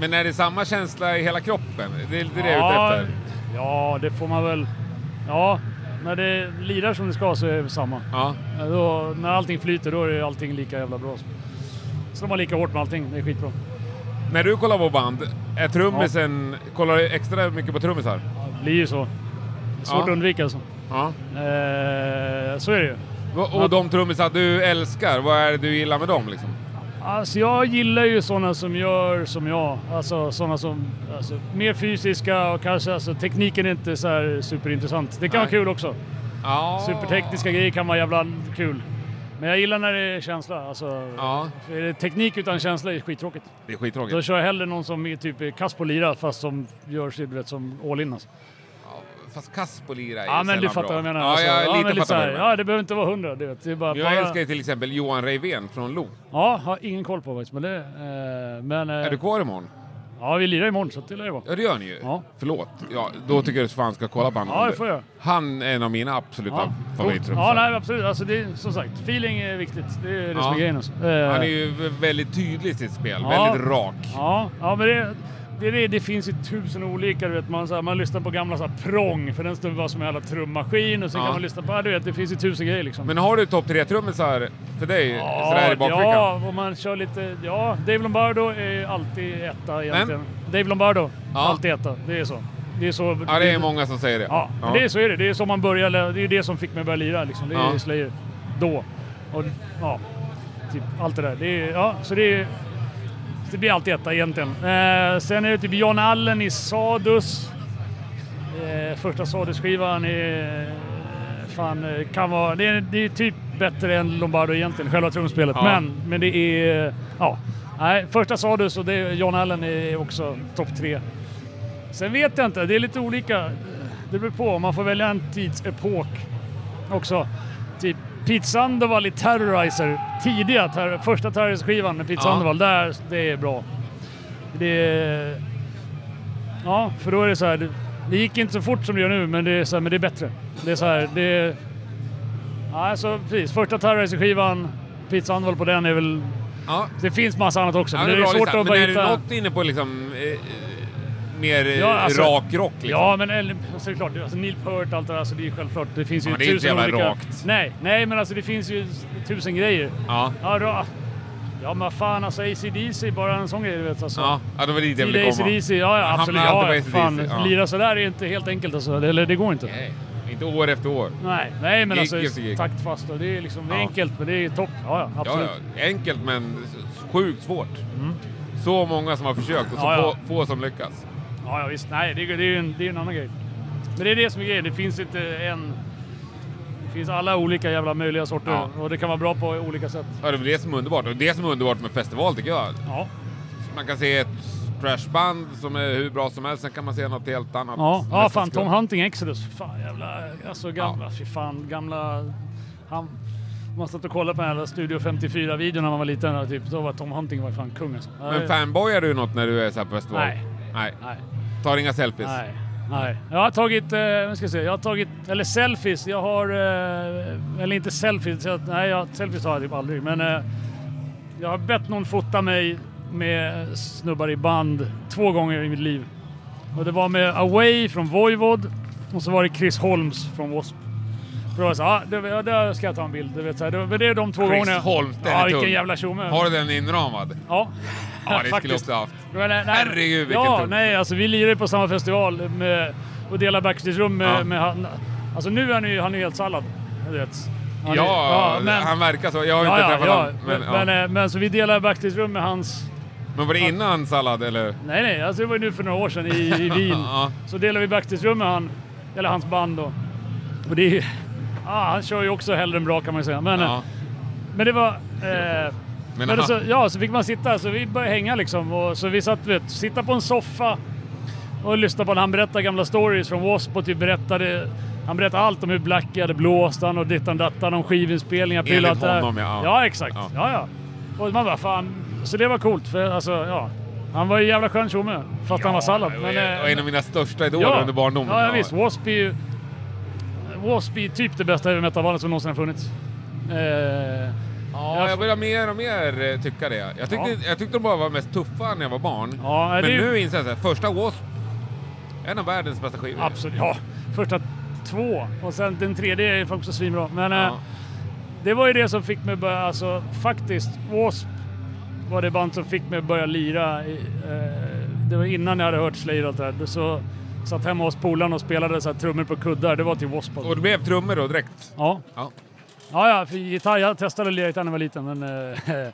Speaker 1: Men är det samma känsla i hela kroppen? Det är lite det jag
Speaker 14: ja,
Speaker 1: är ute efter.
Speaker 14: ja, det får man väl. Ja, när det lirar som det ska så är det samma.
Speaker 1: Ja.
Speaker 14: Då, när allting flyter då är allting lika jävla bra. Slår man lika hårt med allting, det är skitbra.
Speaker 1: När du kollar på band, är trummisen, kollar du extra mycket på trummisar?
Speaker 14: Det blir ju så. Det är svårt
Speaker 1: Ja.
Speaker 14: att undvika alltså.
Speaker 1: Ja.
Speaker 14: Eh, så är det ju.
Speaker 1: Va- Och de trummisar du älskar, vad är det du gillar med dem liksom?
Speaker 14: Alltså jag gillar ju sådana som gör som jag. Alltså sådana som... Alltså, mer fysiska och kanske alltså, tekniken är inte så här superintressant. Det kan vara kul också. Supertekniska grejer kan vara jävla kul. Men jag gillar när det är känsla. Alltså, för är det teknik utan känsla är det skittråkigt.
Speaker 1: Det är skittråkigt.
Speaker 14: Då kör jag hellre någon som är typ är kass på att lira fast som gör sig du vet, som all in alltså.
Speaker 1: Fast Kaspolira är
Speaker 14: Ja men du
Speaker 1: sällan
Speaker 14: fattar
Speaker 1: bra.
Speaker 14: vad jag menar.
Speaker 1: Ja,
Speaker 14: alltså.
Speaker 1: jag
Speaker 14: ja,
Speaker 1: lite
Speaker 14: men lite så
Speaker 1: fattar vad
Speaker 14: här,
Speaker 1: du menar.
Speaker 14: ja, det behöver inte vara hundra. Du vet. Det är bara,
Speaker 1: Jag
Speaker 14: bara...
Speaker 1: älskar ju till exempel Johan Reivén från Lo.
Speaker 14: Ja, har ingen koll på faktiskt. Men det, eh, men, eh,
Speaker 1: Är du kvar imorgon?
Speaker 14: Ja, vi lirar imorgon så att det lär ju vara.
Speaker 1: Ja, det gör ni ju. Förlåt. Ja, då tycker jag att fan ska kolla på honom.
Speaker 14: Ja, det får jag.
Speaker 1: Han är en av mina absoluta
Speaker 14: Ja.
Speaker 1: favorittrummisar.
Speaker 14: Ja, nej, absolut. Alltså, det är, som sagt, feeling är viktigt. Det är det som är grejen. Alltså. Eh,
Speaker 1: Han är ju v- väldigt tydlig i sitt spel,
Speaker 14: ja.
Speaker 1: väldigt rak.
Speaker 14: Ja, ja men det, det, är det, det finns ju tusen olika. Du vet, man, så här, man lyssnar på gamla så här, prång, för den står bara som en jävla trummaskin. Och sen
Speaker 1: Ja.
Speaker 14: kan man lyssna på, ja, du vet, det finns ju tusen grejer liksom.
Speaker 1: Men har du topp tre-trummisar för dig sådär i bakfickan?
Speaker 14: ja, om man kör lite... Ja, Dave Lombardo är ju alltid etta egentligen. Dave Lombardo, alltid etta. Det är så. Det är så.
Speaker 1: Ja, det är många som säger det.
Speaker 14: Ja, men det är så är det. Det är så man börjar, lä- det är det som fick mig att börja lira liksom. Det är
Speaker 1: Ja.
Speaker 14: Slayer. Då. Och, ja, typ allt det där. Det är, ja, så det är... Det blir alltid etta egentligen. Eh, sen är det typ John Allen i Sadus. Eh, första Sadus-skivan är... Fan, eh, kan vara... Det är, det är typ bättre än Lombardo egentligen, själva trumspelet.
Speaker 13: Ja.
Speaker 14: Men, men det är... Ja. Nej, första Sadus och det, John Allen är också topp tre. Sen vet jag inte, det är lite olika. Det beror på, man får välja en tidsepok också. Typ Pete Sandoval i Terrorizer, tidiga, ter- första Terrorizer-skivan med Pete
Speaker 13: Ja.
Speaker 14: Sandoval, där, det är bra. Det är... Ja, för då är det så här, det, det gick inte så fort som det gör nu, men det är, så här, men det är bättre. Det är så här, det är... Ja, alltså precis. Första Terrorizer-skivan, Pete Sandoval på den är väl... Det finns massa annat också,
Speaker 1: Ja,
Speaker 14: men
Speaker 1: det är
Speaker 14: det är
Speaker 1: bra
Speaker 14: svårt
Speaker 1: listat.
Speaker 14: att bara
Speaker 1: Men är
Speaker 14: hitta...
Speaker 1: du något inne på liksom, eh, eh, mer eh,
Speaker 14: Ja, alltså-
Speaker 1: rak rock? Liksom?
Speaker 14: Ja, men eller- alltså, det är klart, alltså, Neil Peart allt det där, alltså, det är ju självklart. Det finns ju
Speaker 1: Ja, men det är ju inte
Speaker 14: tusen
Speaker 1: jävla
Speaker 14: olika...
Speaker 1: rakt.
Speaker 14: Nej, nej, men alltså det finns ju s- tusen grejer.
Speaker 1: Ja.
Speaker 14: Ja, då, ja men fan alltså ACDC, bara en sån grej du vet alltså.
Speaker 1: Ja, ja, det var dit jag ville
Speaker 14: Tidiga
Speaker 1: komma.
Speaker 14: AC/DC, ja, ja
Speaker 1: Jag
Speaker 14: absolut.
Speaker 1: hamnar
Speaker 14: Ja,
Speaker 1: alltid
Speaker 14: ja,
Speaker 1: på
Speaker 14: fan,
Speaker 1: AC/DC, ja.
Speaker 14: lira sådär är ju inte helt enkelt alltså. Det, eller det går inte.
Speaker 1: Nej, inte år efter år.
Speaker 14: Nej, nej men
Speaker 1: Gig
Speaker 14: alltså
Speaker 1: efter gig.
Speaker 14: taktfast och det är liksom det är
Speaker 1: Ja.
Speaker 14: enkelt men det är topp. Ja, ja,
Speaker 1: Ja,
Speaker 14: absolut. Mm.
Speaker 1: ja, enkelt men s- sjukt svårt. Så många som har försökt och så
Speaker 14: Ja, ja.
Speaker 1: Få, få som lyckas.
Speaker 14: Ja, ja visst. Nej, det, är- det är ju en, det är en annan grej. Men det är det som är grejen. Det finns inte en... Det finns alla olika jävla möjliga sorter
Speaker 1: Ja.
Speaker 14: och det kan vara bra på olika sätt.
Speaker 1: Ja, det är det som är underbart. Och det som är underbart med festival tycker jag.
Speaker 14: Ja.
Speaker 1: Man kan se ett trashband som är hur bra som helst, sen kan man se något helt annat.
Speaker 14: Ja, ja
Speaker 1: Nästan
Speaker 14: fan
Speaker 1: skumt.
Speaker 14: Tom Hunting Exodus. Fan jävla, alltså gamla, fy fan gamla. Han, man satt och kollade på den här Studio 54-videon när man var liten och typ, då var Tom Hunting var fan kung alltså.
Speaker 1: Men fanboyar du något när du är så här på festival?
Speaker 14: Nej.
Speaker 1: Nej. Tar inga selfies?
Speaker 14: Nej. Nej, jag har tagit, eh, vad ska jag säga, jag har tagit, eller selfies, jag har, eh, eller inte selfies, jag, nej jag, selfies har jag typ aldrig, men eh, jag har bett någon fota mig med snubbar i band två gånger i mitt liv. Och det var med Away från Voivod och så var det Chris Holmes från Wasp. För då var jag så, ah, det, ja, där ska jag ta en bild. Du vet, så här, det, var- det är de två
Speaker 1: Chris
Speaker 14: gångerna.
Speaker 1: Holmes, den
Speaker 14: Ja,
Speaker 1: är
Speaker 14: vilken
Speaker 1: tung.
Speaker 14: jävla tjomme.
Speaker 1: Har du den inramad?
Speaker 14: Ja.
Speaker 1: Ja, det skulle jag
Speaker 14: Faktiskt.
Speaker 1: också haft.
Speaker 14: Men, eh, nej, nej,
Speaker 1: Herregud, vilken
Speaker 14: Ja,
Speaker 1: tung.
Speaker 14: nej, alltså vi lirar ju på samma festival med, och delar backstagerum med,
Speaker 1: Ja.
Speaker 14: med han. Alltså nu är han ju, han är ju helt sallad. Du vet. Han
Speaker 1: Ja,
Speaker 14: är-
Speaker 1: han verkar så. Jag har inte träffat honom.
Speaker 14: Men,
Speaker 1: Men,
Speaker 14: men,
Speaker 1: ja.
Speaker 14: eh, men så vi delar backstagerum med hans...
Speaker 1: men var det innan sallad eller?
Speaker 14: Nej, nej, alltså det var ju nu för några år sedan i, i Wien.
Speaker 1: Ja.
Speaker 14: Så delar vi backstagerum med han, eller hans band då. Och det är ju... Ah, han kör ju också hellre än bra kan man ju säga. Men, eh, men det var... Eh, men
Speaker 1: han-
Speaker 14: så, ja, så fick man sitta, så vi började hänga liksom. Och, så vi satt, vet, sitta på en soffa och lyssna på när han berättade gamla stories från Wasp och typ berättade... Han berättade allt om hur Blackie hade blåst han och dittan dattan, om skivinspelningar,
Speaker 1: Enligt
Speaker 14: prillat där.
Speaker 1: honom, ja.
Speaker 14: Ja, exakt.
Speaker 1: Ja.
Speaker 14: Ja. ja, Och man bara fan, så det var coolt för alltså, ja. Han var ju jävla skön tjomme, fast han var sallad. Men, eh,
Speaker 1: och en av mina största idoler
Speaker 14: ja.
Speaker 1: under barndomen.
Speaker 14: Ja, ja visst. Wasp är ju... Wasp är typ det bästa heavy metal-bandet som någonsin har funnits. Eh,
Speaker 1: Ja, jag börjar mer och mer eh, tycka det. Jag tyckte,
Speaker 14: Ja.
Speaker 1: jag tyckte de bara var mest tuffa när jag var barn.
Speaker 14: Ja,
Speaker 1: men
Speaker 14: är det ju-
Speaker 1: nu inser jag så här, första Wasp, en av världens bästa skivor.
Speaker 14: Absolut, ja. Första två och sen den tredje är faktiskt också svinbra. Men eh, det var ju det som fick mig börja, alltså faktiskt, Wasp var det band som fick mig börja lira. i, Eh, det var innan jag hade hört Slayer och allt det där. Så satt hemma hos polaren och spelade så här, trummor på kuddar. Det var till Wasp. alltså.
Speaker 1: Och det blev trummor då direkt?
Speaker 14: Ja. Ja, ja, för gitarr. Jag testade att lira gitarr när jag var liten, men eh, det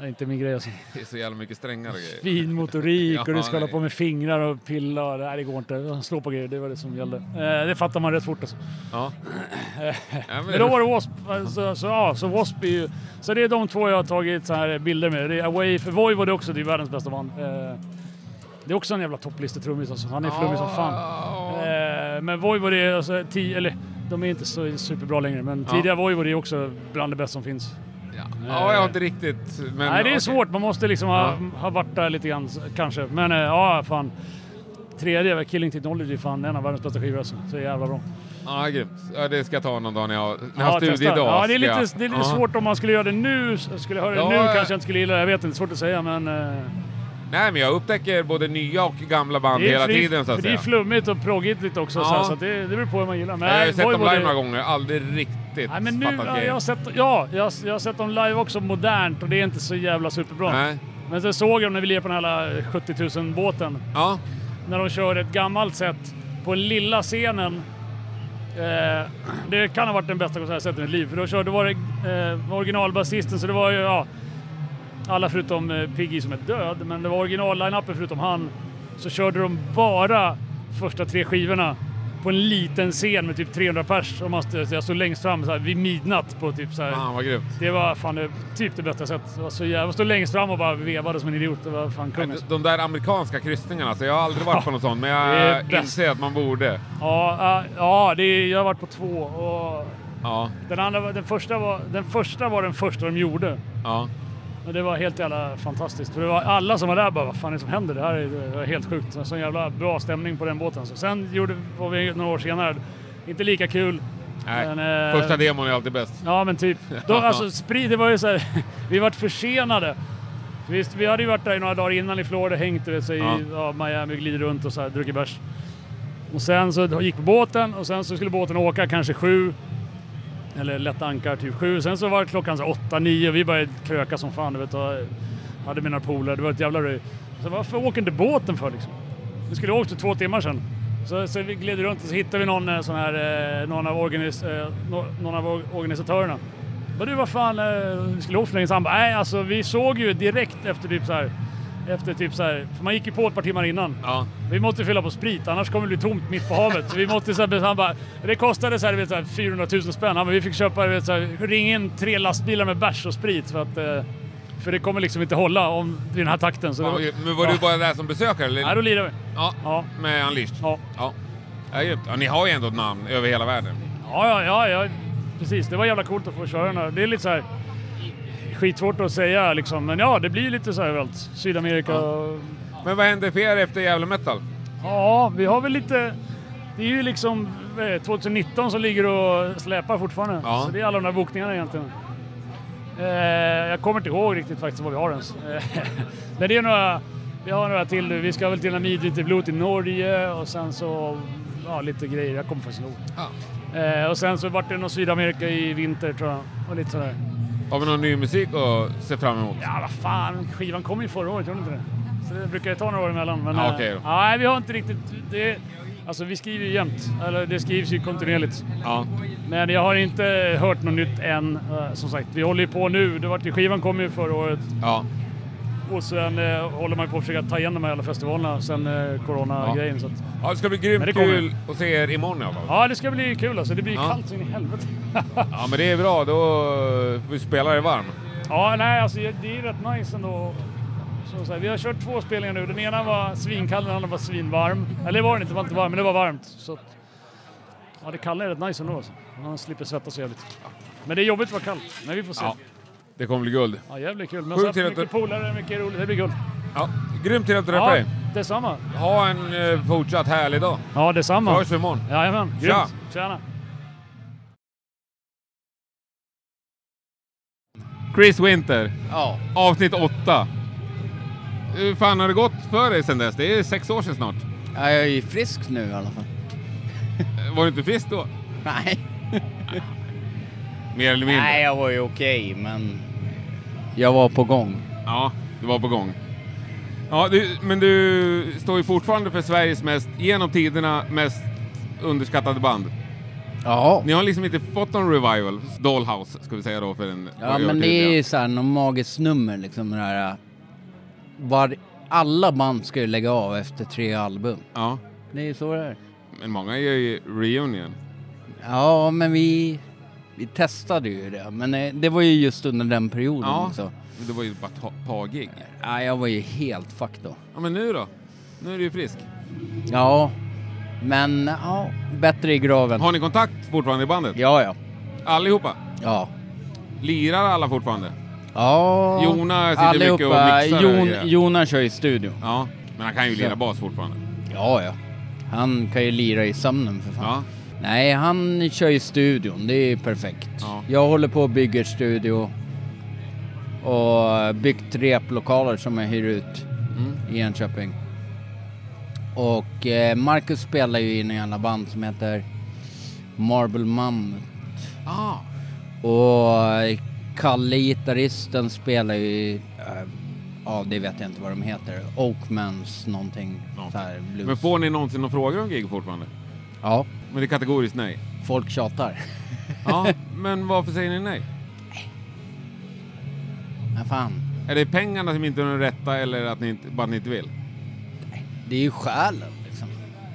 Speaker 14: är inte min grej. Alltså.
Speaker 1: Det är så jävla mycket strängare grejer.
Speaker 14: Fin motorik och du ska
Speaker 1: Ja,
Speaker 14: hålla på med fingrar och pilla. Och, nej, det går inte. Slå på grejer, det var det som gällde. Eh, det fattar man rätt fort alltså.
Speaker 1: Ja.
Speaker 14: Eh,
Speaker 1: men-
Speaker 14: men då var det Wasp. Alltså, Så, så, ja, så Wasp är ju... Så det är de två jag har tagit så här bilder med. Det är Away, för Voi var det också, det är världens bästa band. Eh, det är också en jävla topplistetrummis alltså. Han är flummig som fan. Eh, men Voi var det, alltså, tio, eller de är inte så superbra längre, men
Speaker 1: Ja.
Speaker 14: tidigare Voi var det också bland det bästa som finns.
Speaker 1: Ja, jag har inte riktigt... Men,
Speaker 14: Nej, det är
Speaker 1: okej.
Speaker 14: svårt. Man måste liksom ha,
Speaker 1: Ja.
Speaker 14: ha varit där lite grann kanske. Men eh, ja, fan. Tredje, var Killing Technology, fan en av världens bästa skivor alltså. Så jävla bra.
Speaker 1: Ja, grymt. Ja, det ska jag ta någon dag när jag har när jag
Speaker 14: Ja,
Speaker 1: har
Speaker 14: testa.
Speaker 1: studiedag.
Speaker 14: Ja, det är
Speaker 1: ska jag-
Speaker 14: lite, det är lite
Speaker 1: Ja.
Speaker 14: svårt om man skulle göra det nu. Skulle jag höra det
Speaker 1: Ja,
Speaker 14: nu
Speaker 1: eh.
Speaker 14: kanske jag inte skulle gilla det. Jag vet inte, svårt att säga men... eh,
Speaker 1: Nej, men jag upptäcker både nya och gamla band
Speaker 14: det är
Speaker 1: hela
Speaker 14: fri-
Speaker 1: tiden så att
Speaker 14: för Det är
Speaker 1: säga.
Speaker 14: flummigt och proggigt lite också
Speaker 1: Ja.
Speaker 14: så, här, så att det, det beror på hur man gillar.
Speaker 1: jag har ju sett
Speaker 14: Voi
Speaker 1: dem
Speaker 14: var
Speaker 1: live
Speaker 14: det-
Speaker 1: några gånger, aldrig riktigt
Speaker 14: Nej, men nu,
Speaker 1: fattat
Speaker 14: ja,
Speaker 1: grejen.
Speaker 14: jag har sett, ja, jag, har- jag har sett dem live också modernt och det är inte så jävla superbra.
Speaker 1: Nej.
Speaker 14: Men så såg jag dem när vi lirade på den här jävla 70 000 båten. När de kör ett gammalt sätt på den lilla scenen. Eh, det kan ha varit den bästa konsert jag sett i mitt liv. För då, kör, då var det eh, originalbasisten, så det var ju ja, alla förutom eh, Piggy som är död, men det var original-lineupen förutom han. Så körde de bara första tre skivorna på en liten scen med typ 300 pers. Och man stod, jag stod längst fram så här, vid midnatt på typ så här.
Speaker 1: Fan, vad grymt.
Speaker 14: Det var fan det, typ det bästa jag sett. Det var så jävla, jag stod längst fram och bara vevade som en idiot. Det var fan kung.
Speaker 1: De- De där amerikanska kryssningarna, så jag har aldrig varit på någon sån, men
Speaker 14: Det är
Speaker 1: jag
Speaker 14: bäst.
Speaker 1: inser att man borde.
Speaker 14: Ja, äh, ja det är, jag har varit på två. Och
Speaker 1: Ja,
Speaker 14: den, andra, var- den, första var, den första var den första de gjorde.
Speaker 1: ja.
Speaker 14: Och det var helt jävla fantastiskt. För det var alla som var där bara, vad fan är det som händer? Det här är, det här är helt sjukt. Så en sån jävla bra stämning på den båten. Så sen gjorde, var vi några år senare, inte lika kul.
Speaker 1: Nej.
Speaker 14: Men, eh,
Speaker 1: Första demon är alltid bäst.
Speaker 14: Ja, men typ. Då, alltså, sprid, det var ju så här, vi vart försenade. Visst, vi hade ju varit där i några dagar innan i Florida, hängt du vet, så
Speaker 1: Ja.
Speaker 14: i ja, Miami, glidit runt och så här, druckit bärs. Och sen så gick båten och sen så skulle båten åka kanske sju, eller lätt ankar typ sju. Sen så var klockan så här åtta, nio och vi började kröka som fan du vet och hade mina polare, det var ett jävla röj. Så varför åker inte båten för liksom? Vi skulle ha åkt för två timmar sedan. Så, så vi gled runt och så hittade vi någon, eh, sån här, eh, någon, av, organis, eh, nå- någon av or- organisatörerna. Men du, vad fan, eh, vi skulle åkt för länge sedan. Han bara, Nej, alltså vi såg ju direkt efter typ så här, efter typ så här, för man gick ju på ett par timmar innan. Vi måste fylla på sprit, annars kommer det bli tomt mitt på havet. Så vi måste så här, han bara, det kostade så här, du vet, så här 400 000 spänn. Han bara, vi fick köpa, du vet, så här, ring in tre lastbilar med bärs och sprit för att, eh, för det kommer liksom inte hålla om, i den här takten. Så det
Speaker 1: Fan, vad grymt. Men var du
Speaker 14: Ja.
Speaker 1: bara där som besökare? Eller?
Speaker 14: Nej, då lirar vi.
Speaker 1: Ja, med Unleashed?
Speaker 14: Ja.
Speaker 1: ja. Ja, grymt. ja. Ni har ju ändå ett namn över hela världen.
Speaker 14: Ja, ja, ja, ja, precis. Det var jävla coolt att få köra den här. Det är lite så här skitsvårt att säga liksom, men ja, det blir lite så här överallt. Sydamerika och...
Speaker 1: Men vad hände för er efter Gävle Metal?
Speaker 14: Ja, vi har väl lite... Det är ju liksom eh, 2019 som ligger och släpar fortfarande.
Speaker 1: Ja.
Speaker 14: Så det är alla de där bokningarna egentligen. Eh, jag kommer inte ihåg riktigt faktiskt vad vi har ens. Eh, men det är några... Vi har några till nu. Vi ska väl till Namid, lite blod i Norge och sen så... Ja, lite grejer. Jag kommer faktiskt inte ihåg. Eh, och sen så vart det någon Sydamerika i vinter tror jag. Och lite sådär.
Speaker 1: Har vi någon ny musik att se fram emot?
Speaker 14: Ja, vad fan. Skivan kom ju förra året, gjorde den inte det? Så det brukar ju ta några år emellan. Men,
Speaker 1: Ja,
Speaker 14: eh,
Speaker 1: okej då.
Speaker 14: Nej, vi har inte riktigt... Det, alltså, vi skriver ju jämt. Eller det skrivs ju kontinuerligt.
Speaker 1: Ja.
Speaker 14: Men jag har inte hört något nytt än. eh, Som sagt, vi håller ju på nu. Det vart ju, skivan kom ju förra året.
Speaker 1: Ja.
Speaker 14: Och sen eh, håller man ju på att försöka ta igen de här alla festivalerna sen eh, corona-grejen. Så att,
Speaker 1: Ja, det ska bli grymt
Speaker 14: Men det kommer.
Speaker 1: kul att se er imorgon i alla fall.
Speaker 14: ja, det ska bli kul alltså. Det blir
Speaker 1: Ja.
Speaker 14: kallt så in i helvete.
Speaker 1: Ja, men det är bra. Då får vi spela det varm.
Speaker 14: Ja, nej, alltså det är ju rätt nice ändå. Så, så här, vi har kört två spelningar nu. Den ena var svinkall, den andra var svinvarm. Eller det var den inte, det var inte varm, men det var varmt. Så, att- ja, det kalla är rätt nice ändå. Alltså. Man slipper svettas så jävligt. Men det är jobbigt att vara kallt, men vi får se.
Speaker 1: Ja.
Speaker 14: Ja,
Speaker 1: Det kommer bli guld.
Speaker 14: jävligt kul. Men
Speaker 1: Sjukt
Speaker 14: så här,
Speaker 1: trevligt.
Speaker 14: mycket polare, mycket roligt. Det blir kul.
Speaker 1: Ja, grymt trevligt att träffa dig.
Speaker 14: Ja, detsamma.
Speaker 1: Ha en eh, fortsatt härlig dag.
Speaker 14: Ja, detsamma.
Speaker 1: Hörs vi imorgon.
Speaker 14: Jajamän,
Speaker 1: Tja.
Speaker 14: grymt. Tjena.
Speaker 1: Chris Winter.
Speaker 15: Ja.
Speaker 1: Avsnitt 8. Hur fan har det gått för dig sen dess? Det är sex år sedan snart.
Speaker 15: Ja, jag är frisk nu i alla fall.
Speaker 1: Var du inte frisk då?
Speaker 15: Nej.
Speaker 1: Mer eller mindre?
Speaker 15: Nej, jag var ju okej, men...
Speaker 1: Jag var på gång. Ja, du var på gång. Ja, du, men du står ju fortfarande för Sveriges mest, genom tiderna, mest underskattade band. Ni har liksom inte fått någon revival, Dollhouse ska vi säga då för en
Speaker 15: Ja, men det är ju så här något magiskt nummer liksom. Det här, äh, var, alla band ska ju lägga av efter tre album.
Speaker 1: Ja.
Speaker 15: Det är ju så det är.
Speaker 1: Men många gör ju reunion.
Speaker 15: Ja, men vi, vi testade ju det. Men eh, det var ju just under den perioden
Speaker 1: Ja,
Speaker 15: också.
Speaker 1: men det var ju bara ett par gig.
Speaker 15: Ja, jag var ju helt fucked då.
Speaker 1: Ja, men nu då? Nu är du ju frisk.
Speaker 15: Ja, men ja, bättre i graven.
Speaker 1: Har ni kontakt fortfarande i bandet?
Speaker 15: Ja, ja.
Speaker 1: Allihopa?
Speaker 15: Ja.
Speaker 1: Lirar alla fortfarande?
Speaker 15: Ja,
Speaker 1: Jona sitter mycket och mixar och grejer.
Speaker 15: Jon, Jona kör i studion.
Speaker 1: Ja, men han kan ju
Speaker 15: Så.
Speaker 1: lira bas fortfarande.
Speaker 15: Ja, ja. Han kan ju lira i sömnen för fan.
Speaker 1: Ja.
Speaker 15: Nej, han kör i studion. Det är perfekt.
Speaker 1: Ja.
Speaker 15: Jag håller på och bygger studio och byggt replokaler som jag hyr ut
Speaker 1: Mm.
Speaker 15: i Enköping. Och eh, Marcus spelar ju in i alla band som heter Marble Mammoth.
Speaker 1: Ah.
Speaker 15: Och eh, Kalle, gitarristen, spelar ju i, eh, ja det vet jag inte vad de heter, Oakmans någonting. Så här, blues.
Speaker 1: Men får ni någonsin några frågor om gig fortfarande?
Speaker 15: Ja.
Speaker 1: Men det är kategoriskt nej?
Speaker 15: Folk tjatar.
Speaker 1: Ja, men varför säger ni nej?
Speaker 15: Men fan,
Speaker 1: Är det pengarna som inte är de rätta eller att ni inte, bara att ni inte vill?
Speaker 15: det är ju själen liksom.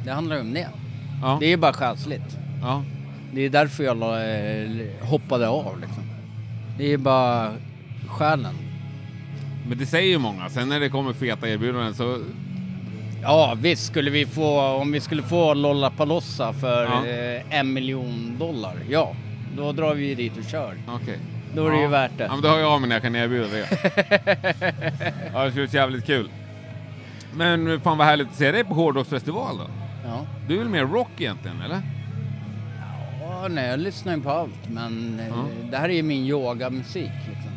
Speaker 15: Det handlar ju om det.
Speaker 1: Ja.
Speaker 15: Det är ju bara själsligt.
Speaker 1: Ja.
Speaker 15: Det är därför jag la- eh, hoppade av liksom. Det är bara själen.
Speaker 1: Men det säger ju många. Sen när det kommer feta erbjudanden så...
Speaker 15: Ja visst, skulle vi få, om vi skulle få Lollapalooza för
Speaker 1: Ja.
Speaker 15: eh, en miljon dollar, ja. Då drar vi ju dit och kör.
Speaker 1: Okej.
Speaker 15: Då är det
Speaker 1: Ja.
Speaker 15: ju värt det.
Speaker 1: Ja, men då hör jag av mig när jag kan erbjuda det. ja, det skulle varit jävligt kul. Men fan vad härligt att se dig på hårdrocksfestival då.
Speaker 15: Ja.
Speaker 1: Du är väl mer rock egentligen, eller?
Speaker 15: Ja, nej, jag lyssnar ju på allt, men eh, det här är ju min yogamusik. Liksom.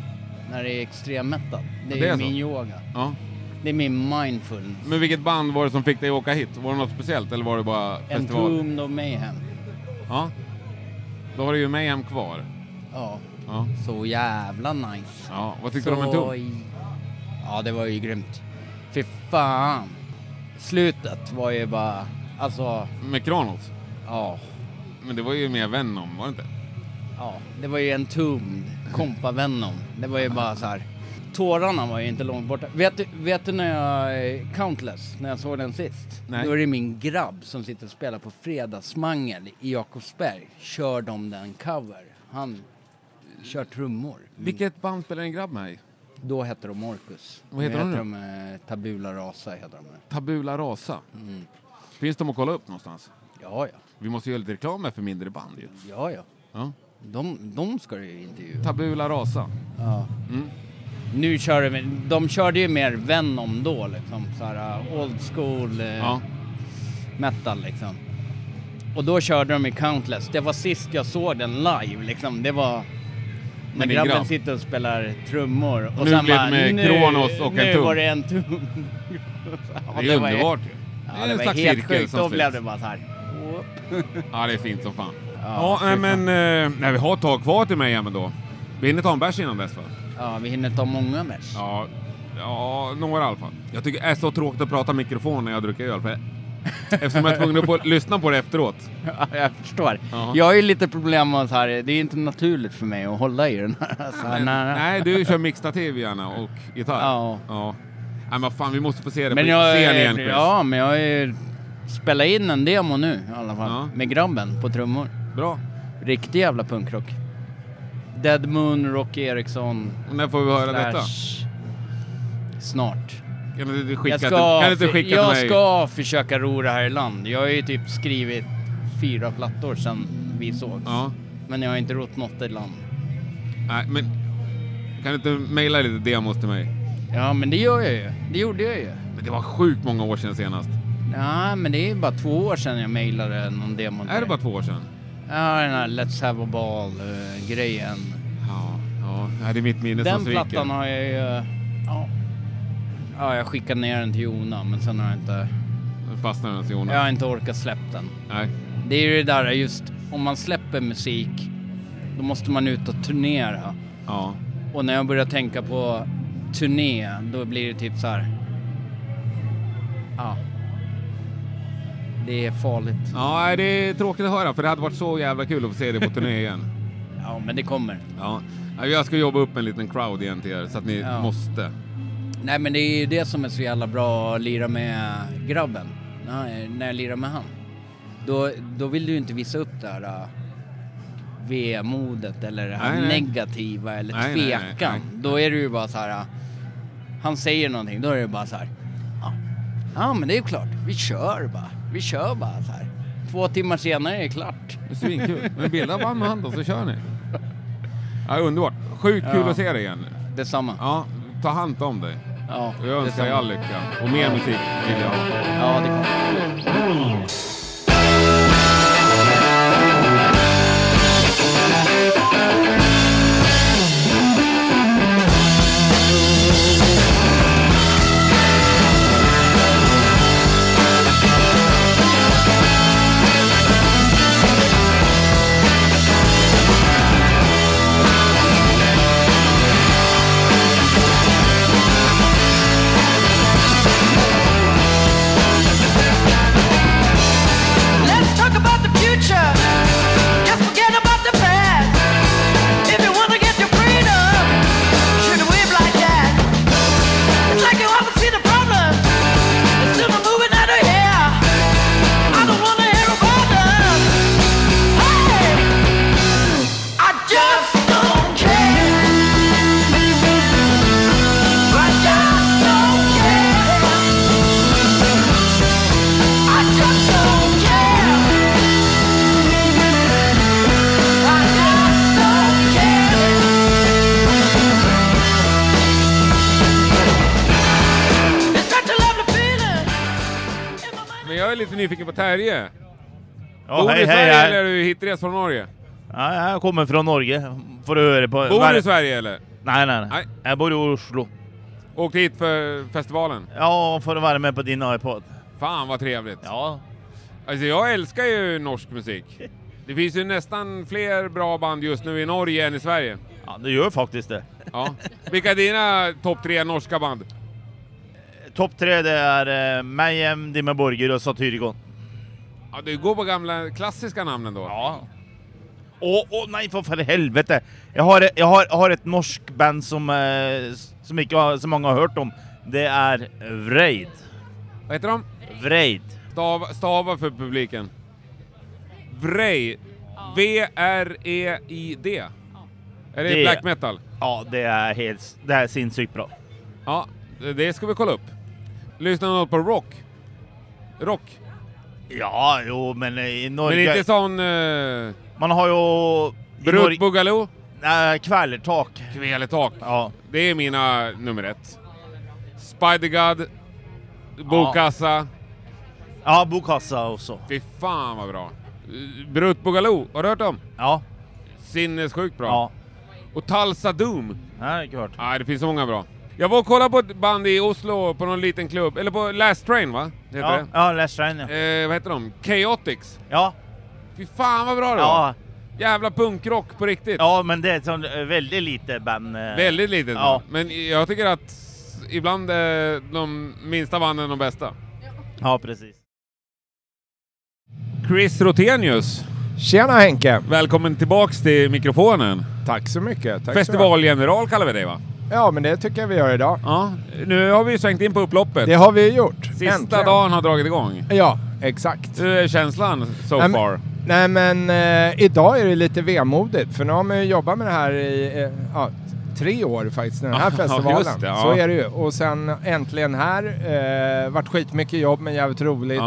Speaker 15: När det är extrem metal. Det är,
Speaker 1: det är
Speaker 15: ju
Speaker 1: så.
Speaker 15: min yoga.
Speaker 1: Ja.
Speaker 15: Det är min mindfulness.
Speaker 1: Men vilket band var det som fick dig att åka hit? Var det något speciellt eller var det bara festival?
Speaker 15: Entombed och Mayhem.
Speaker 1: Ja. Då har du ju Mayhem kvar.
Speaker 15: Ja.
Speaker 1: Ja.
Speaker 15: Så jävla nice.
Speaker 1: Ja, vad tyckte du om Entombed?
Speaker 15: Ja, det var ju grymt. Fy fan. Slutet var ju bara, alltså,
Speaker 1: Med Kronos?
Speaker 15: Ja.
Speaker 1: Men det var ju mer Venom, var det inte?
Speaker 15: ja, det var ju Entombed, kompa Venom. Det var ju bara så här. Tårarna var ju inte långt borta. Vet, du- vet du när jag, eh, Countless, när jag såg den sist?
Speaker 1: Nej.
Speaker 15: Då är det min grabb som sitter och spelar på Fredagsmangel i Jakobsberg. Kör de den cover? Han kör trummor. Mm.
Speaker 1: Vilket band spelar din grabb med i?
Speaker 15: Då hette de Orcus.
Speaker 1: Vad heter de nu?
Speaker 15: nu? de eh, Tabula Rasa heter de nu.
Speaker 1: Tabula Rasa. Finns de att kolla upp någonstans?
Speaker 15: Mm. Ja, ja.
Speaker 1: Vi måste göra lite reklam här för mindre band ju.
Speaker 15: Ja, ja.
Speaker 1: Ja.
Speaker 15: De, de ska du ju intervjua.
Speaker 1: Tabula Rasa.
Speaker 15: Ja. Mm. Nu kör de, de körde ju mer Venom då liksom, så här uh, old school eh,
Speaker 1: Ja.
Speaker 15: metal liksom. Och då körde de i Countless. Det var sist jag såg den live liksom. Det var när
Speaker 1: din
Speaker 15: grabben
Speaker 1: grabb.
Speaker 15: sitter och spelar trummor. Och
Speaker 1: Nu blev det med
Speaker 15: nu,
Speaker 1: Kronos och
Speaker 15: Nu
Speaker 1: en tum."
Speaker 15: var det en tum. Ja,
Speaker 1: Det är
Speaker 15: var
Speaker 1: underbart ju. Det är
Speaker 15: Ja, det
Speaker 1: en
Speaker 15: var
Speaker 1: slags
Speaker 15: helt
Speaker 1: cirkel
Speaker 15: sjukt.
Speaker 1: som
Speaker 15: Då
Speaker 1: sluts.
Speaker 15: blev det bara så här.
Speaker 1: Ja, det är fint som fan. Ja,
Speaker 15: fy
Speaker 1: nej,
Speaker 15: fan.
Speaker 1: men eh, nej, vi har ett tag kvar till mig men då. Vi hinner ta en bärs innan dess va?
Speaker 15: Ja, vi hinner ta många bärs.
Speaker 1: Ja, ja, några i alla fall. Jag tycker det är så tråkigt att prata mikrofon när jag dricker öl. För eftersom jag är tvungen att på, lyssna på det efteråt.
Speaker 15: Ja, jag förstår.
Speaker 1: Ja.
Speaker 15: Jag har ju lite problem med så här, det är inte naturligt för mig att hålla i den här. Så här
Speaker 1: Men,
Speaker 15: nära.
Speaker 1: nej, du kör mixtativ gärna och gitarr.
Speaker 15: Ja.
Speaker 1: ja. Nej, men fan, vi måste få se det
Speaker 15: Men
Speaker 1: på
Speaker 15: jag,
Speaker 1: scen igen. Chris.
Speaker 15: ja, men jag har ju spelat in en demo nu i alla fall. Med grabben på trummor.
Speaker 1: Bra.
Speaker 15: Riktig jävla punkrock. Dead Moon, Rocky Eriksson.
Speaker 1: Och när får vi höra detta?
Speaker 15: Snart.
Speaker 1: Kan du inte skicka
Speaker 15: jag ska,
Speaker 1: till, kan du inte
Speaker 15: för-
Speaker 1: skicka
Speaker 15: jag
Speaker 1: till mig?
Speaker 15: ska försöka ro det här i land. Jag har ju typ skrivit fyra plattor sedan vi sågs.
Speaker 1: Ja.
Speaker 15: Men jag har inte rott något i land.
Speaker 1: Nej, men kan du inte mejla lite demos till mig?
Speaker 15: Ja, men det gör jag ju. Det gjorde jag ju.
Speaker 1: Men det var sjukt många år sedan senast.
Speaker 15: Nej, men det är bara två år sedan jag mejlade någon demo. till
Speaker 1: Är det
Speaker 15: dig.
Speaker 1: bara två år sedan?
Speaker 15: Ja, den här Let's have a eh, ball-grejen.
Speaker 1: Ja, ja, nej, det är mitt minne
Speaker 15: den
Speaker 1: som sviker.
Speaker 15: plattan har jag ju... eh, Ja. ja, jag skickade ner den till Jona, men sen har jag inte...
Speaker 1: Fastnar den hos Jona?
Speaker 15: Jag har inte orkat släppa den.
Speaker 1: Nej.
Speaker 15: Det är ju det där just, om man släpper musik, då måste man ut och turnera.
Speaker 1: Ja.
Speaker 15: Och när jag börjar tänka på turné, då blir det typ så här... Ja. Det är farligt.
Speaker 1: Ja, nej, det är tråkigt att höra för det hade varit så jävla kul att få se det på turné igen.
Speaker 15: ja, men det kommer.
Speaker 1: Ja. Jag ska jobba upp en liten crowd igen till er så att ni
Speaker 15: Ja.
Speaker 1: måste.
Speaker 15: Nej, men det är ju det som är så jävla bra att lira med grabben. När- När jag lirar med han. Då, då vill du ju inte visa upp det här äh, vemodet eller det här
Speaker 1: Nej, nej.
Speaker 15: negativa eller
Speaker 1: Nej, nej, nej,
Speaker 15: tvekan. Då är det ju bara så här. äh, Han säger någonting, då är det bara så här. "Ja, Ja, men det är ju klart. Vi kör bara. Vi kör bara så här. Två timmar senare är det klart.
Speaker 1: Det är svinkul. Men bilda band med han då, så kör ni. Ja, underbart. Sjukt kul
Speaker 15: Ja.
Speaker 1: att se dig igen.
Speaker 15: Detsamma.
Speaker 1: Ja, ta hand om dig.
Speaker 15: Ja,
Speaker 1: jag önskar
Speaker 15: detsamma.
Speaker 1: er all lycka. Och mer musik vill jag ha.
Speaker 15: Ja, det kommer.
Speaker 16: Let's talk about the future. Just forget about the past. If you wanna get your freedom, you should wave like that. It's like you haven't seen the problem. It's still moving out of here. I don't wanna hear about them. Hey, I just don't care. I just don't care. I just don't care. I just don't care. It's such a lovely feeling.
Speaker 1: Men jag är lite nyfiken på Terje.
Speaker 17: Ja,
Speaker 1: Bor du
Speaker 17: hej,
Speaker 1: i
Speaker 17: hej,
Speaker 1: Sverige
Speaker 17: hej.
Speaker 1: eller är du hitrest från Norge?
Speaker 17: Ja, jeg kommer fra Norge. Får du høre på
Speaker 1: Bor
Speaker 17: hver-
Speaker 1: du i Sverige eller?
Speaker 17: Nei, nei, nei. Jeg bor i Oslo.
Speaker 1: Åkte hit för festivalen?
Speaker 17: Ja, for å være med på din iPod.
Speaker 1: Fan vad trevligt.
Speaker 17: Ja.
Speaker 1: Alltså jag älskar ju norsk musik. Det finns ju nästan fler bra band just nu i Norge än i Sverige.
Speaker 17: Ja, det gör faktiskt det.
Speaker 1: Ja. Vilka är dina topp tre norska band?
Speaker 17: Topp tre det er uh, Mayhem, Dimmer Borger og Satyricon.
Speaker 1: Ja, du går på gamla klassiska namnen då? Ja.
Speaker 17: Å, å nei, for, for helvete! Jeg har, jeg har, jeg har et norsk band som, eh, s- som ikke har, så mange har hørt om. Det er Vreid.
Speaker 1: Hva heter de?
Speaker 17: Vreid.
Speaker 1: Stav, stava för publiken. Vrej. V-R-E-I-D. E Är det, black metal?
Speaker 17: Ja, det er, helt, s- det er sinnssykt bra.
Speaker 1: Ja, det ska vi kolla upp. Lyssnar du något på rock? Rock?
Speaker 17: Ja, jo, men eh, i Norge
Speaker 1: Men inte sån... Uh,
Speaker 17: Man har ju...
Speaker 1: Brutt Boogaloo?
Speaker 17: Nej, Kvälertak.
Speaker 1: Kvälertak?
Speaker 17: Ja.
Speaker 1: Det är mina nummer ett. Spider-God, Bokassa.
Speaker 17: Ja, Bokassa också.
Speaker 1: Fy fan vad bra. Eh, Brutt Boogaloo, har du hört dem?
Speaker 17: Ja.
Speaker 1: Sinnessjukt bra.
Speaker 17: Ja.
Speaker 1: Och Talsa Doom.
Speaker 17: Nej, inte hört.
Speaker 1: Nej, det finns så många bra. Jag var och kollade på ett band i Oslo på någon liten klubb, eller på Last Train va? Heter
Speaker 17: Ja,
Speaker 1: det?
Speaker 17: ja, Last Train ja.
Speaker 1: Eh, vad heter de? Chaotix?
Speaker 17: Ja.
Speaker 1: Fy fan vad bra det
Speaker 17: Ja.
Speaker 1: var! Jävla punkrock på riktigt.
Speaker 17: Ja, men det är ett sånt, eh, väldigt lite band. eh.
Speaker 1: Väldigt litet
Speaker 17: Ja.
Speaker 1: band. Men jag tycker att s- ibland är de minsta banden de bästa.
Speaker 17: Ja, precis.
Speaker 1: Chris Rotenius.
Speaker 18: Tjena Henke!
Speaker 1: Välkommen tillbaks till mikrofonen.
Speaker 18: Tack så mycket. Tack
Speaker 1: Festivalgeneral kallar vi dig va?
Speaker 18: Ja, men det tycker jag vi gör idag.
Speaker 1: Ja, nu har vi ju svängt in på upploppet.
Speaker 18: Det har vi gjort.
Speaker 1: Sista dagen har dragit igång.
Speaker 18: Ja, exakt.
Speaker 1: Hur är känslan so
Speaker 18: Nej, men-
Speaker 1: far?
Speaker 18: Nej, men eh, idag är det lite vemodigt för nu har man ju jobbat med det här i eh, ja, tre år faktiskt, den här
Speaker 1: Ja,
Speaker 18: festivalen.
Speaker 1: just det, ja.
Speaker 18: Så är det ju. Och sen äntligen här. Eh, varit skitmycket jobb, men jävligt roligt.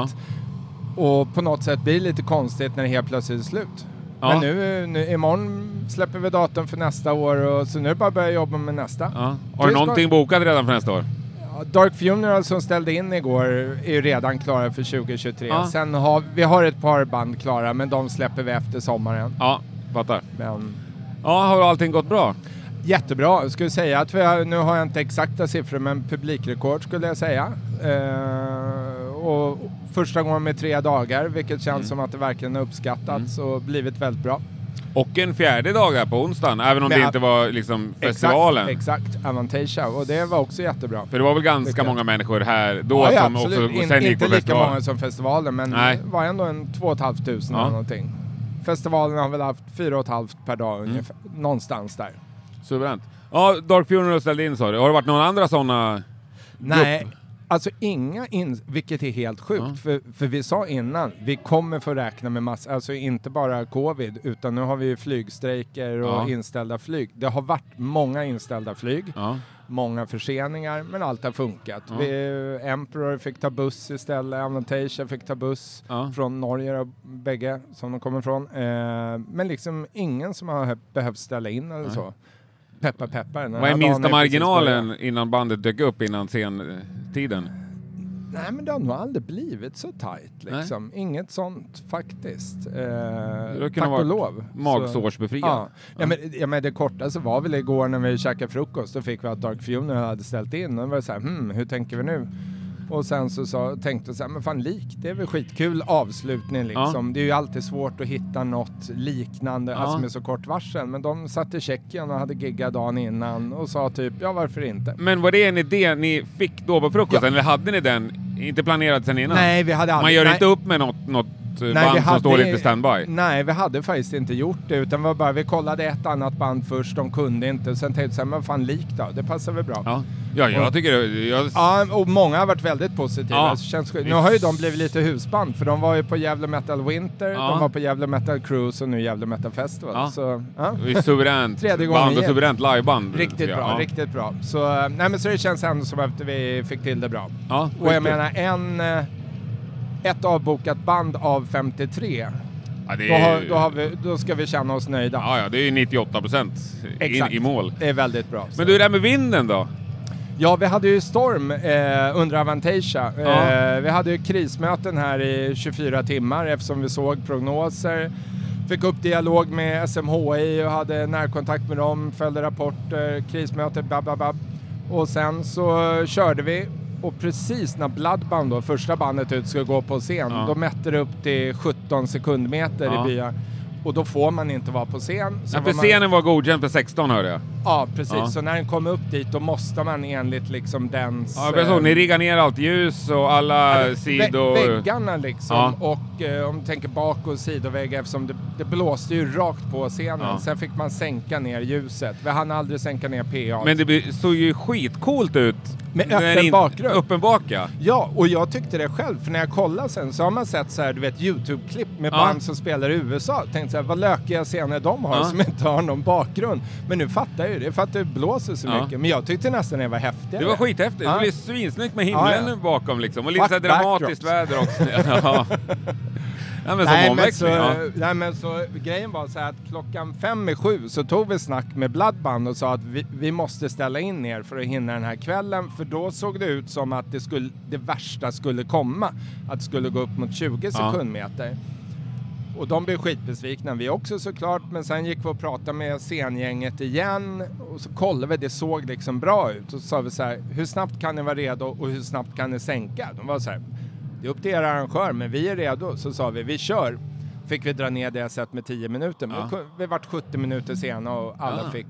Speaker 18: Och på något sätt blir det lite konstigt när det helt plötsligt är slut.
Speaker 1: Ja.
Speaker 18: Men nu, nu, imorgon släpper vi datum för nästa år, och, så nu är det bara att börja jobba med nästa.
Speaker 1: Ja. Har du
Speaker 18: Det är
Speaker 1: någonting
Speaker 18: skoj.
Speaker 1: bokat redan för nästa år?
Speaker 18: Ja, Dark Funeral som ställde in igår är ju redan klara för 2023.
Speaker 1: Ja.
Speaker 18: Sen har vi har ett par band klara, men de släpper vi efter sommaren.
Speaker 1: Ja, fattar.
Speaker 18: Men...
Speaker 1: Ja, har allting gått bra?
Speaker 18: Jättebra. Jag skulle säga att vi har, nu har jag inte exakta siffror, men publikrekord skulle jag säga. Eh, och
Speaker 1: Mm.
Speaker 18: första gången med tre dagar, vilket känns som att det verkligen har uppskattats och blivit väldigt bra.
Speaker 1: Och en fjärde dag här på onsdagen, även om
Speaker 18: Men
Speaker 1: det
Speaker 18: att-
Speaker 1: inte var liksom festivalen.
Speaker 18: Exakt, exakt. Avantasia. Och det var också jättebra.
Speaker 1: För det var väl ganska
Speaker 18: Tycker jag.
Speaker 1: många människor här då
Speaker 18: ja, ja,
Speaker 1: som
Speaker 18: absolut.
Speaker 1: också och
Speaker 18: In-
Speaker 1: sen gick
Speaker 18: Inte
Speaker 1: på
Speaker 18: lika
Speaker 1: festival.
Speaker 18: många som festivalen, men
Speaker 1: Nej.
Speaker 18: det var ändå en två och ett halvt tusen
Speaker 1: Ja.
Speaker 18: eller någonting. Festivalen har väl haft fyra och ett halvt per dag
Speaker 1: Mm.
Speaker 18: ungefär. Någonstans där.
Speaker 1: Suveränt. Ja, Dark Funeral ställde in sa du. Har det varit några andra sådana?
Speaker 18: Nej, alltså inga in, vilket är helt sjukt. För, för vi sa innan, vi kommer få räkna med massa, alltså inte bara covid, utan nu har vi ju flygstrejker och
Speaker 1: Ja.
Speaker 18: inställda flyg. Det har varit många inställda flyg, många förseningar, men allt har funkat.
Speaker 1: Ja.
Speaker 18: Vi, Emperor fick ta buss istället, Avantasia fick ta buss från Norge, då, bägge som de kommer från. Eh, men liksom ingen som har behövt ställa in eller
Speaker 1: Nej.
Speaker 18: så. Peppa peppar. den här
Speaker 1: Vad är
Speaker 18: dagen
Speaker 1: minsta
Speaker 18: precis börjat.
Speaker 1: marginalen innan bandet dök upp innan eh, scentiden?
Speaker 18: Nej, men det har nog aldrig blivit så tajt liksom. Inget sånt faktiskt. Eh,
Speaker 1: kunnat
Speaker 18: tack
Speaker 1: varit
Speaker 18: och lov. Så-
Speaker 1: magsårsbefriat.
Speaker 18: Ja. Ja, men, ja, men det kortaste var väl igår när vi käkade frukost. Då fick vi att Dark Funeral hade ställt in. Och då var det så här, hmm, hur tänker vi nu? Och sen så sa, tänkte jag så här, men fan lik, det är väl skitkul avslutning liksom. Det är ju alltid svårt att hitta något liknande,
Speaker 1: Ja.
Speaker 18: alltså med så kort varsel. Men de satt i Tjeckien och hade giggat dagen innan och sa typ, ja varför inte?
Speaker 1: Men var det en idé ni fick då på frukosten? Eller hade ni den? Inte planerad sen innan?
Speaker 18: Nej, vi hade
Speaker 1: Man
Speaker 18: aldrig-
Speaker 1: gör
Speaker 18: nej.
Speaker 1: inte upp med något, något eh, band som står lite standby?
Speaker 18: Nej, vi hade faktiskt inte gjort det utan var bara, vi kollade ett annat band först, de kunde inte. Sen tänkte vi så här, men vad fan lik då, det passar väl bra.
Speaker 1: Ja, ja jag
Speaker 18: Och-
Speaker 1: tycker det. Jag,
Speaker 18: Ja, och många har varit väldigt positiva.
Speaker 1: Ja.
Speaker 18: Så känns, skit- nu har ju de blivit lite husband för de var ju på Gävle Metal Winter,
Speaker 1: Ja.
Speaker 18: de var på Gävle Metal Cruise och nu Gävle Metal Festival.
Speaker 1: Ja.
Speaker 18: Så, ja.
Speaker 1: Det är suveränt
Speaker 18: Tredje gången
Speaker 1: band och
Speaker 18: igen.
Speaker 1: suveränt liveband.
Speaker 18: Riktigt
Speaker 1: tycker jag.
Speaker 18: bra,
Speaker 1: Ja.
Speaker 18: riktigt bra. Så, eh, nej, men så det känns ändå som att vi fick till det bra.
Speaker 1: Ja,
Speaker 18: och jag
Speaker 1: skitkul.
Speaker 18: menar, en, eh, ett avbokat band av 53.
Speaker 1: Ja, det
Speaker 18: då,
Speaker 1: är-
Speaker 18: har, då, har vi, då ska vi känna oss nöjda.
Speaker 1: Ja, ja, det är ju 98 procent in
Speaker 18: Exakt.
Speaker 1: i mål.
Speaker 18: Det är väldigt bra.
Speaker 1: Men du, det här med vinden då?
Speaker 18: Ja, vi hade ju storm eh, under Avantasia. Eh, vi hade ju krismöten här i 24 timmar eftersom vi såg prognoser. Fick upp dialog med SMHI och hade närkontakt med dem, följde rapporter, krismöte, bababab. Och sen så körde vi och precis när Bloodband, då, första bandet ut, skulle gå på scen,
Speaker 1: Ja.
Speaker 18: då mätte det upp till 17 sekundmeter
Speaker 1: Ja.
Speaker 18: i byar. Och då får man inte vara på scen. Så
Speaker 1: Ja, för
Speaker 18: var man-
Speaker 1: scenen var godkänd för 16 hörde jag.
Speaker 18: Ja, precis.
Speaker 1: Ja.
Speaker 18: Så när den kom upp dit, då måste man enligt liksom dens...
Speaker 1: Ja, jag såg,
Speaker 18: eh,
Speaker 1: ni riggar ner allt ljus och alla sidor.
Speaker 18: Vä- väggarna liksom.
Speaker 1: Ja.
Speaker 18: Och eh, om du tänker bak och sidoväggar eftersom det, det blåste ju rakt på scenen.
Speaker 1: Ja.
Speaker 18: Sen fick man sänka ner ljuset. Vi hann aldrig sänka ner PA.
Speaker 1: Men det blir- såg ju skitcoolt ut.
Speaker 18: Med
Speaker 1: När
Speaker 18: öppen
Speaker 1: in-
Speaker 18: bakgrund.
Speaker 1: Öppen bak, ja.
Speaker 18: Ja, och jag tyckte det själv, för när jag kollade sen så har man sett så här, du vet, YouTube-klipp med
Speaker 1: Ja.
Speaker 18: band som spelar i USA. Tänkte så här, vad lökiga scener de har
Speaker 1: Ja.
Speaker 18: som inte har någon bakgrund. Men nu fattar jag ju det, för att det blåser så
Speaker 1: Ja.
Speaker 18: mycket. Men jag tyckte nästan det var häftigare.
Speaker 1: Det var skithäftigt.
Speaker 18: Ja.
Speaker 1: Det blev svinsnyggt med himlen
Speaker 18: Ja, ja.
Speaker 1: bakom liksom. Och lite
Speaker 18: Fuck
Speaker 1: såhär dramatiskt
Speaker 18: backdrops.
Speaker 1: väder också. ja. ja, men som
Speaker 18: nej, men så,
Speaker 1: omväxling. ja.
Speaker 18: nej men så grejen var så här att klockan fem i sju så tog vi snack med Bloodband och sa att vi, vi måste ställa in er för att hinna den här kvällen för då såg det ut som att det, skulle, det värsta skulle komma. Att det skulle gå upp mot 20
Speaker 1: Ja.
Speaker 18: sekundmeter. Och de blev skitbesvikna, vi också såklart. Men sen gick vi och pratade med scengänget igen och så kollade vi, det såg liksom bra ut. Och så sa vi så här, hur snabbt kan ni vara redo och hur snabbt kan ni sänka? De var så här, det är upp till er arrangör, men vi är redo. Så sa vi, vi kör. Fick vi dra ner det set med 10 minuter, men
Speaker 1: Ja.
Speaker 18: då kunde- vi vart 70 minuter sena och alla
Speaker 1: Ah.
Speaker 18: fick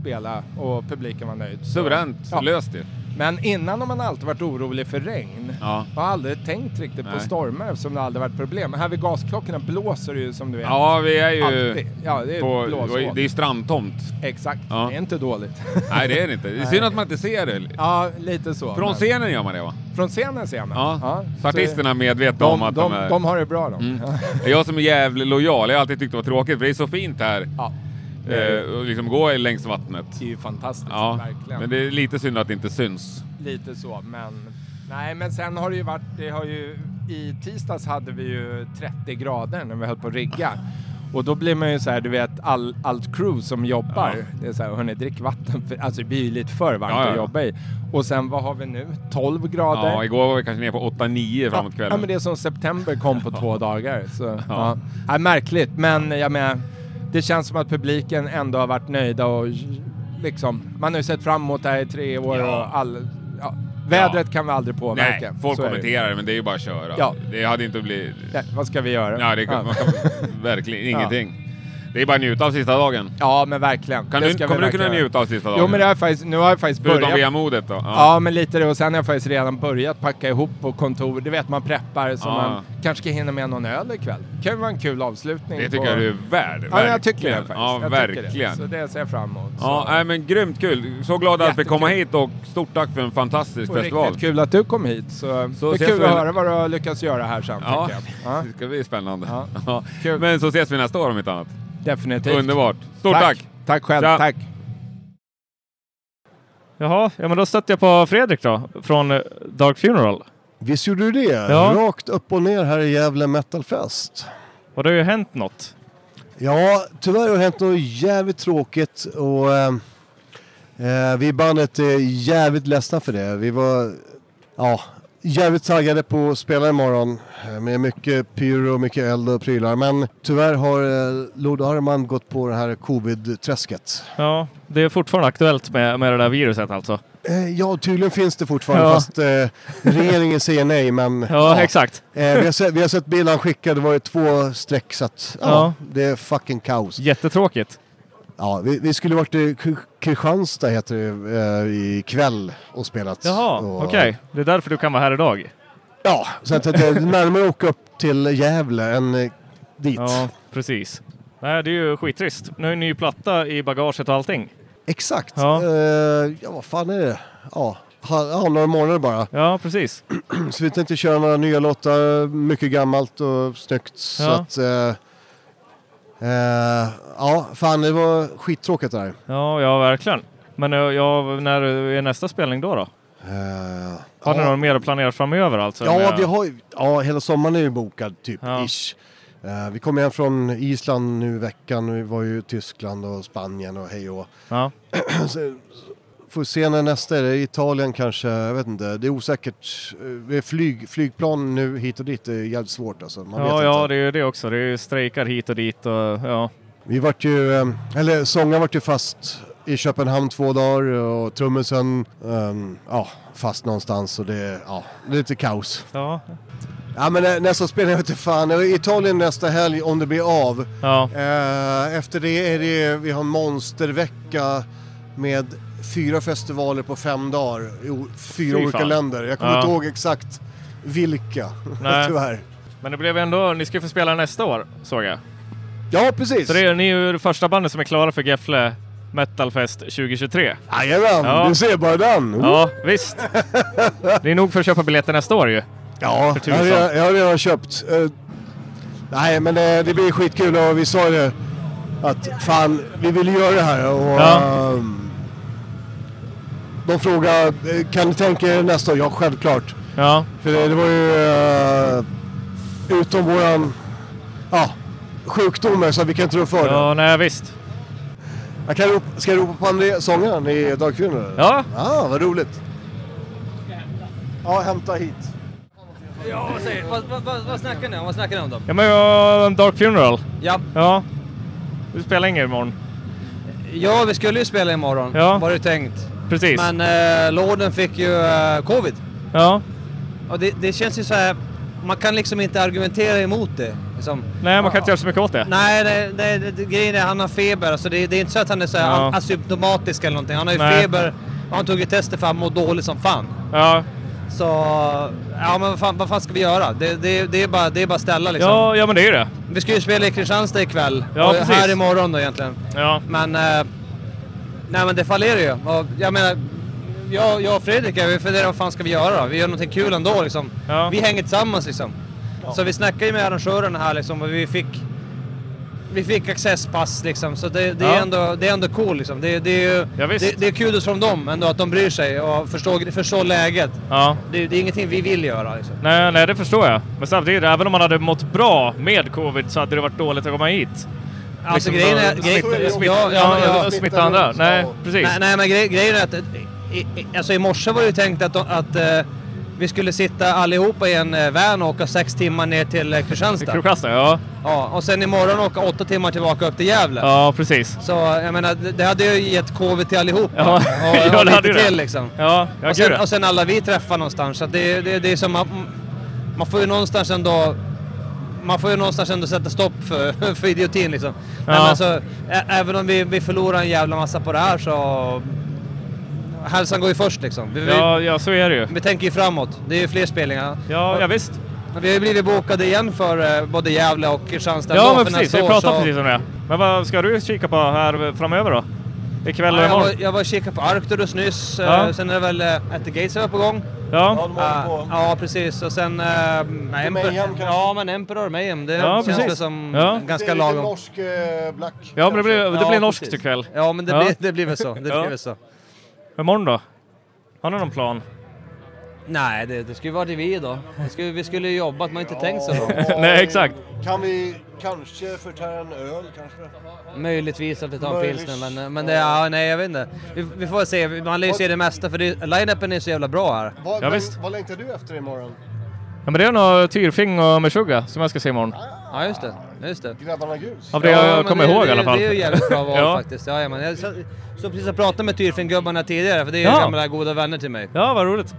Speaker 18: spela och publiken var nöjd. Så-
Speaker 1: Suveränt. Löst det.
Speaker 18: Men innan har man alltid varit orolig för regn.
Speaker 1: Ja.
Speaker 18: Jag har aldrig tänkt riktigt på
Speaker 1: Nej.
Speaker 18: stormar eftersom det aldrig varit problem. Här vid gasklockorna blåser det ju som du vet.
Speaker 1: Ja, vi är ju
Speaker 18: Alltid. Ja, det är
Speaker 1: på,
Speaker 18: blåshål.
Speaker 1: det är ju strandtomt.
Speaker 18: Exakt,
Speaker 1: Ja.
Speaker 18: det är inte dåligt.
Speaker 1: Nej, det är det inte. Det är
Speaker 18: Nej.
Speaker 1: synd att man inte ser det.
Speaker 18: Ja, lite så.
Speaker 1: Från
Speaker 18: men-
Speaker 1: scenen gör man det va?
Speaker 18: Från scenen ser man.
Speaker 1: Ja.
Speaker 18: så-
Speaker 1: Så artisterna är medvetna
Speaker 18: de,
Speaker 1: om att de,
Speaker 18: de,
Speaker 1: är...
Speaker 18: de har det bra de.
Speaker 1: Mm. Jag som är jävligt lojal, jag har alltid tyckt det var tråkigt för det är så fint här.
Speaker 18: Ja.
Speaker 1: Eh, och liksom gå längs vattnet.
Speaker 18: Det är ju fantastiskt,
Speaker 1: ja.
Speaker 18: verkligen.
Speaker 1: Men det är lite synd att det inte syns.
Speaker 18: Lite så, men... Nej, men sen har det ju varit... Det har ju, I tisdags hade vi ju 30 grader när vi höll på att rigga. Och då blir man ju så här, du vet, all, allt crew som jobbar.
Speaker 1: Ja.
Speaker 18: Det är så här, hörni, drick vatten. För, alltså, det blir ju lite för varmt
Speaker 1: Ja, ja, ja.
Speaker 18: att jobba i. Och sen, vad har vi nu? 12 grader.
Speaker 1: Ja, igår var vi kanske ner på 8-9 framåt
Speaker 18: Ja,
Speaker 1: kvällen.
Speaker 18: men det är som september kom på två dagar. Så, ja. Ja. märkligt, men jag menar, det känns som att publiken ändå har varit nöjda och liksom, man har ju sett fram emot det här i tre år och all, ja, vädret kan vi aldrig påverka.
Speaker 1: Nej, folk
Speaker 18: Så är det.
Speaker 1: kommenterar det, men det är ju bara att köra.
Speaker 18: Ja.
Speaker 1: Det hade inte blivit...
Speaker 18: Ja, vad ska vi göra?
Speaker 1: Ja, det
Speaker 18: Ja.
Speaker 1: man kan, verkligen
Speaker 18: Ja.
Speaker 1: ingenting. Det är bara att njuta av sista dagen.
Speaker 18: Ja, men verkligen.
Speaker 1: Kan
Speaker 18: Det
Speaker 1: du,
Speaker 18: ska vi
Speaker 1: kommer du kunna
Speaker 18: verkligen göra.
Speaker 1: njuta av sista dagen?
Speaker 18: Jo, men det har jag faktiskt, nu har jag faktiskt
Speaker 1: Förutom
Speaker 18: börjat.
Speaker 1: vemodet då?
Speaker 18: Ja. men lite det. Och sen har jag faktiskt redan börjat packa ihop på kontor. Du vet, man preppar så
Speaker 1: Ja.
Speaker 18: man kanske ska hinna med någon öl ikväll. kan ju vara en kul avslutning.
Speaker 1: Det
Speaker 18: på-
Speaker 1: tycker jag du är värd.
Speaker 18: Ja, jag
Speaker 1: verkligen.
Speaker 18: tycker det faktiskt.
Speaker 1: Ja,
Speaker 18: jag tycker
Speaker 1: verkligen.
Speaker 18: Det. Så det ser jag fram emot.
Speaker 1: Ja, nej, men grymt kul. Så glad att vi kom hit och stort tack för en fantastisk
Speaker 18: Och
Speaker 1: festival.
Speaker 18: riktigt kul att du kom hit. Så,
Speaker 1: Så
Speaker 18: det är
Speaker 1: ses
Speaker 18: kul
Speaker 1: vi
Speaker 18: att
Speaker 1: väl-
Speaker 18: höra vad du har lyckats göra här sen.
Speaker 1: Ja,
Speaker 18: tänker jag.
Speaker 1: det ska bli spännande. Ja. Men så ses vi nästa år om inte annat.
Speaker 18: Definitivt.
Speaker 1: Underbart. Stort tack!
Speaker 18: Tack, tack själv.
Speaker 1: Tja.
Speaker 18: Tack.
Speaker 2: Jaha, ja, men då stötte jag på Fredrik då, från eh, Dark Funeral.
Speaker 19: Visst gjorde du det?
Speaker 2: Ja.
Speaker 19: Rakt upp och ner här i Gävle Metal Fest.
Speaker 2: Och det har ju hänt något.
Speaker 19: Ja, tyvärr har det hänt något jävligt tråkigt och eh, eh, vi i bandet är jävligt ledsna för det. Vi var ja, jävligt taggade på att spela imorgon eh, med mycket pyro och mycket eld och prylar. Men tyvärr har eh, Lord Armand gått på det här covid-träsket.
Speaker 2: Ja, det är fortfarande aktuellt med, med det där viruset alltså.
Speaker 19: Eh, Ja, tydligen finns det fortfarande
Speaker 2: Ja.
Speaker 19: fast eh, regeringen säger nej. Men, ja,
Speaker 2: exakt.
Speaker 19: Eh, vi, har sett, vi har sett bilen han skickade, det var ju två streck så att, ja,
Speaker 2: Ja.
Speaker 19: det är fucking kaos.
Speaker 2: Jättetråkigt.
Speaker 19: Ja, vi, vi skulle varit i Kr- Kristianstad heter det, eh, ikväll och spelat.
Speaker 2: Jaha,
Speaker 19: Och-
Speaker 2: okej. Det är därför du kan vara här idag.
Speaker 19: Ja, så att det är närmare att åka upp till Gävle än eh, dit.
Speaker 2: Ja, precis. Nej, det är ju skittrist. Nu är en ny platta i bagaget och allting.
Speaker 19: Exakt.
Speaker 2: Ja.
Speaker 19: Ja. ja, vad fan är det? Ja, ha- ja några månader bara.
Speaker 2: Ja, precis.
Speaker 19: så vi tänkte köra några nya låtar, mycket gammalt och snyggt. Så
Speaker 2: Ja.
Speaker 19: att, eh, eh, ja, fan det var skittråkigt där.
Speaker 2: Ja, ja verkligen. Men eh, ja, när är nästa spelning då? då? har ni
Speaker 19: Eh, ja.
Speaker 2: något mer planerat framöver? Alltså,
Speaker 19: Ja,
Speaker 2: med-
Speaker 19: vi har, ju- ja, hela sommaren är ju bokad typ, ish. Eh, vi kom hem från Island nu i veckan och vi var ju i Tyskland och Spanien och hej och
Speaker 2: Ja.
Speaker 19: Så- Får se när nästa är, det är Italien kanske, jag vet inte, det är osäkert. Eh, det är Flyg, flygplan nu hit och dit är jävligt svårt alltså. Man vet
Speaker 2: ja,
Speaker 19: inte.
Speaker 2: ja det är ju det också. Det är ju strejkar hit och dit och ja.
Speaker 19: Vi vart ju, eh, eller sångaren vart ju fast i Köpenhamn två dagar och trummisen, ehm, ja, fast någonstans och det, ja, det är lite kaos.
Speaker 2: Ja.
Speaker 19: Ja men nä- nästa spelning vete fan. Det är Italien nästa helg om det blir av. Eh, efter det är det, vi har en monstervecka med fyra festivaler på fem dagar i o- fyra
Speaker 2: Fy
Speaker 19: olika
Speaker 2: fan.
Speaker 19: länder. Jag kommer
Speaker 2: Ja.
Speaker 19: inte ihåg exakt vilka, tyvärr.
Speaker 2: Men det blev ändå, ni ska ju få spela nästa år såg jag.
Speaker 19: Ja, precis.
Speaker 2: Så det är, ni är ju det första bandet som är klara för Gefle Metalfest 2023.
Speaker 19: Jajamän, du ser bara den!
Speaker 2: Ja, visst. Det är nog för att köpa biljetter nästa år ju.
Speaker 19: Ja,
Speaker 2: för
Speaker 19: jag har,
Speaker 2: tusan.
Speaker 19: redan, jag har redan köpt. Eh, nej, men eh, det, det blir skitkul och vi sa ju det att fan, vi vill göra det här och
Speaker 2: Ja.
Speaker 19: ehm, de frågade, eh, kan ni tänka er nästa år? Ja, självklart.
Speaker 2: Ja.
Speaker 19: För det, det var ju eh, utom våran ja, sjukdomar så vi kan inte rå för
Speaker 2: Ja,
Speaker 19: det.
Speaker 2: nej visst.
Speaker 19: Jag kan ropa, ska jag ropa på André, sångaren i Dagkvinnor?
Speaker 2: Ja.
Speaker 19: Ja, vad roligt. Ja, hämta hit.
Speaker 20: Ja, vad säger vad, vad, vad, vad snackar ni om? Vad snackar ni om då?
Speaker 2: Ja men ja, Dark Funeral.
Speaker 20: Ja.
Speaker 2: Ja. Du spelar ingen imorgon.
Speaker 20: Ja, vi skulle ju spela imorgon,
Speaker 2: Ja.
Speaker 20: var det tänkt.
Speaker 2: Precis.
Speaker 20: Men eh, Lorden fick ju eh, covid.
Speaker 2: Ja.
Speaker 20: Och det, det känns ju så här, man kan liksom inte argumentera emot det. Liksom.
Speaker 2: Nej, man kan inte göra så mycket åt det.
Speaker 20: Nej, nej, nej, det- det- grejen är han har feber. Alltså det, det är inte så att han är så här
Speaker 2: Ja.
Speaker 20: an- asymptomatisk eller någonting. Han har ju
Speaker 2: Nej.
Speaker 20: feber och han tog ju tester för han mår dåligt som fan.
Speaker 2: Ja.
Speaker 20: Så, ja men vad fan, vad fan ska vi göra? Det, det, det, är, bara, det är bara att ställa liksom.
Speaker 2: Ja, ja men det är ju det.
Speaker 20: Vi ska ju spela i Kristianstad ikväll.
Speaker 2: Ja,
Speaker 20: och
Speaker 2: precis.
Speaker 20: här imorgon då egentligen.
Speaker 2: Ja.
Speaker 20: Men, eh, nej men det fallerar ju. Och jag menar, jag, jag och Fredrik ja, vi funderar vad fan ska vi göra då? Vi gör någonting kul ändå liksom. Vi hänger tillsammans liksom. Så vi snackade ju med arrangörerna här liksom och vi fick vi fick accesspass liksom, så det, det,
Speaker 2: Ja.
Speaker 20: är ändå, det är ändå cool liksom. Det, det, är ju, det, det är kudos från dem ändå att de bryr sig och förstår, förstår läget.
Speaker 2: Ja.
Speaker 20: Det, det är ingenting vi vill göra liksom.
Speaker 2: Nej, nej, det förstår jag. Men samtidigt, även om man hade mått bra med covid så hade det varit dåligt att komma hit.
Speaker 20: Alltså
Speaker 2: Liksom,
Speaker 20: grejen är...
Speaker 2: då-
Speaker 20: Grej,
Speaker 2: smitt- smitt-
Speaker 20: ja, ja,
Speaker 2: ja,
Speaker 20: ja,
Speaker 2: smitta andra. Nej, precis.
Speaker 20: Nej, nej men grej, grejen är att... I, i, alltså i morse var det ju tänkt att, att eh, vi skulle sitta allihopa i en eh, van och åka sex timmar ner till eh, Kristianstad.
Speaker 2: Kristianstad, ja.
Speaker 20: Ja, och sen imorgon åka åtta timmar tillbaka upp till Gävle.
Speaker 2: Ja, precis.
Speaker 20: Så jag menar, det- det hade ju gett covid till allihopa.
Speaker 2: Ja,
Speaker 20: och,
Speaker 2: ja,
Speaker 20: och
Speaker 2: det hade ju
Speaker 20: lite
Speaker 2: det.
Speaker 20: till liksom.
Speaker 2: Ja, jag
Speaker 20: och, sen,
Speaker 2: gör det.
Speaker 20: och sen alla vi träffar någonstans. Så att det, det, det är som att man får ju någonstans ändå man får ju någonstans ändå sätta stopp för, för idiotin liksom. Nej,
Speaker 17: Ja.
Speaker 20: men alltså, ä- även om vi, vi förlorar en jävla massa på det här så... Hälsan går ju först liksom. Vi, vi-
Speaker 2: Ja, ja, så är det ju.
Speaker 20: vi tänker ju framåt. Det är ju fler spelningar.
Speaker 2: Ja, ja visst.
Speaker 20: Vi har ju blivit bokade igen för eh, både Gävle och Kristianstad.
Speaker 2: Ja,
Speaker 20: ändå
Speaker 2: men
Speaker 20: för
Speaker 2: precis.
Speaker 20: nästa
Speaker 2: Vi
Speaker 20: år,
Speaker 2: pratade
Speaker 20: så-
Speaker 2: precis om det. Men vad ska du kika på här framöver då? Ikväll och
Speaker 20: Ja, jag,
Speaker 2: imorgon?
Speaker 20: var, jag var och kikade på Arcturus nyss. eh,
Speaker 2: Ja.
Speaker 20: Sen är det väl eh, At the Gates som är på gång.
Speaker 2: Ja.
Speaker 20: Ja, ja precis. Och sen... eh, Emperor, ja, men Emperor Mayhem. Det
Speaker 2: Ja,
Speaker 20: känns
Speaker 2: precis.
Speaker 20: väl som
Speaker 2: Ja.
Speaker 20: ganska lagom.
Speaker 19: norsk eh, black.
Speaker 2: Ja, men det blir, det
Speaker 20: Ja,
Speaker 2: blir norskt
Speaker 20: precis.
Speaker 2: ikväll.
Speaker 20: Ja, men det blir- det blir väl så. Det blir väl så.
Speaker 2: Imorgon då? Har ni någon plan?
Speaker 20: Nej, det, det skulle ju varit vi då. Vi skulle, vi skulle ju jobbat, man har inte tänkt så långt.
Speaker 2: Nej, exakt.
Speaker 19: Kan vi kanske förtära en öl kanske?
Speaker 20: Möjligtvis att vi tar en
Speaker 19: Möjligt.
Speaker 20: pilsner, men, men det, ja, nej, jag vet inte. Vi, vi får väl se, man lär ju se det mesta för det, line-upen är så jävla bra här.
Speaker 19: Vad,
Speaker 2: Ja,
Speaker 19: vad-
Speaker 2: visst.
Speaker 19: vad längtar du efter imorgon?
Speaker 2: Ja, men det är nog Tyrfing och Meshuggah som jag ska se imorgon.
Speaker 20: Ja, just det. Just det.
Speaker 19: Grabbarna Gus.
Speaker 2: Av det jag
Speaker 20: men
Speaker 2: kommer
Speaker 20: det,
Speaker 2: ihåg
Speaker 20: det,
Speaker 2: i alla fall.
Speaker 20: Det är ju jävligt bra val
Speaker 2: Ja.
Speaker 20: faktiskt. Ja, ja, men jag så, så precis jag pratade med Tyrfingubbarna tidigare, för det är ju
Speaker 2: Ja.
Speaker 20: gamla goda vänner till mig.
Speaker 2: Ja, vad roligt.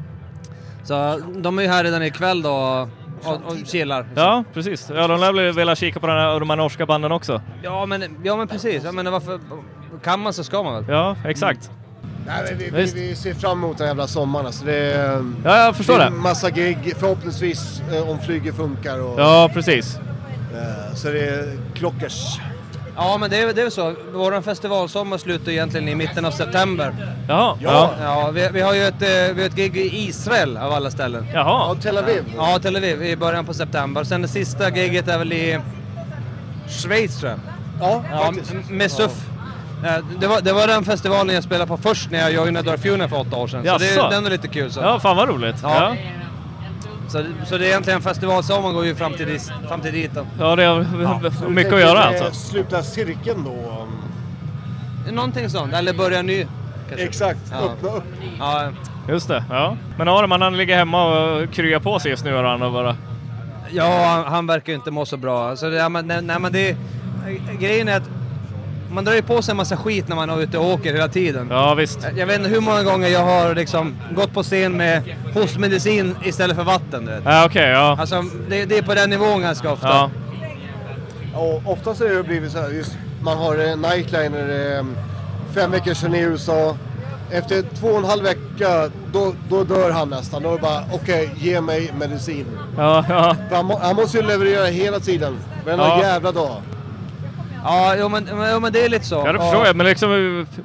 Speaker 20: Så de är ju här redan ikväll då och- och, och chillar.
Speaker 2: Ja, precis. Ja, de lär väl vilja kika på den här, de här norska banden också.
Speaker 20: Ja, men, ja, men precis. Jag menar, varför, kan man så ska man väl?
Speaker 2: Ja, exakt.
Speaker 19: Mm. Nej, men vi, vi,
Speaker 2: Visst.
Speaker 19: vi ser fram emot den jävla sommaren. Alltså det är,
Speaker 2: Ja, jag förstår
Speaker 19: det är
Speaker 2: det.
Speaker 19: massa gig, förhoppningsvis eh, om flyget funkar. Och,
Speaker 2: Ja, precis.
Speaker 19: eh, så det är klockers.
Speaker 20: Ja, men det är, det är väl så. Vår festivalsommar slutar egentligen i mitten av september.
Speaker 2: Jaha.
Speaker 20: Ja. ja vi, vi har ju ett, eh, vi har ett gig i Israel av alla ställen.
Speaker 2: Jaha.
Speaker 20: Och Tel Aviv. Ja, Tel Aviv i början på september. Sen det sista giget är väl i Schweiz tror jag.
Speaker 19: Ja,
Speaker 20: faktiskt. Med SUF. Eh, Det var, det var den festivalen jag spelade på först när jag joinade Dark Funeral för åtta år sedan. Så
Speaker 2: Jaså?
Speaker 20: det, den är lite kul. Så.
Speaker 2: Ja, fan vad roligt.
Speaker 20: Ja.
Speaker 2: Ja.
Speaker 20: Så, så det är egentligen festivalsommaren går ju fram till, dis- fram till dit. Då.
Speaker 2: Ja, det är
Speaker 20: Så
Speaker 2: mycket
Speaker 20: tänker
Speaker 2: att göra
Speaker 20: det-
Speaker 2: alltså.
Speaker 19: Sluta cirkeln då. um, om-
Speaker 20: Någonting sånt, eller börja ny. Kanske.
Speaker 19: Exakt, öppna upp.
Speaker 20: Ja.
Speaker 2: Just det, ja. Men Arman han ligger hemma och kryar på sig just nu han och bara...
Speaker 20: Ja, han, han verkar ju inte må så bra. Alltså, det, ja, men, nej, nej, men det, grejen är att man drar ju på sig en massa skit när man är ute och åker hela tiden.
Speaker 2: Ja, visst.
Speaker 20: Jag vet inte hur många gånger jag har liksom gått på scen med hostmedicin istället för vatten. Du vet.
Speaker 2: Ja, okej, ja.
Speaker 20: Alltså, det, det är på den nivån ganska ofta.
Speaker 2: Ja.
Speaker 19: Och oftast har det blivit så här, just, man har eh, nightliner eh, fem veckor sedan i USA. Efter två och en halv vecka, då, då dör han nästan. Då är det bara, okej, ge mig medicin.
Speaker 2: Ja, ja.
Speaker 19: För Han, må, han måste ju leverera hela tiden, varenda
Speaker 2: Ja.
Speaker 19: jävla dag.
Speaker 20: Ja, jo, men, men, jo, men det är lite så.
Speaker 2: Ja, det förstår jag. Men liksom,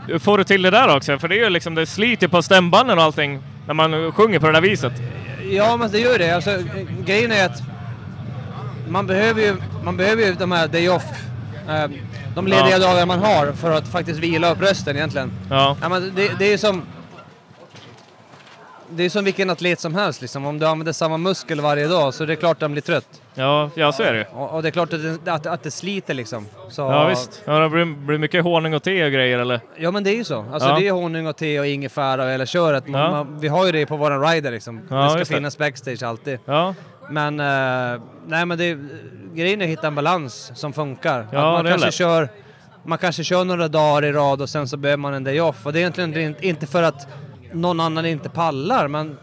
Speaker 2: hur får du till det där också? För det är ju liksom, det sliter på stämbanden och allting när man sjunger på det där viset.
Speaker 20: Ja, men det gör det. Alltså, grejen är att man behöver ju, man behöver ju de här day off, eh, de lediga
Speaker 2: Ja.
Speaker 20: dagar man har för att faktiskt vila upp rösten egentligen.
Speaker 2: Ja.
Speaker 20: Ja, men det, det är ju som... Det är som vilken atlet som helst liksom. Om du använder samma muskel varje dag så är det klart att den blir trött.
Speaker 2: Ja, ja så är det ju.
Speaker 20: Och, och det är klart att det, att, att det sliter liksom. Så,
Speaker 2: Ja, visst. Ja, det blir, blir mycket honung och te och grejer eller?
Speaker 20: Ja men det är ju så. Alltså
Speaker 2: Ja.
Speaker 20: det är honung och te och ingefära och hela köret. Man,
Speaker 2: Ja.
Speaker 20: man, vi har ju det på våran rider liksom.
Speaker 2: Ja,
Speaker 20: det ska
Speaker 2: just det.
Speaker 20: finnas backstage alltid.
Speaker 2: Ja.
Speaker 20: Men, eh, nej men det, är- grejen är att hitta en balans som funkar.
Speaker 2: Ja,
Speaker 20: Att man,
Speaker 2: det är
Speaker 20: kanske
Speaker 2: lätt.
Speaker 20: kör, man kanske kör några dagar i rad och sen så behöver man en day off. Och det är egentligen in- inte för att någon annan inte pallar, men,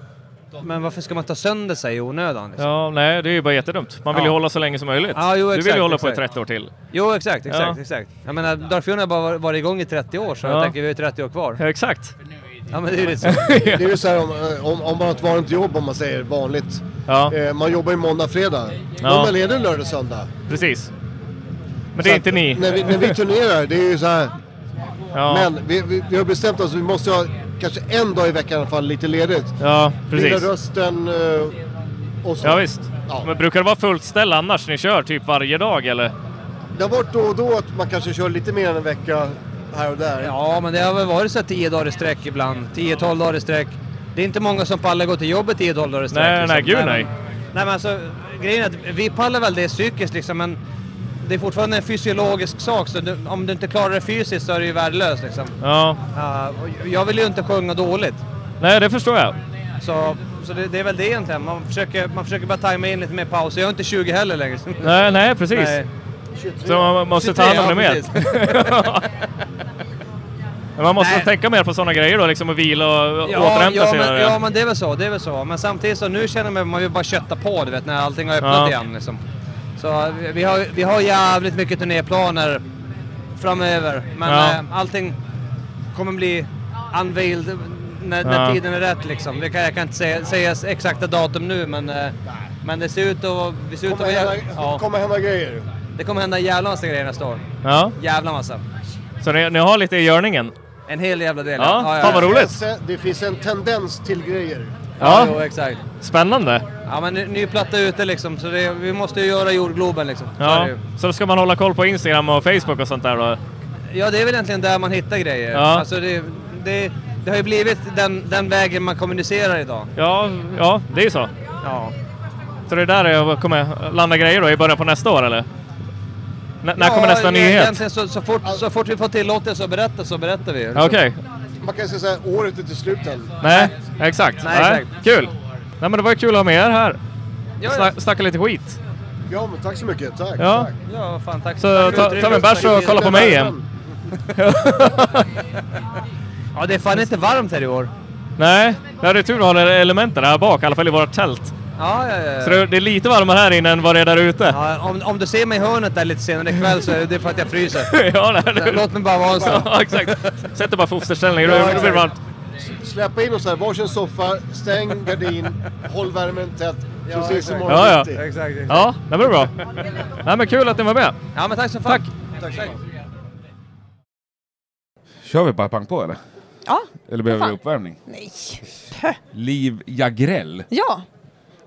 Speaker 20: men varför ska man ta sönder sig i onödan? Liksom?
Speaker 2: Ja, nej, det är ju bara jättedumt. Man vill ju
Speaker 20: Ja.
Speaker 2: hålla så länge som möjligt.
Speaker 20: Ja, jo,
Speaker 2: du vill
Speaker 20: exakt,
Speaker 2: ju hålla
Speaker 20: exakt.
Speaker 2: på i 30 år till.
Speaker 20: Jo, exakt, exakt,
Speaker 2: Ja.
Speaker 20: exakt. Jag menar, Darth Vader har bara var- varit igång i 30 år, så
Speaker 2: Ja.
Speaker 20: jag tänker vi har ju 30 år kvar.
Speaker 2: Ja, exakt.
Speaker 20: Ja, men det är ju lite så.
Speaker 19: det är ju så här om, eh, om, om man har ett vanligt jobb, om man säger vanligt. Eh, man jobbar ju måndag, fredag.
Speaker 2: Ja.
Speaker 19: Men man leder lördag, söndag.
Speaker 2: Precis. Men
Speaker 19: Så
Speaker 2: det är
Speaker 19: att
Speaker 2: inte ni.
Speaker 19: När vi, när vi turnerar, det är ju så här.
Speaker 2: Ja.
Speaker 19: Men vi, vi, vi har bestämt oss, vi måste ha kanske en dag i veckan i alla fall lite ledigt.
Speaker 2: Ja, precis.
Speaker 19: Vila rösten eh, och så.
Speaker 2: Ja, visst. Men brukar det vara fullt ställ annars? Ni kör typ varje dag eller?
Speaker 19: Det har varit då och då att man kanske kör lite mer än en vecka här och där.
Speaker 20: Ja, men det har väl varit så här 10 dagar i sträck ibland. 10-12 dagar i sträck. Det är inte många som pallar gå till jobbet 10 dagar i sträck.
Speaker 2: Nej, nej, gud, nej.
Speaker 20: Nej, men alltså grejen är att vi pallar väl det psykiskt liksom, men det är fortfarande en fysiologisk sak. Så du, om du inte klarar det fysiskt så är det ju värdelöst liksom.
Speaker 2: Ja.
Speaker 20: Ja, och jag vill ju inte sjunga dåligt.
Speaker 2: Nej, det förstår jag.
Speaker 20: Så, så det, det är väl det egentligen. Man försöker, man försöker bara tajma in lite mer paus. Jag är inte 20 heller längre.
Speaker 2: Nej, nej, precis. Så man måste ta hand om det mer.
Speaker 20: 23, ja,
Speaker 2: Men man måste tänka mer på sådana grejer då, liksom att vila och återhämta
Speaker 20: ja,
Speaker 2: sig.
Speaker 20: men,
Speaker 2: eller?
Speaker 20: ja, men det är väl så. Det är väl så. Men samtidigt så nu känner man man vill bara kötta på, du vet, när allting har öppnat
Speaker 2: Ja.
Speaker 20: igen. Liksom. Så vi- vi har, vi har jävligt mycket turnéplaner framöver. Men
Speaker 17: Ja.
Speaker 20: eh, allting kommer bli unveiled när, när
Speaker 17: Ja.
Speaker 20: tiden är rätt liksom. Det kan, jag kan inte säga, säga exakta datum nu men, eh, men det ser ut att... Vi ser ut
Speaker 19: Kommer
Speaker 20: att
Speaker 19: hända- kommer hända grejer.
Speaker 20: Det kommer hända en jävla massa grejer nästa år.
Speaker 2: Ja.
Speaker 20: Jävla massa.
Speaker 21: Så ni, ni har lite i görningen?
Speaker 20: En hel jävla del.
Speaker 21: Ja, fan vad roligt.
Speaker 19: Det finns en tendens till grejer.
Speaker 20: Ja, jo, exakt.
Speaker 21: Spännande.
Speaker 20: Ja, men ny, ny platta ute liksom, så det, vi måste ju göra jordgloben liksom. Så är
Speaker 7: Ja.
Speaker 20: det ju.
Speaker 21: Så då ska man hålla koll på Instagram och Facebook och sånt där då?
Speaker 20: ja, det är väl egentligen där man hittar grejer.
Speaker 7: Ja.
Speaker 20: Alltså, det, det, det har ju blivit den, den vägen man kommunicerar idag.
Speaker 7: Ja, ja det är ju så.
Speaker 20: Ja.
Speaker 7: Så det är där jag kommer landa grejer då i början på nästa år eller? N- när
Speaker 20: Ja,
Speaker 7: kommer nästa
Speaker 20: e-
Speaker 7: nyhet?
Speaker 20: egentligen Så, så, fort,
Speaker 19: Alltså-
Speaker 20: så fort vi får tillåtelse att berätta så berättar vi. liksom.
Speaker 7: Okej.
Speaker 19: Man kan säga så här, året är inte slut än.
Speaker 7: Nej, exakt.
Speaker 20: Nej, exakt.
Speaker 7: Kul! Nej men det var ju kul att ha med er här.
Speaker 20: Ja,
Speaker 7: Sna- snacka lite skit.
Speaker 19: Ja, men tack så mycket. Tack.
Speaker 7: Ja.
Speaker 19: tack.
Speaker 20: Ja, fan, tack.
Speaker 7: Så
Speaker 20: Tack för
Speaker 7: ta, ta
Speaker 20: utrymme.
Speaker 7: med en bärs och kolla på mig igen.
Speaker 20: Ja, det är fan inte varmt här i år.
Speaker 7: Nej, ja, det är tur att ha elementen här bak, i alla fall i vårt tält.
Speaker 20: Ja, ja, ja.
Speaker 7: Så det, det är lite varmare här inne än vad det är där ute.
Speaker 20: Ja, om, om du ser mig i hörnet där lite senare ikväll så är det för att jag fryser.
Speaker 7: ja, nej, nej.
Speaker 20: Låt mig bara vara en stund.
Speaker 7: Ja, exakt. Sätt dig bara i fosterställning, då
Speaker 19: Ja,
Speaker 7: blir det
Speaker 19: exakt.
Speaker 7: varmt.
Speaker 19: S- Släppa in oss här, varsin soffa, stäng gardin, håll värmen tätt. Så
Speaker 20: Ja,
Speaker 19: ses vi
Speaker 20: exakt.
Speaker 19: imorgon
Speaker 7: Ja, ja.
Speaker 19: bitti.
Speaker 7: Ja, det blir bra. Nej, men kul att ni var med.
Speaker 20: Ja, men tack så fan.
Speaker 19: Tack.
Speaker 1: Kör vi bara pang på eller?
Speaker 22: Ja,
Speaker 1: Eller behöver
Speaker 22: fan.
Speaker 1: vi uppvärmning?
Speaker 22: Nej.
Speaker 1: Liv Jagrell.
Speaker 22: Ja,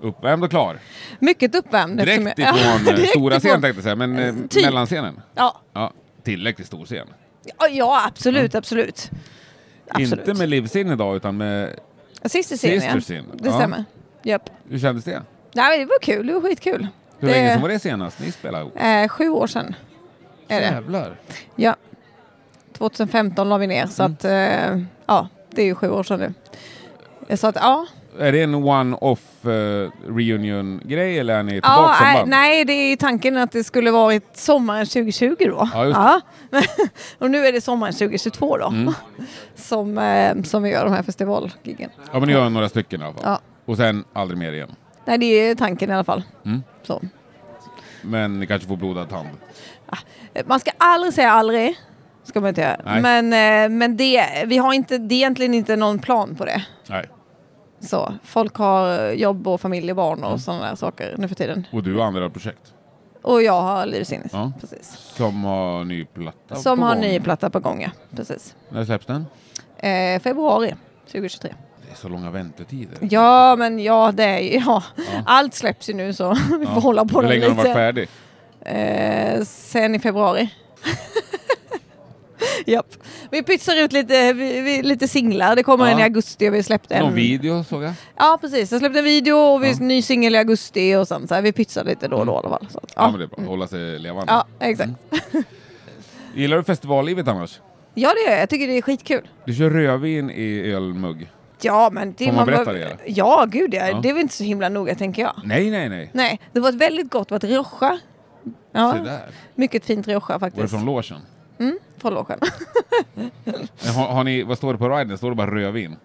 Speaker 1: Uppvärmd och klar.
Speaker 22: mycket uppvärmd. eftersom
Speaker 1: Direkt
Speaker 22: jag-
Speaker 1: ifrån eh,
Speaker 22: direkt
Speaker 1: stora
Speaker 22: ifrån-
Speaker 1: scenen tänkte jag säga, men eh,
Speaker 22: Typ.
Speaker 1: mellanscenen.
Speaker 22: Ja,
Speaker 1: Ja, tillräckligt stor scen.
Speaker 22: ja, ja absolut, absolut. Absolut.
Speaker 1: Inte med livsin idag utan med...
Speaker 22: Sista scenen,
Speaker 1: Sisters
Speaker 22: ja.
Speaker 1: scene.
Speaker 22: Det
Speaker 1: Ja.
Speaker 22: stämmer. Japp.
Speaker 1: Hur kändes det?
Speaker 22: Nej, men det var kul, det var skitkul.
Speaker 1: Hur länge sedan var det senast ni spelade ihop?
Speaker 22: Eh, sju år sedan. Är det.
Speaker 1: Jävlar.
Speaker 22: Ja. 2015 la vi ner,
Speaker 1: Mm.
Speaker 22: så att eh, ja, det är ju sju år sedan nu. Eh, Så att ja,
Speaker 1: Är det en one-off eh, reunion-grej eller är ni tillbaka
Speaker 22: ja eh,
Speaker 1: som
Speaker 22: nej,
Speaker 1: band?
Speaker 22: nej, det är ju tanken att det skulle varit sommaren 2020 då.
Speaker 1: Ja, just
Speaker 22: Och nu är det sommaren 2022 då,
Speaker 1: Mm.
Speaker 22: som, eh, som vi gör de här festivalgiggen.
Speaker 1: Ja, men ni gör några stycken i alla fall.
Speaker 22: Ja.
Speaker 1: Och sen aldrig mer igen.
Speaker 22: Nej, det är ju tanken i alla fall.
Speaker 1: Mm.
Speaker 22: Så.
Speaker 1: Men ni kanske får blodad tand.
Speaker 22: Eh, Man ska aldrig säga aldrig. Ska man inte göra.
Speaker 1: Nej.
Speaker 22: Men, eh, men det, vi har inte, det är egentligen inte någon plan på det.
Speaker 1: Nej.
Speaker 22: Så, folk har jobb och familj och barn och
Speaker 1: Mm.
Speaker 22: sådana där saker nu för tiden.
Speaker 1: Och du har andra projekt.
Speaker 22: Och jag har Livets Sinnes.
Speaker 1: Ja. Som har ny platta
Speaker 22: Som
Speaker 1: på
Speaker 22: har
Speaker 1: gång.
Speaker 22: ny platta på gång, ja. Precis.
Speaker 1: När släpps den?
Speaker 22: Eh, februari 2023.
Speaker 1: Det är så långa väntetider.
Speaker 22: Ja, men ja, det är ju, ja. Allt släpps ju nu så vi får
Speaker 1: Ja.
Speaker 22: hålla
Speaker 1: Hur
Speaker 22: på den
Speaker 1: länge
Speaker 22: lite.
Speaker 1: har den varit färdig?
Speaker 22: Eh, sen i februari. Japp. Vi pytsar ut lite, vi, vi, lite singlar. Det kommer
Speaker 1: Ja.
Speaker 22: en i augusti och vi släppte en.
Speaker 1: Någon video såg jag.
Speaker 22: Ja, precis. Jag släppte en video och vi ny singel i augusti och sen så här, vi pytsar lite då och då i alla fall. Så att,
Speaker 1: Ja,
Speaker 22: ja.
Speaker 1: men det är bra. Hålla sig levande.
Speaker 22: ja, exakt.
Speaker 1: Mm. Gillar du festivallivet annars?
Speaker 22: Ja, det gör jag. Jag tycker det är skitkul.
Speaker 1: Du kör rödvin i ölmugg.
Speaker 22: Ja, men det
Speaker 1: Får man
Speaker 22: behöver-
Speaker 1: berätta det, eller?
Speaker 22: Ja, gud ja.
Speaker 1: Ja.
Speaker 22: Det är väl inte så himla noga tänker jag.
Speaker 1: Nej, nej, nej.
Speaker 22: Nej, det var ett väldigt gott varit Rioja.
Speaker 1: Se där.
Speaker 22: Mycket fint Rioja
Speaker 1: Var det
Speaker 22: faktiskt.
Speaker 1: från logen?
Speaker 22: Mm, från logen.
Speaker 1: Men Har, har ni, vad står det på riden? Står det bara rödvin?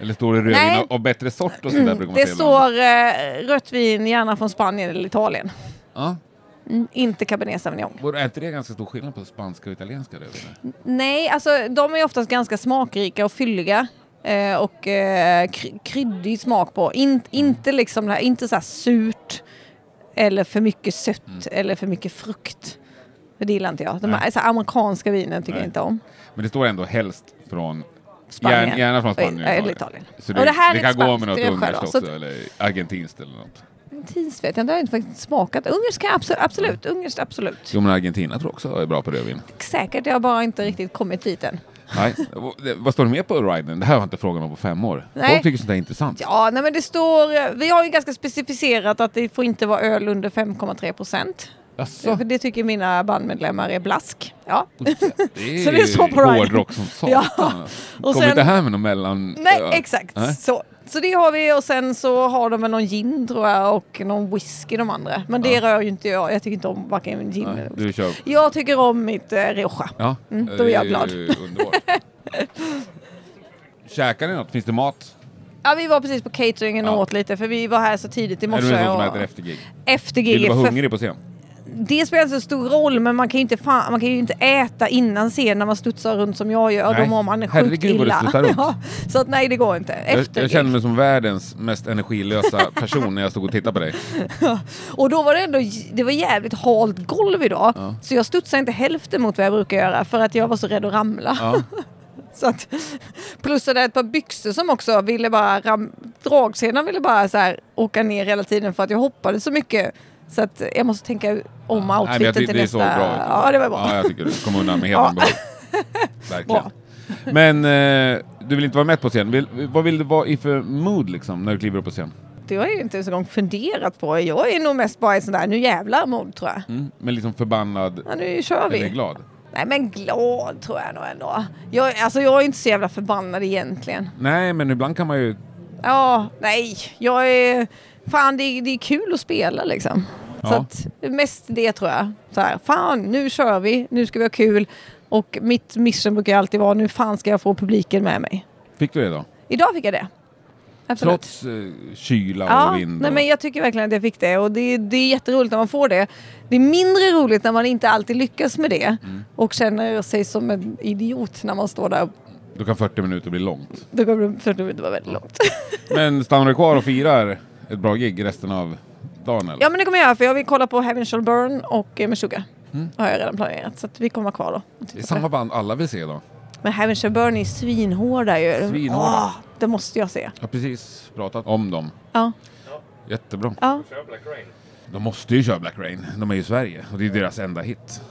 Speaker 1: Eller står det rödvin
Speaker 22: Nej. Mm,
Speaker 1: av, av bättre sort och sådär? brukar man
Speaker 22: Det
Speaker 1: säga
Speaker 22: står eh, rött vin, gärna från Spanien eller Italien.
Speaker 1: ibland.
Speaker 22: Mm, inte Cabernet Sauvignon.
Speaker 1: Ja. Och Är inte det ganska stor skillnad på spanska och italienska rödviner?
Speaker 22: Nej, alltså de är oftast ganska smakrika och fylliga. Eh, och eh, kry- kryddig smak på. In,
Speaker 1: Mm.
Speaker 22: Inte liksom det här, inte så här surt. Eller för mycket sött
Speaker 1: Mm.
Speaker 22: eller för mycket frukt. För Det gillar inte jag. De här, så här amerikanska vinen tycker
Speaker 1: Nej.
Speaker 22: jag inte om.
Speaker 1: Men det står ändå helst från
Speaker 22: Spanien.
Speaker 1: Gärna, gärna från
Speaker 22: Och-
Speaker 1: Spanien
Speaker 22: eller Italien.
Speaker 1: Så
Speaker 22: Och
Speaker 1: det,
Speaker 22: det
Speaker 1: det,
Speaker 22: här är
Speaker 1: kan
Speaker 22: ett
Speaker 1: gå
Speaker 22: spanskt
Speaker 1: med något
Speaker 22: rödvin
Speaker 1: ungerskt
Speaker 22: då,
Speaker 1: också,
Speaker 22: så att-
Speaker 1: eller argentinskt eller något.
Speaker 22: Tins vet jag inte, det har jag inte faktiskt smakat. Ungerskt kan jag absolut, absolut. Ungerskt absolut.
Speaker 1: Jo, men Argentina tror jag också är bra på rödvin.
Speaker 22: Säkert, jag har bara inte riktigt kommit dit än.
Speaker 1: Nej. Vad- Vad står det mer på riden? Det här har jag inte frågat om på fem år.
Speaker 22: Nej.
Speaker 1: Folk tycker sånt där är intressant.
Speaker 22: Ja, nej men det står... eh, Vi har ju ganska specificerat att det får inte vara öl under 5,3 procent.
Speaker 1: Jaså?
Speaker 22: För det tycker mina bandmedlemmar är blask. Ja.
Speaker 1: Det
Speaker 22: Så det står på riden.
Speaker 1: hårdrock som satan.
Speaker 22: Ja.
Speaker 1: Kommer
Speaker 22: Och sen-
Speaker 1: inte här med någon mellan...
Speaker 22: Nej,
Speaker 1: öl.
Speaker 22: exakt.
Speaker 1: Nej.
Speaker 22: Så. så det har vi och sen så har de väl någon gin tror jag och någon whisky de andra. Men det rör ju inte jag. Jag tycker inte om varken gin eller
Speaker 1: Nej, Du kör.
Speaker 22: Jag tycker om mitt eh, Rioja.
Speaker 1: Ja.
Speaker 22: Mm, då är jag
Speaker 1: Eh,
Speaker 22: glad.
Speaker 1: Underbart. Käkar ni något? Finns det mat?
Speaker 22: ja, vi var precis på cateringen och åt lite för vi var här så tidigt i
Speaker 1: Är du en
Speaker 22: morse.
Speaker 1: sån som
Speaker 22: och-
Speaker 1: äter efter gig?
Speaker 22: Efter
Speaker 1: Vill du
Speaker 22: giget,
Speaker 1: vara
Speaker 22: för-
Speaker 1: hungrig på scen?
Speaker 22: det spelar inte så stor roll, men man kan ju inte, fan, man kan ju inte äta innan scen när man studsar runt som jag gör.
Speaker 1: Nej.
Speaker 22: Då mår man sjukt
Speaker 1: Herregud, vad du
Speaker 22: illa.
Speaker 1: studsar runt.
Speaker 22: ja, så att nej, det går inte.
Speaker 1: Jag,
Speaker 22: Efter
Speaker 1: jag kände mig som världens mest energilösa person när jag stod och tittade på dig.
Speaker 22: Och då var det ändå, det var jävligt halt golv idag.
Speaker 1: Ja.
Speaker 22: Så jag studsade inte hälften mot vad jag brukar göra för att jag var så rädd att ramla.
Speaker 1: Ja.
Speaker 22: så att, plus så där ett par byxor som också ville bara, ram, dragsenan ville bara så här, åka ner hela tiden för att jag hoppade så mycket. Så att jag måste tänka om
Speaker 1: Nej, men
Speaker 22: outfiten
Speaker 1: jag tyckte
Speaker 22: till
Speaker 1: det
Speaker 22: nästa.
Speaker 1: såg bra ut.
Speaker 22: Ja, det var bra.
Speaker 1: Ja, jag tycker du kom undan med
Speaker 22: Ja.
Speaker 1: hedern. Verkligen. Men eh, du vill inte vara med på scen. Vill, vad vill du vara i för mood liksom, när du kliver upp på scen?
Speaker 22: Det har jag ju inte ens en gång funderat på. Jag är nog mest bara i sån där, nu jävlar mod tror jag.
Speaker 1: Mm? Men liksom förbannad
Speaker 22: Ja, nu kör vi.
Speaker 1: eller glad?
Speaker 22: Nej men glad tror jag nog ändå. Jag, alltså jag är inte så jävla förbannad egentligen.
Speaker 1: Nej, men ibland kan man ju...
Speaker 22: Ja, nej, jag är... Fan, det är, det är kul att spela liksom. Så
Speaker 1: Ja.
Speaker 22: att, mest det tror jag. Så här, fan, nu kör vi, nu ska vi ha kul. Och mitt mission brukar alltid vara, nu fan ska jag få publiken med mig.
Speaker 1: Fick du det då?
Speaker 22: Idag fick jag det. Absolut.
Speaker 1: Trots eh, kyla och
Speaker 22: Ja,
Speaker 1: vind?
Speaker 22: nej, men jag tycker verkligen att jag fick det och det, det är jätteroligt när man får det. Det är mindre roligt när man inte alltid lyckas med det
Speaker 1: Mm.
Speaker 22: och känner sig som en idiot när man står där.
Speaker 1: Då kan 40 minuter bli långt.
Speaker 22: Då kommer det för att det inte vara väldigt långt.
Speaker 1: Men stannar du kvar och firar ett bra gig resten av dagen? Eller?
Speaker 22: Ja men det kommer jag göra för jag vill kolla på Heaven Shall Burn och eh, Meshuggah.
Speaker 1: Mm.
Speaker 22: Har jag redan planerat så att vi kommer vara kvar då.
Speaker 1: det är samma band alla vill se då.
Speaker 22: Men Heaven Shall Burn är svinhårda ju.
Speaker 1: Svinhårda.
Speaker 22: Åh, det måste jag se.
Speaker 1: Jag har precis pratat om dem.
Speaker 22: Ja.
Speaker 1: Jättebra.
Speaker 22: Ja.
Speaker 1: De måste ju köra Black Rain. De är ju i Sverige och det är deras enda hit.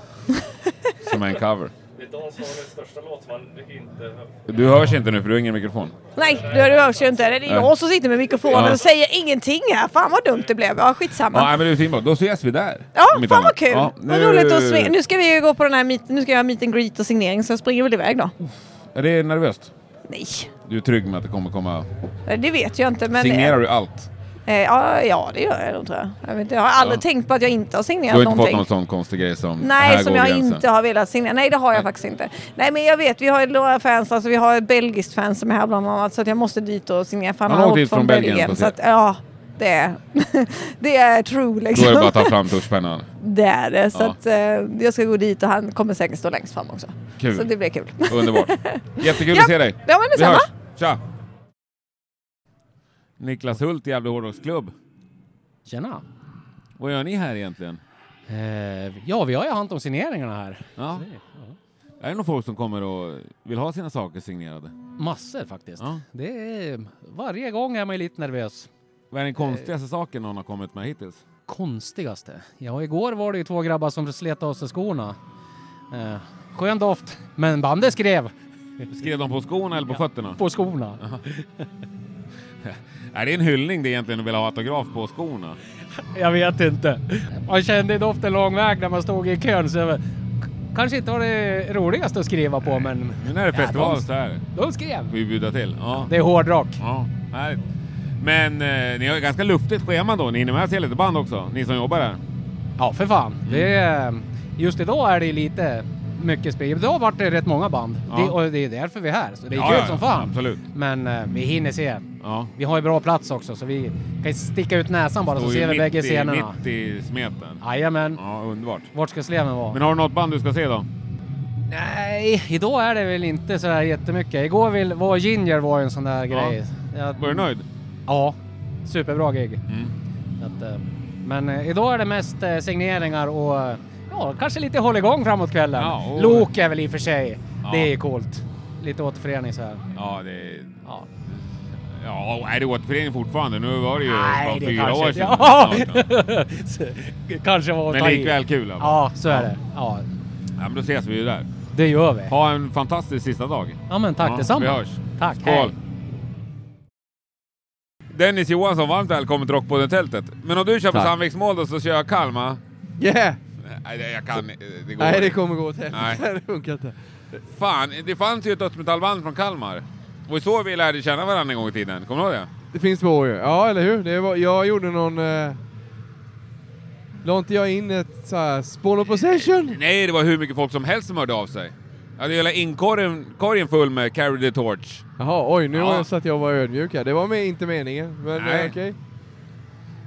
Speaker 1: Som är en cover.
Speaker 2: Vet du vad som var den största låt man inte hör?
Speaker 1: Du hörs inte nu för du har ingen mikrofon.
Speaker 22: Nej, det hörs ju inte. Det är
Speaker 1: Nej.
Speaker 22: jag som sitter med mikrofonen
Speaker 1: Ja.
Speaker 22: och säger ingenting här. Fan vad dumt det blev. Ja, skitsamma.
Speaker 1: Ja, nej, men det är fint. Då ses vi där.
Speaker 22: Ja,
Speaker 1: Om inte
Speaker 22: fan vad
Speaker 1: annat.
Speaker 22: kul!
Speaker 1: Ja,
Speaker 22: Vad roligt att smi- Nu ska vi ju gå på den här meet, nu ska jag ha meet and greet och signering så jag springer väl iväg då.
Speaker 1: Är det nervöst?
Speaker 22: Nej,
Speaker 1: Du är trygg med att det kommer komma...
Speaker 22: eh, det vet jag inte men...
Speaker 1: Signerar du allt?
Speaker 22: Eh, ja, ja, det gör jag nog tror jag. Jag, vet, inte, jag har aldrig
Speaker 1: Ja.
Speaker 22: tänkt på att jag inte har
Speaker 1: Du
Speaker 22: signerat
Speaker 1: har inte fått
Speaker 22: någonting.
Speaker 1: någon sån konstig grej som... här alltså.
Speaker 22: Nej, som
Speaker 1: går
Speaker 22: jag
Speaker 1: gränsen.
Speaker 22: inte har velat signera. Nej, det har jag faktiskt inte. Nej, men jag vet, vi har ju några fans, alltså vi har ett belgiskt fan som är här bland annat, så att jag måste dit och signera. För han,
Speaker 1: Han
Speaker 22: har
Speaker 1: åkte
Speaker 22: åkt
Speaker 1: hit
Speaker 22: från,
Speaker 1: från Belgien
Speaker 22: Belgien.
Speaker 1: för att
Speaker 22: så att,
Speaker 1: se.
Speaker 22: ja, det är, det är true liksom.
Speaker 1: Då är det bara att ta fram tuschpennan.
Speaker 22: Det är det. Så
Speaker 1: Ja.
Speaker 22: att, eh, jag ska gå dit och han kommer säkert stå längst fram också.
Speaker 1: Kul.
Speaker 22: Så det blir kul.
Speaker 1: Underbart. Jättekul
Speaker 22: Ja,
Speaker 1: att se dig.
Speaker 22: ja, men
Speaker 1: vi
Speaker 22: detsamma.
Speaker 1: hörs. Tja! Niklas Hult, Gävle Hårdrocksklubb.
Speaker 23: Tjena!
Speaker 1: Vad gör ni här egentligen?
Speaker 23: Eh, ja, vi har ju hand om signeringarna här.
Speaker 1: Ja. Är det någon folk som kommer och vill ha sina saker signerade?
Speaker 23: Massor faktiskt.
Speaker 1: Ja.
Speaker 23: Det är, varje gång är man ju lite nervös. Eh.
Speaker 1: Vad är den konstigaste saken någon har kommit med hittills?
Speaker 23: Konstigaste? Ja, igår var det ju två grabbar som slet av sig skorna. Eh, skön doft, men bandet skrev
Speaker 1: Skrev de på skorna eller på fötterna?
Speaker 23: på skorna.
Speaker 1: Är det är en hyllning det egentligen att vilja ha autograf på skorna?
Speaker 23: Jag vet inte. Man kände doften lång väg när man stod i kön. Så jag, var- kanske inte var det roligaste att skriva på, men...
Speaker 1: Nu när det är
Speaker 23: Ja,
Speaker 1: festival
Speaker 23: de-
Speaker 1: så här.
Speaker 23: De skrev!
Speaker 1: Får vi bjuda till. Ja.
Speaker 23: Det är hårdrock.
Speaker 1: Ja, härligt. Men eh, ni har ju ganska luftigt schema då. Ni hinner med att se lite band också, ni som jobbar här.
Speaker 23: Ja, för fan. Det är, just idag är det lite mycket spel. Idag vart det rätt många band.
Speaker 1: Ja.
Speaker 23: Det, och det är därför vi är här. Så det är
Speaker 1: Ja,
Speaker 23: kul
Speaker 1: ja,
Speaker 23: som fan.
Speaker 1: absolut.
Speaker 23: Men eh, vi hinner se.
Speaker 1: Ja.
Speaker 23: Vi har ju bra plats också så vi kan sticka ut näsan bara så
Speaker 1: Står ju
Speaker 23: ser vi
Speaker 1: mitt
Speaker 23: bägge
Speaker 1: i-
Speaker 23: scenerna.
Speaker 1: Mitt i smeten.
Speaker 23: Jajamän.
Speaker 1: Ja, underbart.
Speaker 23: Vart ska sleven vara?
Speaker 1: Men har du något band du ska se då?
Speaker 23: Nej, idag är det väl inte så här jättemycket. Igår vill, var Ginger var ju en sån där grej. Jag,
Speaker 1: Var du nöjd? Mm.
Speaker 23: Ja, superbra gig. Så Att, eh, men eh, idag är det mest eh, signeringar och eh, ja, kanske lite hålligång framåt kvällen.
Speaker 1: Ja, och-
Speaker 23: Lok är väl i och för sig,
Speaker 1: Ja.
Speaker 23: det är ju coolt. Lite återförening så här.
Speaker 1: Ja, det...
Speaker 23: Ja.
Speaker 1: Ja, är det återförening fortfarande? Nu var det ju
Speaker 23: Nej,
Speaker 1: fan
Speaker 23: det
Speaker 1: fyra
Speaker 23: kanske
Speaker 1: år
Speaker 23: inte-
Speaker 1: sedan.
Speaker 23: Ja.
Speaker 1: snart.
Speaker 23: Kanske var att
Speaker 1: Men
Speaker 23: ta i.
Speaker 1: likväl kul. alltså.
Speaker 23: Ja, så är det. Ja.
Speaker 1: Ja, men då ses vi ju där.
Speaker 23: Det gör vi.
Speaker 1: Ha en fantastisk sista dag.
Speaker 23: Ja, men tack detsamma.
Speaker 1: Vi hörs.
Speaker 23: Tack,
Speaker 1: Skål.
Speaker 23: hej.
Speaker 1: Dennis Johansson, varmt välkommen till Rockpodden-tältet. Men om du kör på
Speaker 5: Tack.
Speaker 1: Sandviksmål då så kör jag Kalmar.
Speaker 5: Yeah!
Speaker 1: Nej, det- jag kan eh, det går
Speaker 5: Nej, det
Speaker 1: inte.
Speaker 5: kommer gå åt helvete.
Speaker 1: Nej.
Speaker 5: Det funkar inte.
Speaker 1: Fan, det fanns ju ett dödsmetallband från Kalmar. Det var ju så vi lärde känna varandra en gång i tiden. Kommer du ihåg det?
Speaker 5: Det finns två ju. Ja, eller hur? Det var, jag gjorde någon... Eh, la inte jag in ett så här Spawn of Possession?
Speaker 1: Nej, det var hur mycket folk som helst som hörde av sig. Jag hade ju hela inkorgen korgen full med Carry the Torch.
Speaker 5: Jaha, oj, nu
Speaker 1: Ja.
Speaker 5: var jag så att jag var ödmjuk här. Det var med, inte meningen, men eh,
Speaker 1: Nej.
Speaker 5: okej.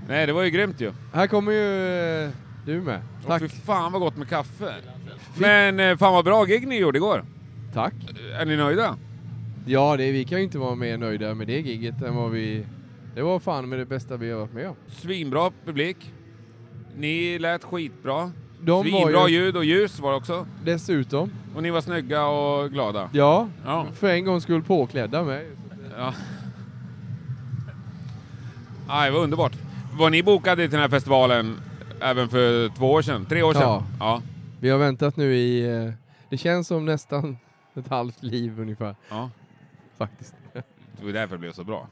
Speaker 1: Nej, det var ju grymt ju.
Speaker 5: Här kommer ju eh, Du med.
Speaker 1: Tack. Fy fan vad gott med kaffe. Men eh, fan vad bra gig ni gjorde igår.
Speaker 5: Tack.
Speaker 1: Är ni nöjda?
Speaker 5: Ja, det, vi kan ju inte vara mer nöjda med det giget än vad vi... Det var fan med det bästa vi har varit med om.
Speaker 1: Svinbra publik. Ni lät skitbra.
Speaker 5: De var
Speaker 1: Svinbra
Speaker 5: ju-
Speaker 1: ljud och ljus var det också.
Speaker 5: Dessutom,
Speaker 1: Och ni var snygga och glada.
Speaker 5: ja,
Speaker 1: Ja.
Speaker 5: för en gångs skull påklädda med.
Speaker 1: Ja. Aj, vad underbart. Var ni bokade till den här festivalen även för två år sedan? Tre år sedan?
Speaker 5: Ja.
Speaker 1: ja.
Speaker 5: Vi har väntat nu i... eh, Det känns som nästan ett halvt liv ungefär.
Speaker 1: Ja.
Speaker 5: Faktiskt.
Speaker 1: Det var därför det blev så bra.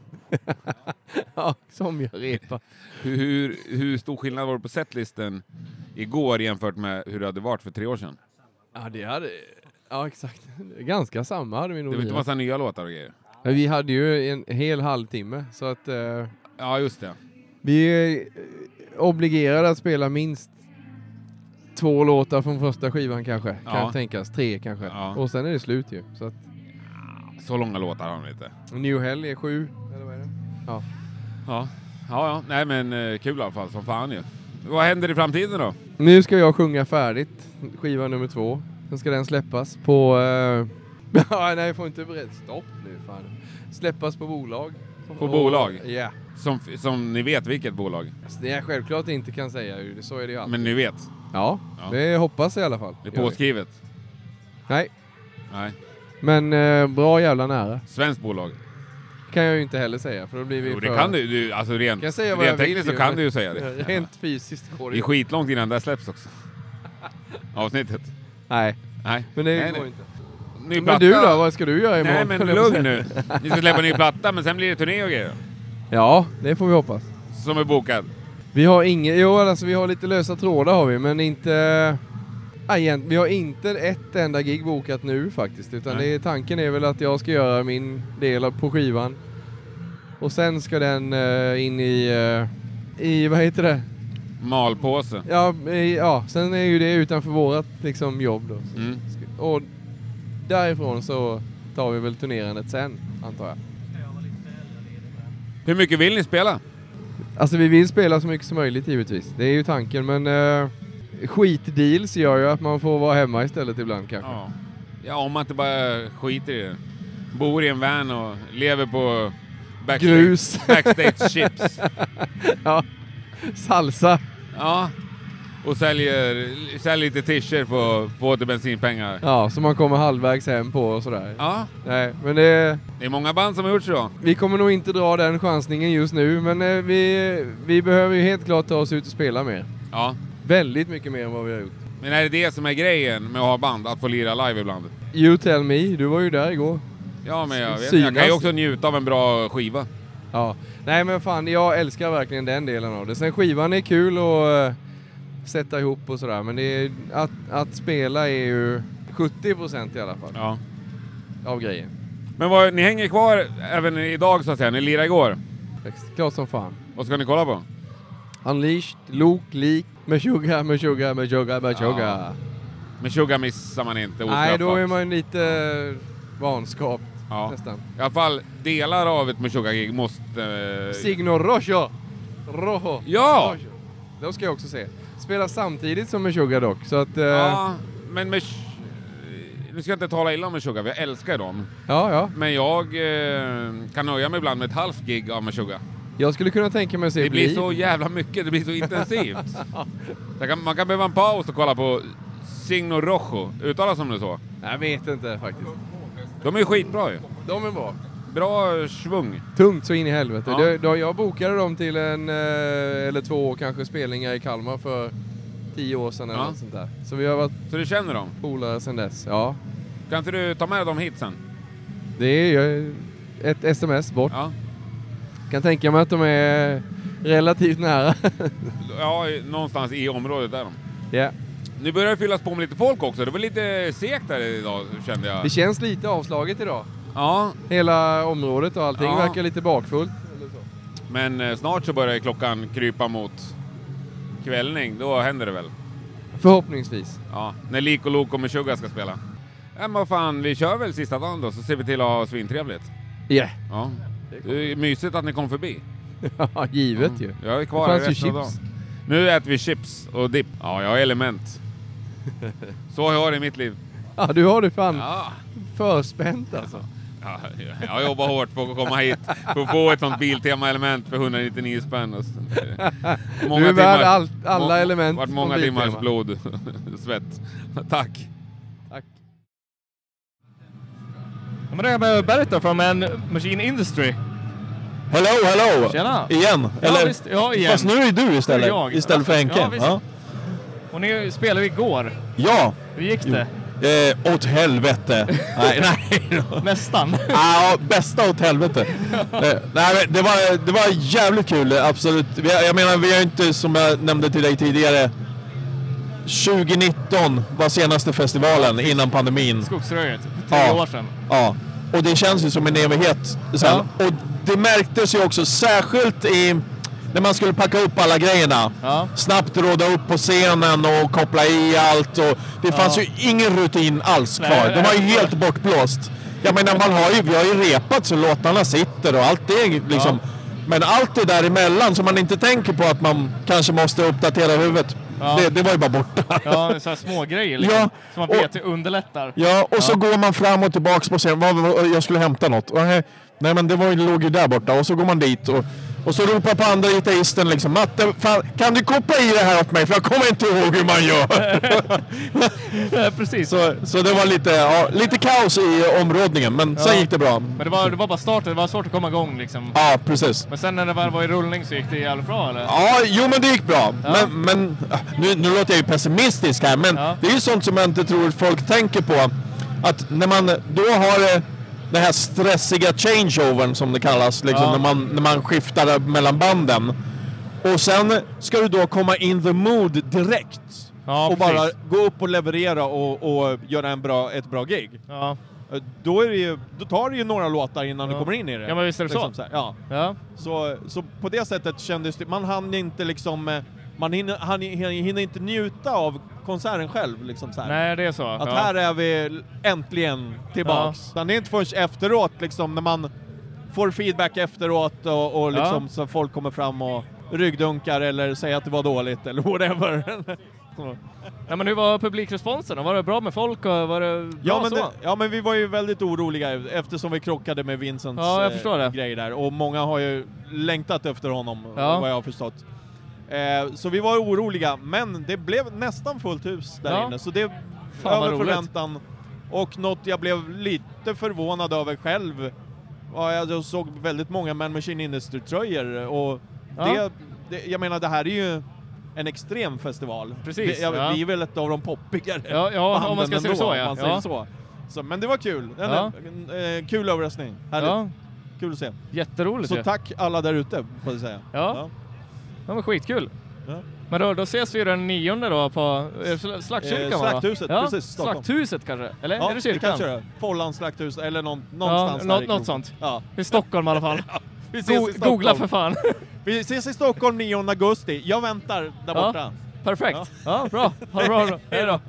Speaker 5: ja, som jag repat.
Speaker 1: Hur, hur, hur stor skillnad var det på setlisten igår jämfört med hur det hade varit för tre år sedan?
Speaker 5: Ja, det hade... Ja, exakt. Ganska samma hade vi
Speaker 1: Det
Speaker 5: nog.
Speaker 1: var inte
Speaker 5: lirat.
Speaker 1: massa nya låtar och grejer.
Speaker 5: Men vi hade ju en hel halvtimme, så att... eh,
Speaker 1: Ja, just det.
Speaker 5: Vi är eh, obligerade att spela minst två låtar från första skivan kanske.
Speaker 1: Ja.
Speaker 5: Kan tänkas. Tre kanske.
Speaker 1: Ja.
Speaker 5: Och sen är det slut ju. Så att
Speaker 1: Så långa låtar har de inte.
Speaker 5: New Hell är sju. Eller vad är det? Ja.
Speaker 1: Ja, ja, ja. nej men eh, kul i alla fall som fan ju. Vad händer i framtiden då?
Speaker 5: Nu ska jag sjunga färdigt skiva nummer två. Sen ska den släppas på... eh, Ja, nej, jag får inte berätta. Stopp nu fan. Släppas på bolag.
Speaker 1: På
Speaker 5: Och-
Speaker 1: bolag?
Speaker 5: Ja.
Speaker 1: Som, som ni vet vilket bolag?
Speaker 5: Det jag självklart inte kan säga ju. Så är det ju alltid.
Speaker 1: Men ni vet?
Speaker 5: Ja, det hoppas jag i alla fall.
Speaker 1: Det är påskrivet?
Speaker 5: Nej.
Speaker 1: Nej.
Speaker 5: Men eh, bra jävla nära.
Speaker 1: Svenskt bolag?
Speaker 5: Kan jag ju inte heller säga för då blir vi
Speaker 1: Jo, det
Speaker 5: för...
Speaker 1: kan du, du alltså rent,
Speaker 5: Kan jag säga vad jag
Speaker 1: rent
Speaker 5: vill
Speaker 1: tekniskt
Speaker 5: ju,
Speaker 1: så kan
Speaker 5: men-
Speaker 1: du ju säga det.
Speaker 5: Rent fysiskt går
Speaker 1: Det
Speaker 5: det
Speaker 1: är
Speaker 5: ju.
Speaker 1: skitlångt innan det här släpps också. Avsnittet.
Speaker 5: Nej.
Speaker 1: Nej.
Speaker 5: Men det
Speaker 1: Nej,
Speaker 5: går
Speaker 1: nej.
Speaker 5: inte.
Speaker 1: Ny
Speaker 5: Men
Speaker 1: platta.
Speaker 5: du då? Vad ska du göra imorgon?
Speaker 1: Nej men
Speaker 5: höll jag på att
Speaker 1: lugn nu.
Speaker 5: säga.
Speaker 1: Ni ska släppa en ny platta men sen blir det turné och grejer.
Speaker 5: Ja, det får vi hoppas.
Speaker 1: Som är bokad.
Speaker 5: Vi har inget... Jo, alltså vi har lite lösa trådar har vi, men inte... Ja, egent- vi har inte ett enda gig bokat nu faktiskt, utan
Speaker 1: Nej.
Speaker 5: det är, tanken är väl att jag ska göra min del av- på skivan. Och sen ska den eh, in i... eh, I, vad heter det?
Speaker 1: Malpåse.
Speaker 5: Ja, i, ja, sen är ju det utanför vårat liksom, jobb då. Så-
Speaker 1: Mm.
Speaker 5: ska- Och därifrån så tar vi väl turnerandet sen, antar jag.
Speaker 1: Hur mycket vill ni spela?
Speaker 5: Alltså vi vill spela så mycket som möjligt givetvis. Det är ju tanken men eh, skitdeals gör ju att man får vara hemma istället ibland kanske.
Speaker 1: Ja. Ja, om man inte bara skiter i det. Bor i en van och lever på backstage,
Speaker 5: Grus.
Speaker 1: backstage chips.
Speaker 5: ja. Salsa.
Speaker 1: Ja. Och säljer, säljer lite t-shirts för att få åter bensinpengar.
Speaker 5: Ja, som man kommer halvvägs hem på och sådär.
Speaker 1: Ja.
Speaker 5: Nej, men det...
Speaker 1: Det är många band som har gjort så.
Speaker 5: Vi kommer nog inte dra den chansningen just nu men eh, vi, vi behöver ju helt klart ta oss ut och spela mer.
Speaker 1: Ja.
Speaker 5: Väldigt mycket mer än vad vi har gjort.
Speaker 1: Men är det det som är grejen med att ha band? Att få lira live ibland?
Speaker 5: You tell me, du var ju där igår.
Speaker 1: Ja, men jag vet.
Speaker 5: Synas.
Speaker 1: Jag kan ju också njuta av en bra skiva.
Speaker 5: Ja, nej men fan jag älskar verkligen den delen av det. Sen skivan är kul och eh, sätta ihop och sådär men det är, att, att spela är ju 70% i alla fall.
Speaker 1: Ja.
Speaker 5: Av grejen.
Speaker 1: Men vad, ni hänger kvar även idag så att säga? Ni lirade igår?
Speaker 5: Klart som fan.
Speaker 1: Vad ska ni kolla på?
Speaker 5: Unleashed, Lok, Lik, Meshuggah, Meshuggah, Meshuggah, Meshuggah.
Speaker 1: Men Sugar missar man inte ostraffat.
Speaker 5: Nej, då är man ju lite eh, vanskapt nästan.
Speaker 1: I alla fall delar av ett Meshuggah-gig måste... eh,
Speaker 5: Signor Rojo! Rojo!
Speaker 1: Ja!
Speaker 5: Rojo. De ska jag också se. Spelar samtidigt som Meshuggah dock, så att... eh,
Speaker 1: Ja, men med... eh, Nu ska jag inte tala illa om Meshuggah, för jag älskar dem.
Speaker 5: ja, ja.
Speaker 1: Men jag eh, kan nöja mig ibland med ett halvt gig av Meshuggah.
Speaker 5: Jag skulle kunna tänka mig att se
Speaker 1: Det blir
Speaker 5: Bleed.
Speaker 1: så jävla mycket, det blir så intensivt. Så jag kan, man kan behöva en paus och kolla på Signo Rojo. Uttalas de det så?
Speaker 5: Jag vet inte faktiskt.
Speaker 1: De är ju skitbra ju.
Speaker 5: De är bra.
Speaker 1: Bra eh, svung.
Speaker 5: Tungt så in i helvete.
Speaker 1: Ja.
Speaker 5: Det- då- jag bokade dem till en eh, eller två kanske spelningar i Kalmar för tio år sedan eller
Speaker 1: Ja.
Speaker 5: något sånt där. Så vi har varit
Speaker 1: Så du känner dem?
Speaker 5: polare sedan dess. Ja,
Speaker 1: Kan inte du ta med dem hit sen?
Speaker 5: det är eh, ett sms bort. Kan tänka mig att de är relativt nära.
Speaker 1: Ja, i- någonstans i området där de.
Speaker 5: Ja.
Speaker 1: Nu börjar det fyllas på med lite folk också. Det var lite segt där idag kände jag.
Speaker 5: Det känns lite avslaget idag.
Speaker 1: Ja.
Speaker 5: Hela området och allting
Speaker 1: Ja.
Speaker 5: verkar lite bakfullt.
Speaker 1: Men eh, snart så börjar klockan krypa mot kvällning. Då händer det väl.
Speaker 5: Förhoppningsvis.
Speaker 1: Ja, när Liko Loko med Sugar ska spela. Ja, men vad fan, vi kör väl sista dagen då så ser vi till att ha svintrevligt.
Speaker 5: Ja.
Speaker 1: Ja. Det är mysigt att ni kom förbi. Mm.
Speaker 5: Ja, givet ju.
Speaker 1: Jag är
Speaker 5: Det
Speaker 1: kvar
Speaker 5: fanns ju
Speaker 1: resten av
Speaker 5: chips.
Speaker 1: dagen. Nu äter vi chips och dipp. Ja, jag har element. Så har jag det i mitt liv.
Speaker 5: Ja, du har det fan
Speaker 1: Ja.
Speaker 5: förspänt alltså.
Speaker 1: Ja, jag jobbar hårt för att komma hit för att få ett sånt Biltema-element för 199 spänn. Och så-
Speaker 5: Du är värd allt- alla
Speaker 1: må-
Speaker 5: element
Speaker 1: varit många
Speaker 5: från Biltema.
Speaker 1: timmars blod, svett. Tack!
Speaker 2: Ja, Men det är med Berta från en Machine Industry.
Speaker 21: Hello, hello!
Speaker 2: Tjena!
Speaker 21: Igen?
Speaker 2: Ja,
Speaker 21: Eller?
Speaker 2: visst. Ja, igen.
Speaker 21: Fast nu är det du istället,
Speaker 2: Nu är jag.
Speaker 21: istället för Henke.
Speaker 2: Ja, visst.
Speaker 21: Ja.
Speaker 2: Och ni spelade ju igår.
Speaker 21: Ja.
Speaker 2: Hur gick det?
Speaker 21: Eh, åt helvete. nej, nej.
Speaker 2: Nästan.
Speaker 21: Ja, bästa åt helvete. Eh, nej, men det, var, det var jävligt kul, absolut. Vi, jag menar, vi har ju inte, som jag nämnde till dig tidigare, 2019 var senaste festivalen innan pandemin.
Speaker 2: Skogsröjet. Tre år sedan.
Speaker 21: Ja, och det känns ju som en evighet sen. Och det märktes ju också, särskilt i när man skulle packa upp alla grejerna. Snabbt råda upp på scenen och koppla i allt. Och det fanns ju ingen rutin alls
Speaker 4: Nej,
Speaker 21: kvar. Det var ju
Speaker 4: nej.
Speaker 21: helt bortblåst. Jag menar, man har ju, vi har ju repat så låtarna sitter och allt det liksom. Men allt det däremellan som man inte tänker på att man kanske måste uppdatera huvudet.
Speaker 2: Ja.
Speaker 21: Det, det var ju bara borta.
Speaker 2: Ja, det är så här små grejer liksom.
Speaker 21: Ja,
Speaker 2: Som man vet hur underlättar.
Speaker 21: Ja, och så går man fram och tillbaks på scenen. Vad- vad- Jag skulle hämta något. Och här- Nej, men det var ju, låg ju där borta. Och så går man dit och, och så ropar på andra gitarristen liksom. Matte, fan, kan du koppla i det här åt mig? För jag kommer inte ihåg hur man gör.
Speaker 2: Precis.
Speaker 21: Så, så det var lite, ja, lite kaos i områdningen. Men sen
Speaker 2: Ja.
Speaker 21: gick det bra.
Speaker 2: Men det var, det var bara starten, det var svårt att komma igång liksom.
Speaker 21: Ja, precis.
Speaker 2: Men sen när det väl var i rullning så gick det jävligt bra eller?
Speaker 21: Ja, jo men det gick bra. Men, men ah, nu, nu låter jag ju pessimistisk här, men det är ju sånt som jag inte tror folk tänker på. Att när man då har eh, den här stressiga changeovern som det kallas, liksom,
Speaker 4: Ja.
Speaker 21: när, man, när man skiftar mellan banden. Och sen ska du då komma in the mood direkt.
Speaker 4: och
Speaker 21: precis.
Speaker 4: bara gå upp och leverera och, och göra en bra, ett bra gig. Eh,
Speaker 2: Ja.
Speaker 4: Då, är det ju, då tar det ju några låtar innan du kommer in i det. Liksom
Speaker 2: Ja, men visst är det så.
Speaker 4: här, ja. Så, så på det sättet kändes det, man hann inte liksom, eh, man hinner, han, hinner inte njuta av konserten själv. Liksom så här.
Speaker 2: Nej, det är så.
Speaker 4: Att
Speaker 2: ja.
Speaker 4: här är vi äntligen tillbaks. Utan Det är inte förrän efteråt liksom när man får feedback efteråt och, och
Speaker 2: Ja.
Speaker 4: liksom så folk kommer fram och ryggdunkar eller säger att det var dåligt eller whatever. Så.
Speaker 2: Nej, men hur var publikresponsen? då? Var det bra med folk? Och var det bra
Speaker 4: Ja men,
Speaker 2: så?
Speaker 4: det, ja men vi var ju väldigt oroliga eftersom vi krockade med Vincents
Speaker 2: Ja, jag
Speaker 4: eh,
Speaker 2: förstår det.
Speaker 4: grej där och många har ju längtat efter honom
Speaker 2: Ja.
Speaker 4: vad jag har förstått. Eh, så vi var oroliga men det blev nästan fullt hus där
Speaker 2: Ja.
Speaker 4: inne så det
Speaker 2: Fan, vad
Speaker 4: över
Speaker 2: roligt.
Speaker 4: förväntan. Och något jag blev lite förvånad över själv var jag jag såg väldigt många Man Machine Industry-tröjor och
Speaker 2: Ja.
Speaker 4: det, det, jag menar det här är ju en extrem festival.
Speaker 2: Precis,
Speaker 4: Vi, jag,
Speaker 2: ja.
Speaker 4: vi är väl ett av de poppigare
Speaker 2: Ja, ja, om man
Speaker 4: banden
Speaker 2: ska se det
Speaker 4: ändå,
Speaker 2: så,
Speaker 4: om
Speaker 2: ja.
Speaker 4: man säger
Speaker 2: Ja.
Speaker 4: så. Så, men det var kul. En,
Speaker 2: Ja.
Speaker 4: en, eh, kul överraskning. Härligt.
Speaker 2: Ja.
Speaker 4: Kul att se.
Speaker 2: Jätteroligt
Speaker 4: Så
Speaker 2: ju.
Speaker 4: tack alla där ute, får jag säga.
Speaker 2: Ja. ja. men skitkul.
Speaker 4: Ja.
Speaker 2: Men då, då ses vi den nionde då på eh, sl- Slaktkyrkan
Speaker 4: Eh,
Speaker 2: va?
Speaker 4: Slakthuset,
Speaker 2: ja?
Speaker 4: precis, Stockholm.
Speaker 2: Slakthuset kanske? Eller
Speaker 4: Ja,
Speaker 2: är det
Speaker 4: det
Speaker 2: kyrkan?
Speaker 4: kanske det är. Follan slakthus, eller någon,
Speaker 2: ja,
Speaker 4: någonstans där i
Speaker 2: något,
Speaker 4: kroken.
Speaker 2: något sånt.
Speaker 4: Ja.
Speaker 2: I Stockholm i alla fall.
Speaker 4: Vi ses
Speaker 2: Go-
Speaker 4: i Stockholm.
Speaker 2: Googla för fan.
Speaker 4: Vi ses i Stockholm 9 augusti. Jag väntar där
Speaker 2: Ja,
Speaker 4: borta.
Speaker 2: Perfekt. Ja, bra. Ha det bra då. Hej då.